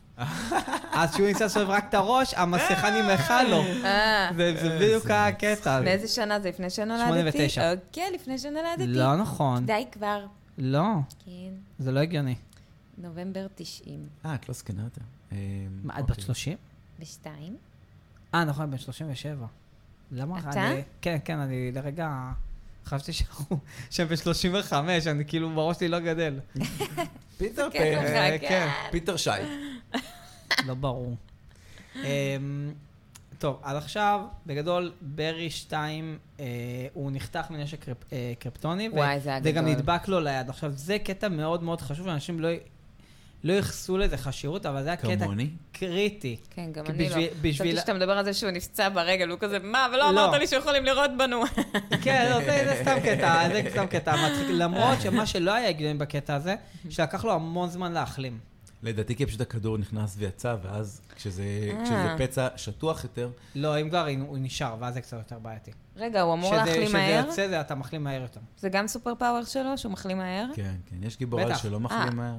אז כשהוא ניסה לסובב רק את הראש, המסכה נמחה לו. אה, זה זה בדיוק איזה הקטע. מאיזה שנה זה? לפני שנולדתי? שמונה ותשע. אוקיי, לפני שנולדתי. לא נכון. די כבר. לא, כן, זה לא הגיוני. נובמבר 90. אה, את לא זקנה יותר. אמ, מה, את בת אוקיי. 30? בשתיים? אה, נכון, בן 37. למה? אתה? אני- כן, כן, אני לרגע... חשבתי שאנחנו... שאני בן 35, אני כאילו בראש שלי לא גדל. פיטר כן, פן. אה, כן. כן. פיטר שי. לא ברור. אמ, טוב, עד עכשיו, בגדול, ברי 2, הוא נחתך מנשק קריפ- אה, קריפטוני. ו- וואי, זה היה זה גם גדול. נדבק לו ליד. עכשיו, זה קטע מאוד מאוד חשוב, אנשים לא... י- לא ייחסו לזה חשיבות, אבל זה הקטע כמוני. קריטי. כן, גם כי אני לא. בשביל- בשביל- חשבתי שאתה מדבר על זה שהוא נפצע ברגל, הוא כזה, מה, ולא לא. אמרת לי שיכולים לירות בנו. כן, לא, זה, זה סתם קטע, זה סתם קטע מצחיק. למרות שמה שלא היה הגיוני בקטע הזה, שלקח לו המון זמן להחלים. לדעתי כי פשוט הכדור נכנס ויצא, ואז כשזה, אה. כשזה פצע שטוח יותר, לא, אם כבר הוא נשאר, ואז זה קצת יותר בעייתי. רגע, הוא אמור שזה- להחלים מהר? שזה יוצא, זה אתה מחלים מהר יותר. זה גם סופר פאוור שלו, שהוא מחלים מהר? כן, כן, יש גיבור על בטח. שלא אה. מחלים מהר.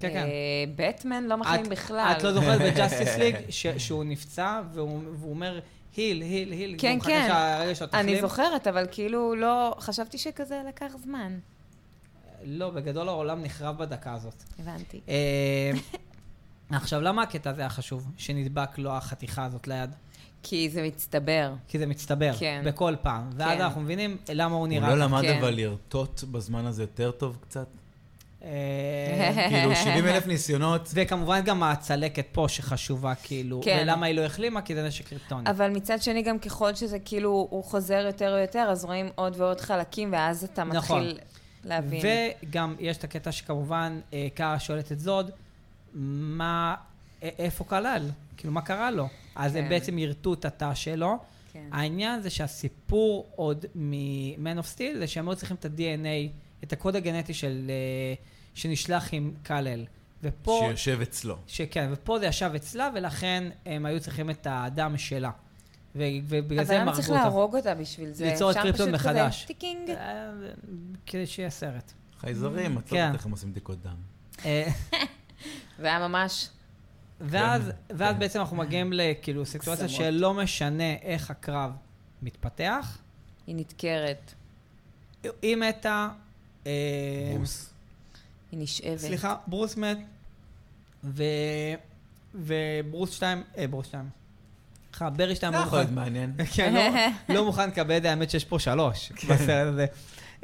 כן, כן. אה, בטמן לא מחלים את- בכלל. את לא זוכרת בג'אסטיס ליג ש- שהוא נפצע, והוא והוא אומר, היל, היל, היל. כן, והוא מחכה כן. שהרגע שלו אני תחלים. זוכרת, אבל כאילו לא... חשבתי שכזה לקח זמן. לא, בגדול העולם נחרב בדקה הזאת. הבנתי. אה, עכשיו, למה הקטע הזה היה חשוב, שנדבק לו החתיכה הזאת ליד? כי זה מצטבר. כי זה מצטבר, כן. בכל פעם. ואז כן. אנחנו מבינים למה הוא הוא נראה. לא למד כן. אבל לרטוט בזמן הזה יותר טוב קצת? אה, כאילו, 70 אלף ניסיונות. וכמובן גם הצלקת פה שחשובה, כאילו, כן. ולמה היא לא החלימה? כי זה נשק קריפטוני. אבל מצד שני, גם ככל שזה כאילו, הוא חוזר יותר ויותר, אז רואים עוד ועוד חלקים, ואז אתה נכון. מתחיל להבין. וגם יש את הקטע שכמובן, אה, קארה שואלת את זוד, מה, א- איפה כלל? כאילו, מה קרה לו? אז הם כן. בעצם יירטו את התא שלו. כן. העניין זה שהסיפור עוד מ-Man of Steel זה שהם לא צריכים את ה-DNA, את הקוד הגנטי של, אה, שנשלח עם קאלל. ופה... שיושב אצלו. שכן, ופה זה ישב אצלה, ולכן הם היו צריכים את הדם שלה. ו- ובגלל אבל זה הם למה הרגו צריך אותה. להרוג אותה בשביל זה? ליצור את אפשר קריפטון פשוט מחדש. כזה, טיקינג. אה, כדי שיהיה סרט. חייזרים, מצאת כן. איך הם עושים בדיקות דם. אה, והיה ממש... ואז, כן, ואז כן. בעצם אנחנו מגיעים לכאילו סיטואציה קסמות. שלא משנה איך הקרב מתפתח, היא נדקרת, היא מתה... אה, ברוס. היא נשאבת. סליחה, ברוס מת, ו... וברוס 2, אה, ברוס 2. סליחה, ברי 2 זה לא יכול להיות מוכן. מעניין. כן, לא, לא מוכן לקבל את זה, האמת שיש פה שלוש כן. בסרט הזה.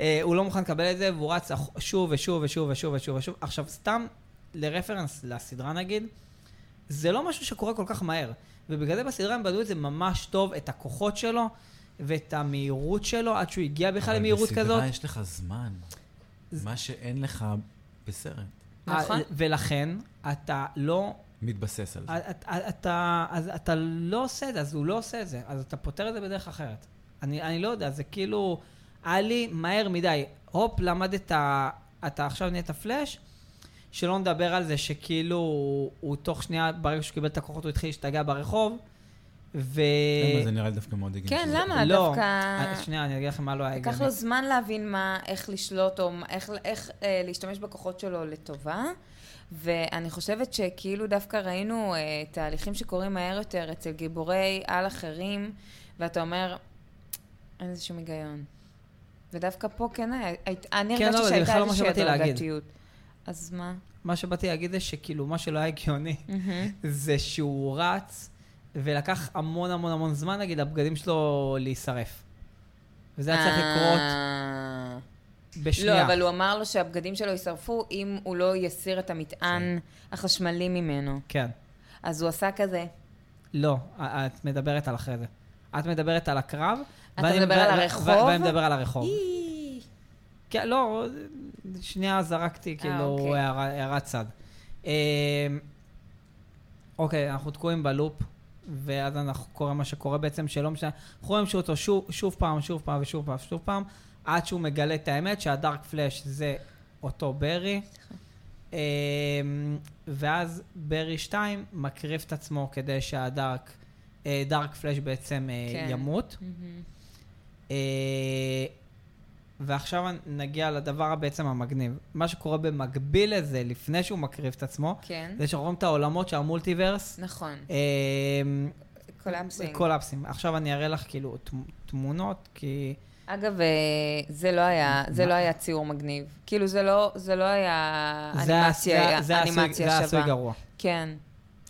אה, הוא לא מוכן לקבל את זה, והוא רץ אח- שוב ושוב ושוב ושוב ושוב ושוב. עכשיו, סתם לרפרנס לסדרה נגיד, זה לא משהו שקורה כל כך מהר. ובגלל זה בסדרה הם בדקו את זה ממש טוב, את הכוחות שלו ואת המהירות שלו, עד שהוא הגיע בכלל אבל למהירות כזאת. בסדרה יש לך זמן. מה שאין לך בסרט. נכון. אה, ולכן, אתה לא מתבסס על זה. אתה, אתה, אז אתה לא עושה את זה, אז הוא לא עושה את זה, אז אתה פותר את זה בדרך אחרת. אני, אני לא יודע, זה כאילו, היה לי מהר מדי, הופ, למדת, אתה עכשיו נהיית פלאש, שלא נדבר על זה שכאילו, הוא, הוא תוך שנייה, ברגע שהוא קיבל את הכוחות, הוא התחיל להשתגע ברחוב, ו... אה, למה זה נראה לי דווקא מאוד הגיוני. כן, שזה- למה? לא, דווקא- אה, שנייה, אני אגיד לכם מה לא היה לקח הגיוני. לו זמן להבין מה, איך לשלוט או מה- איך, איך אה, להשתמש בכוחות שלו לטובה. ואני חושבת שכאילו דווקא ראינו אה, תהליכים שקורים מהר יותר אצל גיבורי על אחרים, ואתה אומר, אין לזה שום היגיון. ודווקא פה כן היה, היית, אני כן, הרגשתי לא, זה שהייתה בכלל לא מה איזושהי שבאתי להגיד. הדרגתיות. אז מה? אה. מה שבאתי להגיד זה שכאילו, מה שלא היה הגיוני, זה שהוא רץ, ולקח המון המון המון זמן, נגיד, הבגדים שלו להישרף. וזה היה צריך לקרות אה. בשנייה. לא, אבל הוא אמר לו שהבגדים שלו יישרפו אם הוא לא יסיר את המטען החשמלי ממנו. כן. אז הוא עשה כזה. לא, א- את מדברת על אחרי זה. את מדברת על הקרב. אתה ואני- מדבר ו- על ו- הרחוב? ו- ואני מדבר על הרחוב. אי. כן, לא, שנייה זרקתי, כאילו, אוקיי. הערה- הערת צד. אמ, אוקיי, אנחנו תקועים בלופ, ואז אנחנו קורה מה שקורה בעצם, שלא משנה. אנחנו רואים אותו שוב, שוב פעם, שוב פעם ושוב פעם ושוב פעם, עד שהוא מגלה את האמת שהדארק פלאש זה אותו ברי. אמ, ואז ברי 2 מקריב את עצמו כדי שהדארק, אה, דארק פלאש בעצם אה, כן. ימות. Mm-hmm. אה, ועכשיו נגיע לדבר בעצם המגניב. מה שקורה במקביל לזה, לפני שהוא מקריב את עצמו, כן, זה שאנחנו רואים את העולמות של המולטיברס. נכון. אה, קולאפסינג. קולאפסים. עכשיו אני אראה לך כאילו תמ- תמונות, כי... אגב, אה, זה לא היה, זה מה? לא היה ציור מגניב. כאילו, זה לא, זה לא היה זה ה- אנימציה, זה- זה העשוי- אנימציה זה שווה. העשוי גרוע. כן.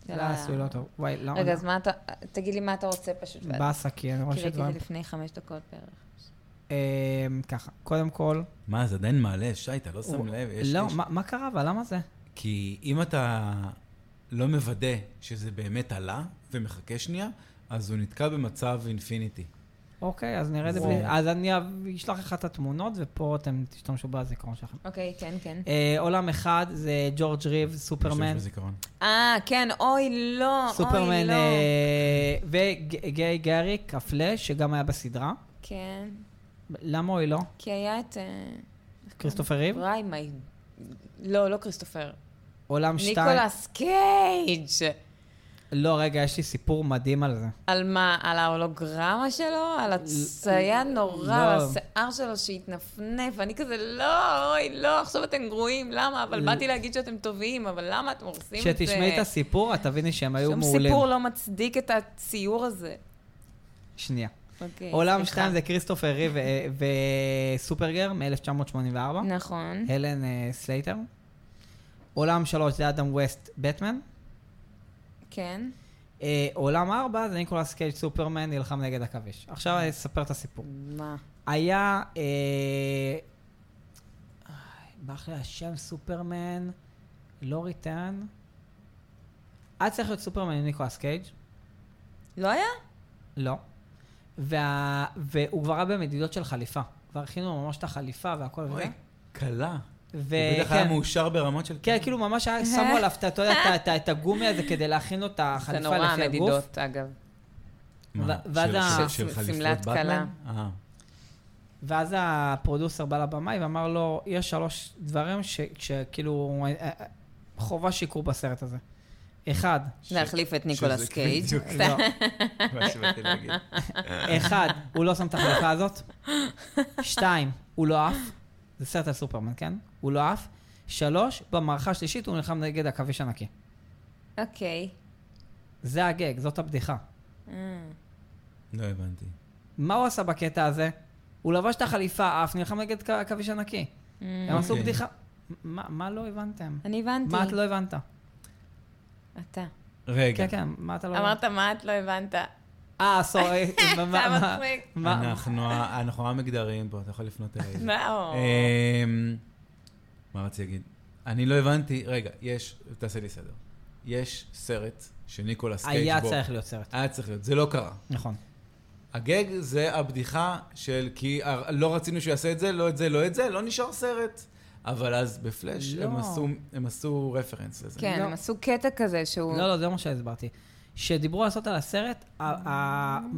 זה העשוי לא לא. טוב. וואי, למה? רגע, אז מה אתה, תגיד לי מה אתה רוצה פשוט. ואז- באסה, כי אני רואה כי ראיתי את שדברים... זה לפני חמש דקות בערך. אה, ככה, קודם כל... מה, זה עדיין מעלה, שי, אתה לא שם הוא- לב. יש- לא, יש- מה- מה קרה? אבל למה זה? כי אם אתה לא מוודא שזה באמת עלה ומחכה שנייה, אז הוא נתקע במצב אינפיניטי. אוקיי, אז נראה את זה וואו. בלי... אז אני אב- אשלח לך את התמונות, ופה אתם תשתמשו בזיכרון שלכם. אוקיי, כן, כן. אה, עולם אחד זה ג'ורג' ריב, סופרמן. יש בזיכרון. אה, כן, אוי, לא, אוי, סופרמן לא. אה, וגיי גריק, הפלאש, שגם היה בסדרה. כן, למה אוי לא? כי היה את... אה, כריסטופר ריב? ריימי. לא, לא כריסטופר. עולם שתיים. ניקולס קייג'. לא, רגע, יש לי סיפור מדהים על זה. על מה? על ההולוגרמה שלו? על הצייה נורא, לא. על השיער שלו שהתנפנף? אני כזה, לא, אוי, לא, עכשיו אתם גרועים, למה? אבל ל- באתי להגיד שאתם טובים, אבל למה אתם הורסים את זה? כשתשמעי את הסיפור, את תביני שהם היו שום מעולים. סיפור לא מצדיק את הציור הזה. שנייה. אוקיי, עולם סליחה. שתיים זה כריסטופר ריב אה, וסופרגר מ-1984. נכון. הלן אה, סלייטר. עולם שלוש זה אדם ווסט, בטמן. כן. אה, עולם ארבע זה ניקולס קייג' סופרמן נלחם נגד עכביש. עכשיו אני אספר את הסיפור. מה? היה... אה, אה, ברח לי השם סופרמן, לא ריטן. היה צריך להיות סופרמן עם ניקולס קייג', לא היה? לא. וה, והוא כבר היה במדידות של חליפה. כבר הכינו ממש את החליפה והכל וזה. כן. אוי, קלה. הוא בטח היה וכן. מאושר ברמות של... כן, כאילו ממש היה- שמו עליו את ה- אתה יודע, את ה- את ה- את הגומי הזה כדי להכין לו את זה החליפה נורא לפי הגוף. המדידות, אגב. מה, ו- ואז של- ה- של- של ס- חליפות שמלת באטמן? כלה. אה. ואז הפרודוסר בא לבמאי ואמר לו, יש שלוש דברים ש- שכאילו אה, אה, חובה שיקרו בסרט הזה. אחד, להחליף את ניקולס שזה קייג'. בדיוק לא. מה שבאתי להגיד. אחד, הוא לא שם את החליפה הזאת. שתיים, הוא לא עף. זה סרט על סופרמן, כן? הוא לא עף. שלוש, במערכה השלישית הוא נלחם נגד עכביש ענקי. אוקיי. זה הגג, זאת הבדיחה. אה. לא הבנתי. מה הוא עשה בקטע הזה? הוא לבש את החליפה, עף, נלחם נגד כ- עכביש ענקי. Mm. הם עשו אוקיי. בדיחה... מה מה לא הבנתם? אני הבנתי. מה את לא הבנת? אתה. רגע, כן, כן, מה אתה לא הבנת? אמרת מה את לא הבנת. אה, סורי. מה- מה- מצחיק. מה- אנחנו ה- אנחנו המגדרים פה, אתה יכול לפנות אליי. מה? אה, אמ, מה רציתי להגיד? אני לא הבנתי, רגע, יש, תעשה לי סדר. יש סרט שניקולס קייג' בו. היה צריך להיות סרט. היה צריך להיות, זה לא קרה. נכון. הגג זה הבדיחה של כי הר- לא רצינו שהוא יעשה את זה, לא את זה, לא את זה, לא נשאר סרט. אבל אז בפלאש לא. הם עשו- הם עשו רפרנס לזה. כן, לא. הם עשו קטע כזה שהוא... לא, לא, זה לא מה שהסברתי. כשדיברו לעשות על הסרט, הבמאי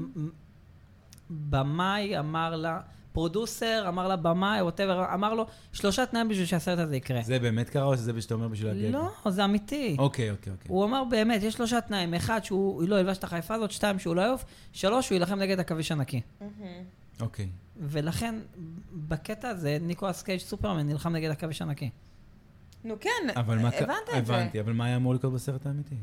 אמר לה, פרודוסר אמר לה, במאי, ווטאבר, אמר לו, שלושה תנאים בשביל שהסרט הזה יקרה. זה באמת קרה או שזה שאתה אומר בשביל הגג? לא, זה אמיתי. אוקיי, אוקיי, כן. אוקיי. הוא אמר באמת, יש שלושה תנאים, אחד שהוא לא ילבש את החליפה הזאת, שתיים שהוא לא יעוף, שלוש שהוא יילחם נגד עכביש ענקי. אוקיי. ולכן, בקטע הזה, ניקולס קייג' סופרמן נלחם נגד עכביש ענקי. נו כן, אבל מה... ק- הבנת את זה. אה, הבנתי, אבל מה היה אמור לקרות בסרט האמיתי?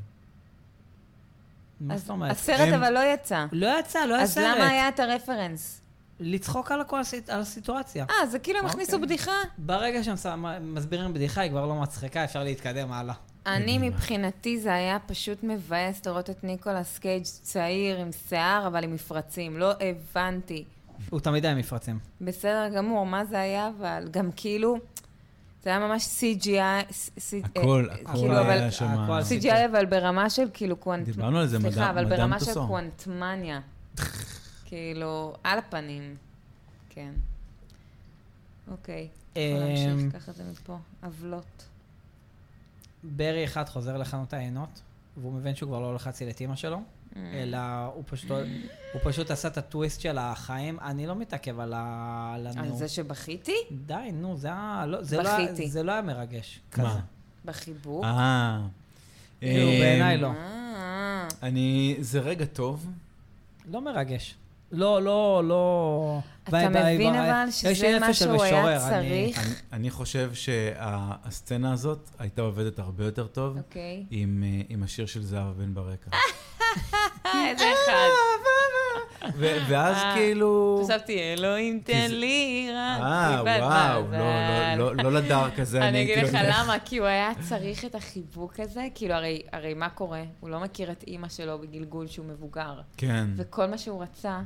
מה אז זאת אומרת? הסרט הם- אבל לא יצא. לא יצא, לא היה אז סרט. למה היה את הרפרנס? לצחוק על הכל, על הסיטואציה. אה, זה כאילו הם אוקיי. הכניסו בדיחה? ברגע שהם שם- מסבירים בדיחה, היא כבר לא מצחיקה, אפשר להתקדם הלאה. אני מבחינתי זה היה פשוט מבאס לראות את ניקולס קייג' צעיר עם שיער אבל עם מפרצים, לא הבנתי. הוא תמיד היה עם מפרצים. בסדר גמור, מה זה היה אבל? גם כאילו, זה היה ממש CGI, ס- ס- אה, הכל, הכל כאילו, אבל היה שמה... הכל CGI אבל ברמה של כאילו קוונטמניה. דיברנו על זה, מדאם- סליחה, אבל מדאם ברמה של טוסון. קוונטמניה. כאילו, על הפנים. כן. אוקיי. אמ, אה, יכול להמשיך, קח את זה מפה. עוולות. ברי אחד חוזר לחנות העיינות, והוא מבין שהוא כבר לא הולך להציל את אימא שלו, Mm. אלא הוא פשוט- לא- הוא פשוט עשה את הטוויסט של החיים. אני לא מתעכב על ה- על על לא- הנאום. זה שבכיתי? די, נו, זה היה- לא- זה לא היה- בכיתי. זה לא היה מרגש. כזה. מה? בחיבוק? אה... כאילו, אמ, בעיניי לא. אה. אני... זה רגע טוב. לא מרגש. לא, לא, לא... אתה ביי, ביי, מבין ביי. אבל יש לי שזה נפש מה של שהוא משורר, היה אני- צריך? אני- אני חושב שהסצנה הזאת הייתה עובדת הרבה יותר טוב אוקיי. עם אה, עם השיר של זהבה בן ברקע. אה, איזה אחד. ו- ואז כאילו... אה, חשבתי, אלוהים כי תן זה- לי רק אה, סיבת וואו, לא, לא, מזל. לא, לא לדארק הזה. אני אגיד הייתי לך הולך. למה, כי הוא היה צריך את החיבוק הזה, כאילו הרי, הרי מה קורה? הוא לא מכיר את אימא שלו בגלגול שהוא מבוגר, כן, וכל מה שהוא רצה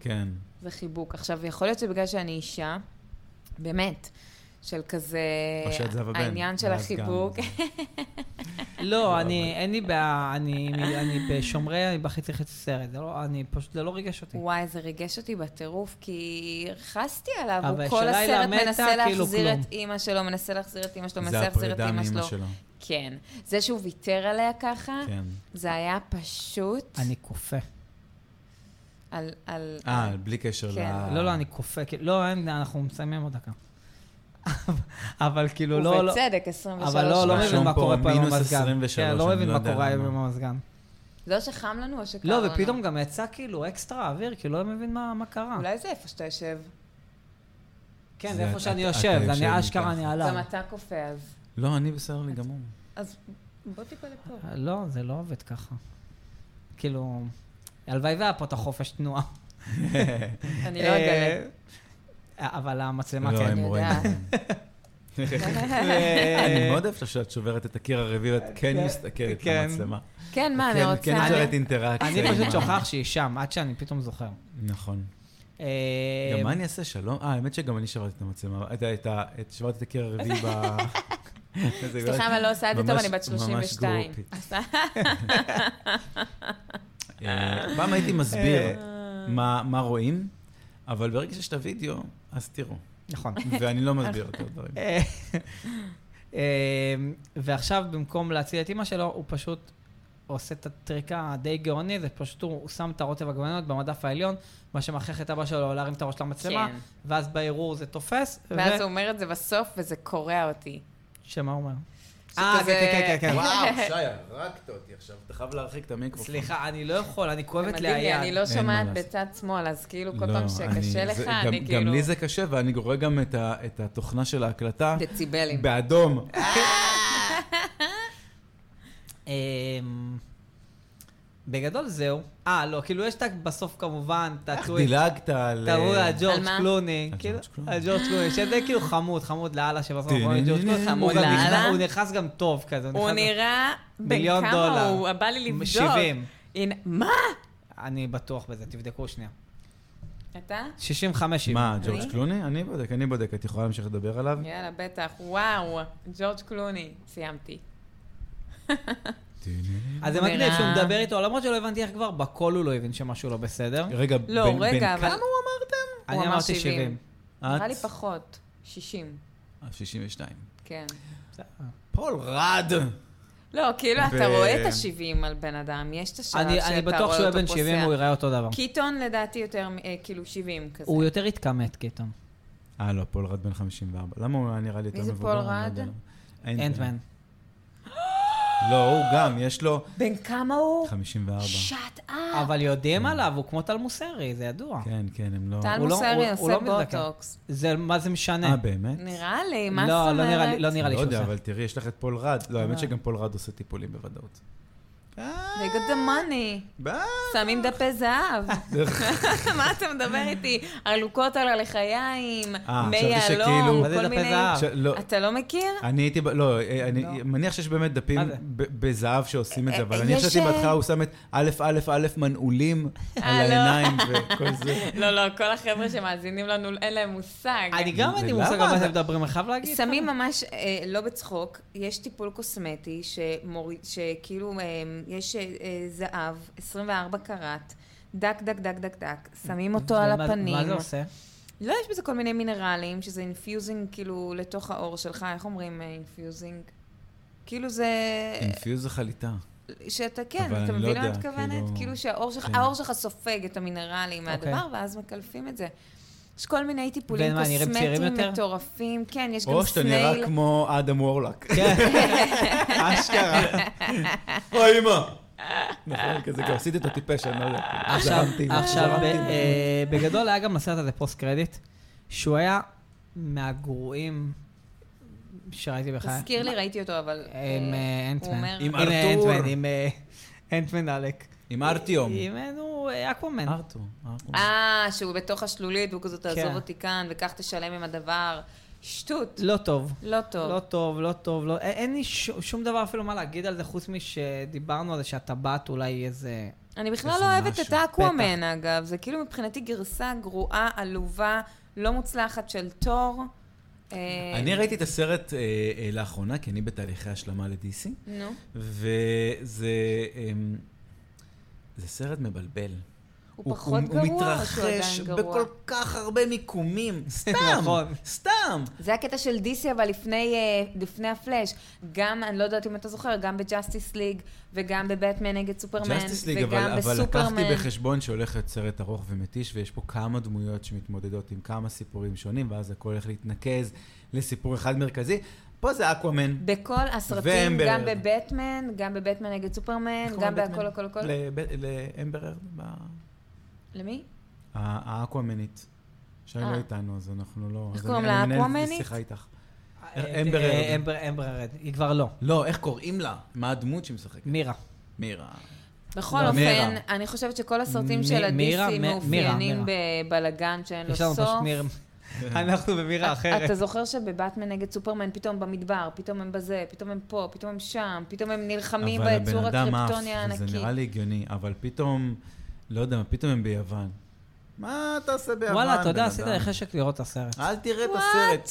כן. זה חיבוק. עכשיו, יכול להיות שבגלל שאני אישה, באמת, של כזה, או שאת זהבה בן. אה, העניין של ואז גם- החיבוק, לא, אני, אין לי בעיה, אני אני בשומרי, אני בחצי חצי סרט, זה לא, אני פשוט, זה לא ריגש אותי. וואי, זה ריגש אותי בטירוף, כי רחסתי עליו, אבל הוא כל השאלה היא הסרט למטה, מנסה כאילו להחזיר כלום. את אימא שלו, מנסה להחזיר את אימא שלו, מנסה זה להחזיר את הפרידה אימא מאמא שלו. אה. שלו. כן. זה שהוא ויתר עליה ככה, כן. זה היה פשוט אני כופה. על... על... אה, בלי קשר ל... כן. לא, לא, אני כופה, כי- לא, אין, אנחנו מסיימים עוד דקה. אבל כאילו, לא, לא, ובצדק, 23 אבל לא, לא שנה. מבין רשום מה פה קורה פה עם מינוס המזגן. 23, כן, לא אני מבין לא מה יודע קורה היום למה. עם המזגן. לא שחם לנו או שקר לא, לנו. ופתאום גם יצא כאילו אקסטרה אוויר, כאילו לא מבין מה מה קרה. אולי זה איפה שאתה יושב. כן, זה זה איפה את- שאני את- אתה יושב, זה יושב אני אשכרה, מתחת. אני גם עליו. אתה קופא אז. לא, אני בסדר לי גמור. אז בוא טיפה לפה. לא, זה לא עובד ככה. כאילו, הלוואי והיה פה את החופש תנועה. אני לא אגלה. אה, אבל המצלמה לא, כן. הם רואים. יודעת. אה, אני מאוד אוהב שאת שוברת את הקיר הרביעי ואת כן כן, מסתכלת כן. למצלמה. כן, מה, אני כן, כן רוצה... יוצרת אינטראקציה. אני עם פשוט ה- שוכח שהיא שם, עד שאני פתאום זוכר. נכון. אה, גם מה אני אעשה שלום? אה, האמת שגם אני שברתי את המצלמה, את ה- את ה... את- שברתי את הקיר הרביעי ב... איזה סליחה, אבל לא עושה את זה טוב, ממש- אני בת ממש 32. גרופית. עשה- לא- אה, כן. אה. פעם הייתי מסביר מה מה רואים, אבל ברגע שיש את הוידאו, אז תראו. נכון. ואני לא מסביר את הדברים. אה, אה, ועכשיו, במקום להציל את אימא שלו, הוא פשוט עושה את הטריק הדי גאוני, זה פשוט הוא הוא שם את הרוטב עגבניות במדף העליון, מה שמכריח את אבא שלו להרים את הראש למצלמה, כן. ואז בערעור זה תופס, ואז הוא אומר את זה בסוף, וזה קורע אותי. שמה הוא אומר? כן, שכזה- אה. וואו, שי, הרגת אותי עכשיו, אתה חייב להרחיק את המיקרופון. סליחה, אני לא יכול, אני זה כואבת לי מדהים לי, אני היד. לא אין מה שומעת לעשות. בצד שמאל, אז כאילו כל לא, פעם שקשה אני- לך, זה- אני גם- כאילו... גם לי זה קשה, ואני רואה גם את ה- את התוכנה של ההקלטה דציבלים. אה, באדום. אמ, בגדול זהו. אה, לא, כאילו יש את ה- בסוף כמובן, את איך הטוויט. דילגת על... אה, תראו על על ג'ורג' מה? קלוני, על כאילו, ג'ורג' קלוני. על ג'ורג' קלוני, שזה כאילו חמוד, חמוד לאללה שבסוף טי- רואים את ג'ורג' קלוני, חמוד הוא גם נכנס- לאללה. הוא נכנס גם טוב כזה, הוא נכנס- נראה... מיליון בן כמה דולר. הוא? בא לי לבדוק. 70. הנה- מה? אני בטוח בזה, תבדקו שנייה. אתה? 65 מה, אני? ג'ורג' קלוני? אני בודק, אני בודק. את יכולה להמשיך לדבר עליו? יאללה, בטח. וואו, ג'ורג' קלוני. סיימתי. אז זה הוא מגניב נראה- שהוא מדבר איתו, למרות שלא הבנתי איך כבר, בקול הוא לא הבין שמשהו לא בסדר. רגע, בן... לא, רגע, אבל... בן הוא אמרתם? אני אמרתי 70. כמה? נראה לי את? פחות. 60. אה, 62. כן. פול רד! לא, כאילו, אתה ו- רואה את ה-70 על בן אדם, יש את השלב אני שאתה רואה אני אותו פוסע. בטוח שהוא יהיה בן 70, הוא יראה אותו דבר. קיטון לדעתי יותר, מ- אה, כאילו, 70 כזה. הוא יותר התכמת, קיטון. אה, לא, פול רד בן 54. למה הוא היה נראה לי יותר מי זה מבוגר? פול אני לא רד? יודע. אנטמן. אנטמן. לא, הוא גם, יש לו בן כמה הוא? 54. שאט אפ. אבל יודעים עליו, הוא כמו טל מוסרי, זה ידוע. כן, כן, הם לא... טל הוא לא- מוסרי הוא- הוא עושה לא מזדקן. בוטוקס. זה, מה זה משנה? אה, באמת? נראה לי, מה זאת לא, אומרת? לא נראה לי- לא נראה לי לא שהוא יודע, עושה. אבל תראי, יש לך את פול רד. לא, האמת אה. שגם פול רד עושה טיפולים בוודאות. אה, They got the money. ביי! שמים דפי זהב. מה אתה מדבר איתי? עלוקות על הלחיים, אה, מי חשבתי יהלום, שכאילו- מה זה כל דפי מיני... זהב? ש- לא, אתה לא מכיר? אני הייתי, ב- לא, אה, אני לא. מניח שיש באמת דפים מה זה? ב- בזהב שעושים את זה, אה, אבל אה, אני יש, חשבתי אה, בהתחלה הוא שם את א', א', א', מנעולים על אה, לא. העיניים וכל זה. לא, לא, כל החבר'ה שמאזינים לנו, אין להם מושג. אה. אני גם אין לי למה? מושג על מה אתם מדברים, אני חייב להגיד. שמים ממש, אה, לא בצחוק, יש טיפול קוסמטי שמוריד, שכאילו אה, יש אה, אה, זהב, 24 קראט, דק, דק, דק, דק, דק, שמים אותו על ומה- הפנים. מה זה עושה? לא, יש בזה כל מיני מינרלים, שזה אינפיוזינג כאילו לתוך העור שלך, איך אומרים אינפיוזינג? כאילו זה... אינפיוז זה חליטה. שאתה כן, אבל אתה אני לא מבין למה יודע, את מתכוונת? כאילו- כאילו שהעור שלך, כן. העור שלך סופג את המינרלים אוקיי. מהדבר, ואז מקלפים את זה. יש כל מיני טיפולים ומה, נראים צעירים קוסמטיים יותר? מטורפים, כן, יש גם או שאתה נראה סנייל. כמו אדם וורלק. כן, אשכרה. או אימא. נכון, כזה כבר עשיתי אותו טיפש, אני לא יודע. עכשיו, זרמתי, עכשיו, זרמתי. ב- אה, בגדול היה גם לסרט הזה פוסט קרדיט, שהוא היה מהגרועים שראיתי בחיי. תזכיר לי, ראיתי אותו, אבל... עם אה, הוא אנטמן. אומר- עם אה, ארתור. אנטמן, עם אה, אנטמן עלק. עם ארטיום. עם, אה, נו, אה, אקוומן. ארתור. ארתור. כן. אה, שהוא בתוך השלולית, והוא כזה, תעזוב כן. אותי כאן, וכך תשלם עם הדבר. שטות. לא טוב. לא טוב. לא טוב, לא טוב, לא... א- אין לי ש... שום דבר אפילו מה להגיד על זה, חוץ משדיברנו על זה שהטבעת אולי איזה... אני בכלל איזה לא אוהבת את משהו. האקוואמן, אגב. זה כאילו מבחינתי גרסה גרועה, עלובה, לא מוצלחת של תור. אה, אני ראיתי את הסרט אה, אה, לאחרונה, כי אני בתהליכי השלמה ל-DC, נו. וזה אמ, זה סרט מבלבל. הוא פחות גרוע או שהוא עדיין מתרחש גרוע? בכל כך הרבה מיקומים. סתם, נכון. סתם. זה הקטע של DC, אבל לפני, אה, לפני הפלאש. גם, אני לא יודעת אם אתה זוכר, גם בג'אסטיס ליג, וגם בבטמן נגד סופרמן, ג'סטיס ליג, אבל, וגם אבל לקחתי בסופרמן. בחשבון שהולך להיות סרט ארוך ומתיש, ויש פה כמה דמויות שמתמודדות עם כמה סיפורים שונים, ואז הכל הולך להתנקז לסיפור אחד מרכזי. פה זה אקוואמן. בכל הסרטים, ואמבר גם הרד. בבטמן, גם בבטמן נגד סופרמן, איך גם קוראים בהכל לבטמן? הכל הכל. לב- לאמבר ארד, ב- למי? ה- האקוואמנית. שהיא אה. לא איתנו, אז אנחנו לא... איך אז קוראים אני- לה, אני מנהל האקוואמנית? שיחה איתך. אה, אמבר אה, הרד. אמבר- אמבר הרד. היא כבר לא. לא, איך קוראים לה? מה הדמות שמשחקת? מירה. מירה. בכל לא, מירה. אופן, אני חושבת שכל הסרטים מ- של מירה, ה-DC מ- מירה, מאופיינים בבלגן שאין לו יש לנו סוף. אה, פשוט מיר... אנחנו במירה אחרת. אתה זוכר שבבטמן נגד סופרמן פתאום במדבר, פתאום הם בזה, פתאום הם פה, פתאום הם שם, פתאום הם נלחמים אבל הבן ביצור אדם עף, הקריפטוני הענקי. זה נראה לי הגיוני, אבל פתאום, לא יודע, מה, פתאום הם ביוון. מה אתה עושה ביוון, וואלה, אתה יודע, בן עשית אדם? אה, לי חשק לראות את הסרט. אל תראה את הסרט.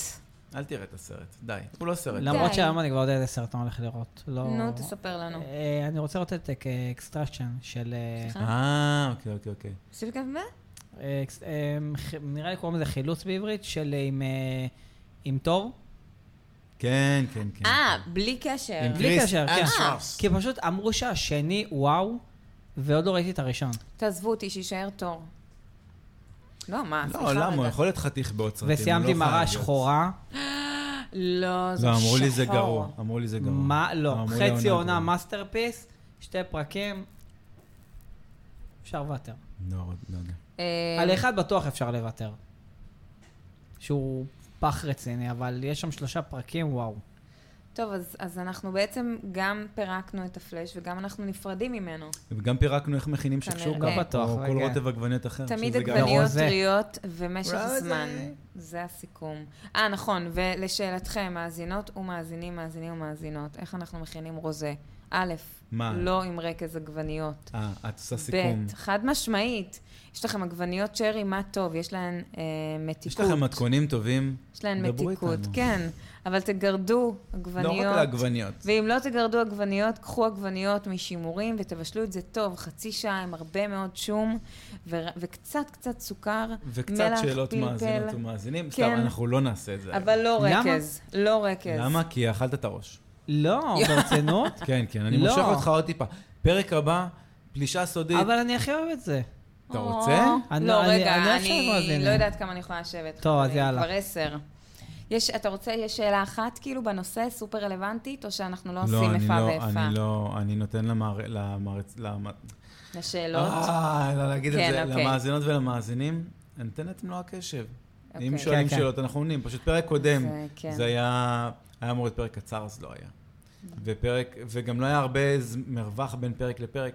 אל תראה את הסרט. די, הוא לא סרט. למרות די. שהיום אני כבר יודע איזה סרט אני הולך לראות. לא... נו, תספר לנו. אה, אני רוצה לראות את אקסטרשן של... אה, סליחה? אה, אוקיי, אוקיי, אוקיי. כן, סיליקון ומה? אה, כס- אה, ח- נראה לי קוראים לזה חילוץ בעברית, של אה, עם, אה, עם תור. כן, כן, כן. אה, בלי קשר. עם בלי קריס קשר, כן. אנשוורס. כי פשוט אמרו שהשני, וואו, ועוד לא ראיתי את הראשון. תעזבו אותי, שיישאר תור. לא, מה, לא, למה? הוא יכול להיות חתיך בעוד סרטים. הוא וסיימתי עם לא חייב מראה להיות. שחורה. לא, זה לא, אמרו לי זה שחור. גרוע. אמרו לי זה גרוע. מה, לא, אמרו לי חצי עונה גרועה. מאסטרפיס, שתי פרקים, אפשר לוותר. לא, לא יודע. אה, על אחד בטוח אפשר לוותר. שהוא פח רציני, אבל יש שם שלושה פרקים, וואו. טוב, אז, אז אנחנו בעצם גם פירקנו את הפלאש וגם אנחנו נפרדים ממנו. וגם פירקנו איך מכינים כנראה. שקשוקה. לא בטוח, או כל רגע. רוטב עגבניות אחר. תמיד כן, שזה גם- לא עגבניות רוזה. טריות ומשך רוזה. זמן. זה הסיכום. אה, נכון, ולשאלתכם, מאזינות ומאזינים, מאזינים ומאזינות, איך אנחנו מכינים רוזה? א', מה? לא עם רקז עגבניות. אה, את עושה סיכום. ב', חד משמעית. יש לכם עגבניות שרי, מה טוב, יש להן אה, יש מתיקות. לכם מתכונים טובים? יש להן דברו מתיקות, איתנו. כן. אבל תגרדו לא עגבניות. רק לעגבניות. ואם לא תגרדו עגבניות, קחו עגבניות משימורים ותבשלו את זה טוב, חצי שעה עם הרבה מאוד שום ו- וקצת קצת סוכר, וקצת מלח, שאלות פלפל. מאזינות ומאזינים. סתם, כן. אנחנו לא נעשה את זה. כן. אבל לא למה? רקז. לא רקז. למה? כי אכלת את הראש. לא, ברצינות? כן, כן, אני לא. מושך אותך עוד טיפה. פרק הבא, פלישה סודית. אבל אני הכי אוהב את זה. אתה רוצה? אני- לא, אני- רגע, אני אני, עכשיו מאזינת. לא יודעת כמה אני יכולה לשבת. טוב, אז חברים, יאללה. כבר עשר. יש, אתה רוצה, יש שאלה אחת כאילו בנושא סופר רלוונטית, או שאנחנו לא לא, עושים אני איפה לא, ואיפה? אני לא, אני נותן למער- למערץ, למ- לשאלות? אה, לא להגיד את כן, זה, אוקיי. למאזינות ולמאזינים, אני נותן את מלוא הקשב. אם אוקיי. שואלים כן, כן. שאלות, אנחנו עונים. פשוט פרק קודם, זה, כן. זה היה, היה אמור להיות פרק קצר, אז לא היה. ופרק, וגם לא היה הרבה ז- מרווח בין פרק לפרק.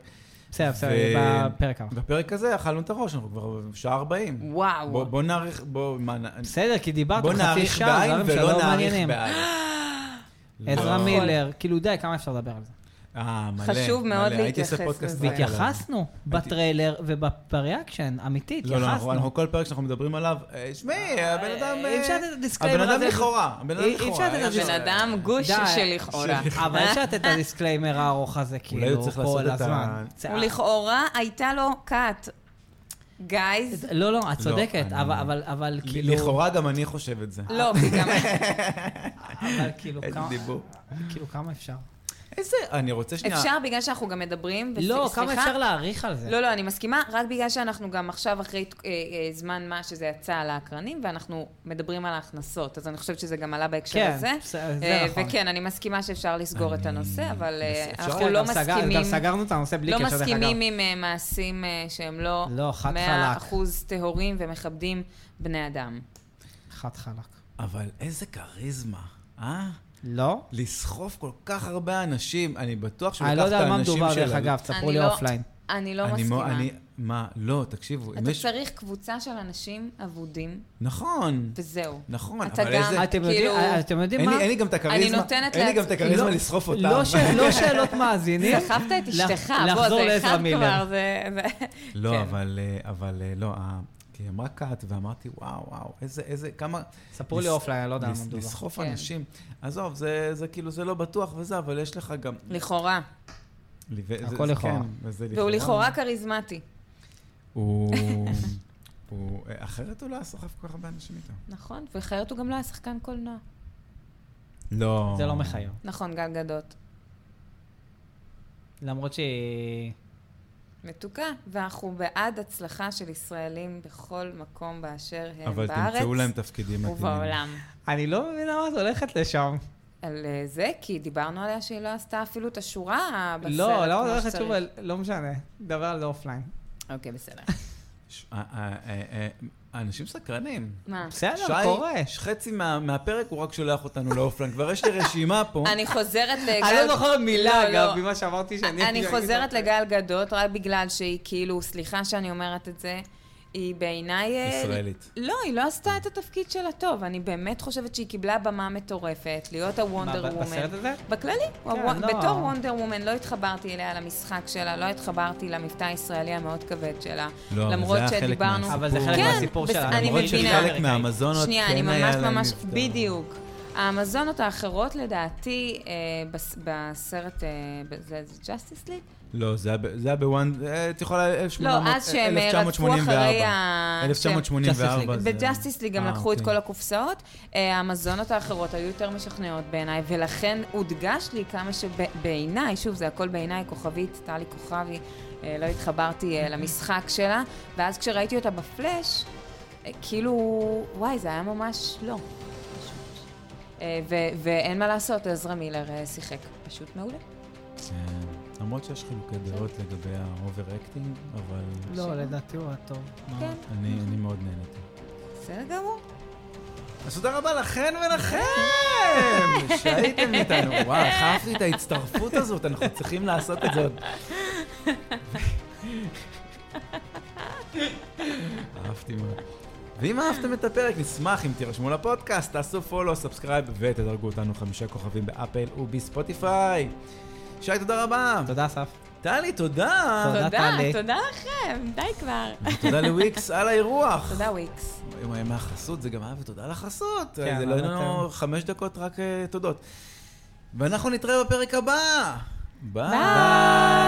בסדר, בסדר, ו- בפרק הבא. בפרק הזה אכלנו את הראש, אנחנו כבר שעה 40. וואו. בוא, בוא נעריך, בוא, מה, נ- בסדר, כי דיברתם בוא חצי נעריך שעה, בעין דברים ולא שלא נעריך מעניינים. בעין. לא. עזרא מילר, כאילו די, כמה אפשר לדבר על זה? אה, מלא. חשוב מלא. מאוד הייתי עושה להתייחס פודקאסט לזה. רק עליו. והתייחסנו בטריילר ובריאקשן, אמיתי, לא, לא, אנחנו התייחסנו. אנחנו כל פרק שאנחנו מדברים עליו, אה, שמעי, הבן אדם... אי אה, אפשר לתת את הדיסקליימר הבן אדם הזה. לכאורה, הבן אדם אי- אי לכאורה. אה, אפשר לתת את היה הבן אפשר- אדם גוש די. שלכאורה. אבל אפשר לתת את הדיסקליימר הארוך הזה, אולי כאילו, הוא צריך לעשות כל את ה- הזמן. הוא לכאורה הייתה לו כת. גייז, לא, לא, את צודקת, אני- אבל- אבל- אבל ל- כאילו... לכאורה גם אני חושב את זה. אה. לא, כי גם... אבל כאילו, איזה כמה- דיבור. כאילו, כמה אפשר? איזה... אני רוצה שנייה... אפשר בגלל שאנחנו גם מדברים, וס- לא, סליחה- כמה אפשר להעריך על זה? לא, לא, אני מסכימה, רק בגלל שאנחנו גם עכשיו אחרי ת- אה, אה, זמן מה שזה יצא על האקרנים, ואנחנו מדברים על ההכנסות, אז אני חושבת שזה גם עלה בהקשר כן, הזה. זה- זה אה, נכון. וכן, אני מסכימה שאפשר לסגור את הנושא, אבל אה, אפשר אנחנו כן, לא גם סגר- מסכימים... גם סגרנו את הנושא בלי לא קשר, דרך אגב. מסכימים עם אה, מעשים אה, שהם לא לא, חד 100% טהורים ומכבדים בני אדם. חד חלק. אבל איזה כריזמה, אה? לא? לסחוף כל כך הרבה אנשים, אני בטוח שהוא אני לקח לא את האנשים יודע על מה מדובר, שלו. דרך אגב, תספרו אני לי לא- אופליין. אני לא אני מאוד- מסכימה. אני... מה? לא, תקשיבו. אם אתה יש- צריך קבוצה של אנשים אבודים, נכון. וזהו. נכון, אתה אבל גם- איזה... אתם יודעים- אה, כאילו- אתם יודעים אין מה? לי- אין לי גם את הכריזמה. נותנת אין לי גם את לעצמי- הכריזמה לא- לסחוף אותם. לא ש- לא שאלות מאזינים. סחבת את לח- אשתך, בוא, לחזור זה לעזרא אחד מילר. כבר, זה... זה- לא, כן. אבל, אה, אבל אה, לא, אה, כי היא אמרה קאט, ואמרתי, וואו, וואו, איזה, איזה, כמה... ספרו לי לס- אופליין, אני לא יודע על מה לס- מדובר. לסחוף כן. אנשים. עזוב, זה, זה כאילו, זה לא בטוח וזה, אבל יש לך גם... לכאורה. לי- וזה- הכל זה- לכאורה. כן, וזה והוא לכאורה כריזמטי. הוא... הוא... אה, אחרת הוא לא היה סוחף כל כך הרבה אנשים איתו. נכון, ואחרת הוא גם לא היה שחקן קולנוע. לא. זה לא מחייב. נכון, גל גדות. למרות שהיא... מתוקה, ואנחנו בעד הצלחה של ישראלים בכל מקום באשר הם אבל בארץ תמצאו להם תפקידים מתאימים. ובעולם. אני לא מבינה מה את הולכת לשם. על אה, זה, כי דיברנו עליה שהיא לא עשתה אפילו את השורה בסרט. לא, למה את כמו הולכת שצריך. שוב על... לא משנה, דבר על זה אופליין. אוקיי, בסדר. ש- אה, אה, אה, אה, אנשים סקרנים. מה? בסדר, קורה. שי, חצי מה- מהפרק הוא רק שולח אותנו לאופלנד. כבר יש לי רשימה פה. אני חוזרת לגל... אני לא זוכר מילה, לא, לא. אגב, ממה שאמרתי שאני... אני חוזרת לגל גדות רק בגלל שהיא כאילו, סליחה שאני אומרת את זה, היא בעיניי... אה, ישראלית. לא, היא לא עשתה את התפקיד שלה טוב. אני באמת חושבת שהיא קיבלה במה מטורפת, להיות הוונדר מה, ב- וומן. בסרט הזה? בכללי. הוו- לא. בתור וונדר וומן לא התחברתי אליה למשחק שלה, לא התחברתי למבטא הישראלי המאוד כבד שלה. לא, אבל למרות זה היה חלק שדיברנו... מהסיפור. אבל זה חלק כן, מהסיפור בס- שלה. אני למרות מבינה. שחלק מהמזונות שנייה, כן אני היה ממש להם ממש... מבטא. בדיוק. האמזונות האחרות לדעתי אה, בס- בסרט, אה, ב- זה ג'סטיס ליג? לא, זה היה ב- זה היה בוואן, אה, את יכולה לא, 1800 אז שהם רדפו אחרי ה... 1984. כן. 1984. Justice League. זה- בג'סטיס ליג גם אה, לקחו את אוקיי. כל הקופסאות. אה, המזונות האחרות היו יותר משכנעות בעיניי, ולכן הודגש לי כמה שבעיניי, שוב, זה הכל בעיניי, כוכבית, טלי כוכבי, אה, לא התחברתי אה, למשחק שלה, ואז כשראיתי אותה בפלאש, אה, כאילו, וואי, זה היה ממש לא. פשוט. אה, ו- ואין מה לעשות, עזרא מילר אה, שיחק פשוט מעולה. כן. למרות שיש חילוקי דעות לגבי האובר אקטינג, אבל לא, שאלה. לדעתי הוא היה טוב. כן, אני אני מאוד נהניתי. בסדר גמור. אז תודה רבה לכן ולכם שהייתם איתנו. וואי, איך אהבתי את ההצטרפות הזאת, אנחנו צריכים לעשות את זה עוד. אהבתי מאוד. ואם אהבתם את הפרק, נשמח אם תירשמו לפודקאסט, תעשו פולו, סאבסקרייב ותדרגו אותנו חמישה כוכבים באפל ובספוטיפיי. שי, תודה רבה. תודה, אסף. טלי, תודה. תודה, תודה, טלי. תודה לכם, די כבר. תודה לוויקס על האירוח. תודה, וויקס. אם היה מהחסות, זה גם היה ותודה על החסות. כן, זה לא אבל לנו אתם- חמש דקות, רק אה, תודות. ואנחנו נתראה בפרק הבא. ביי. ביי.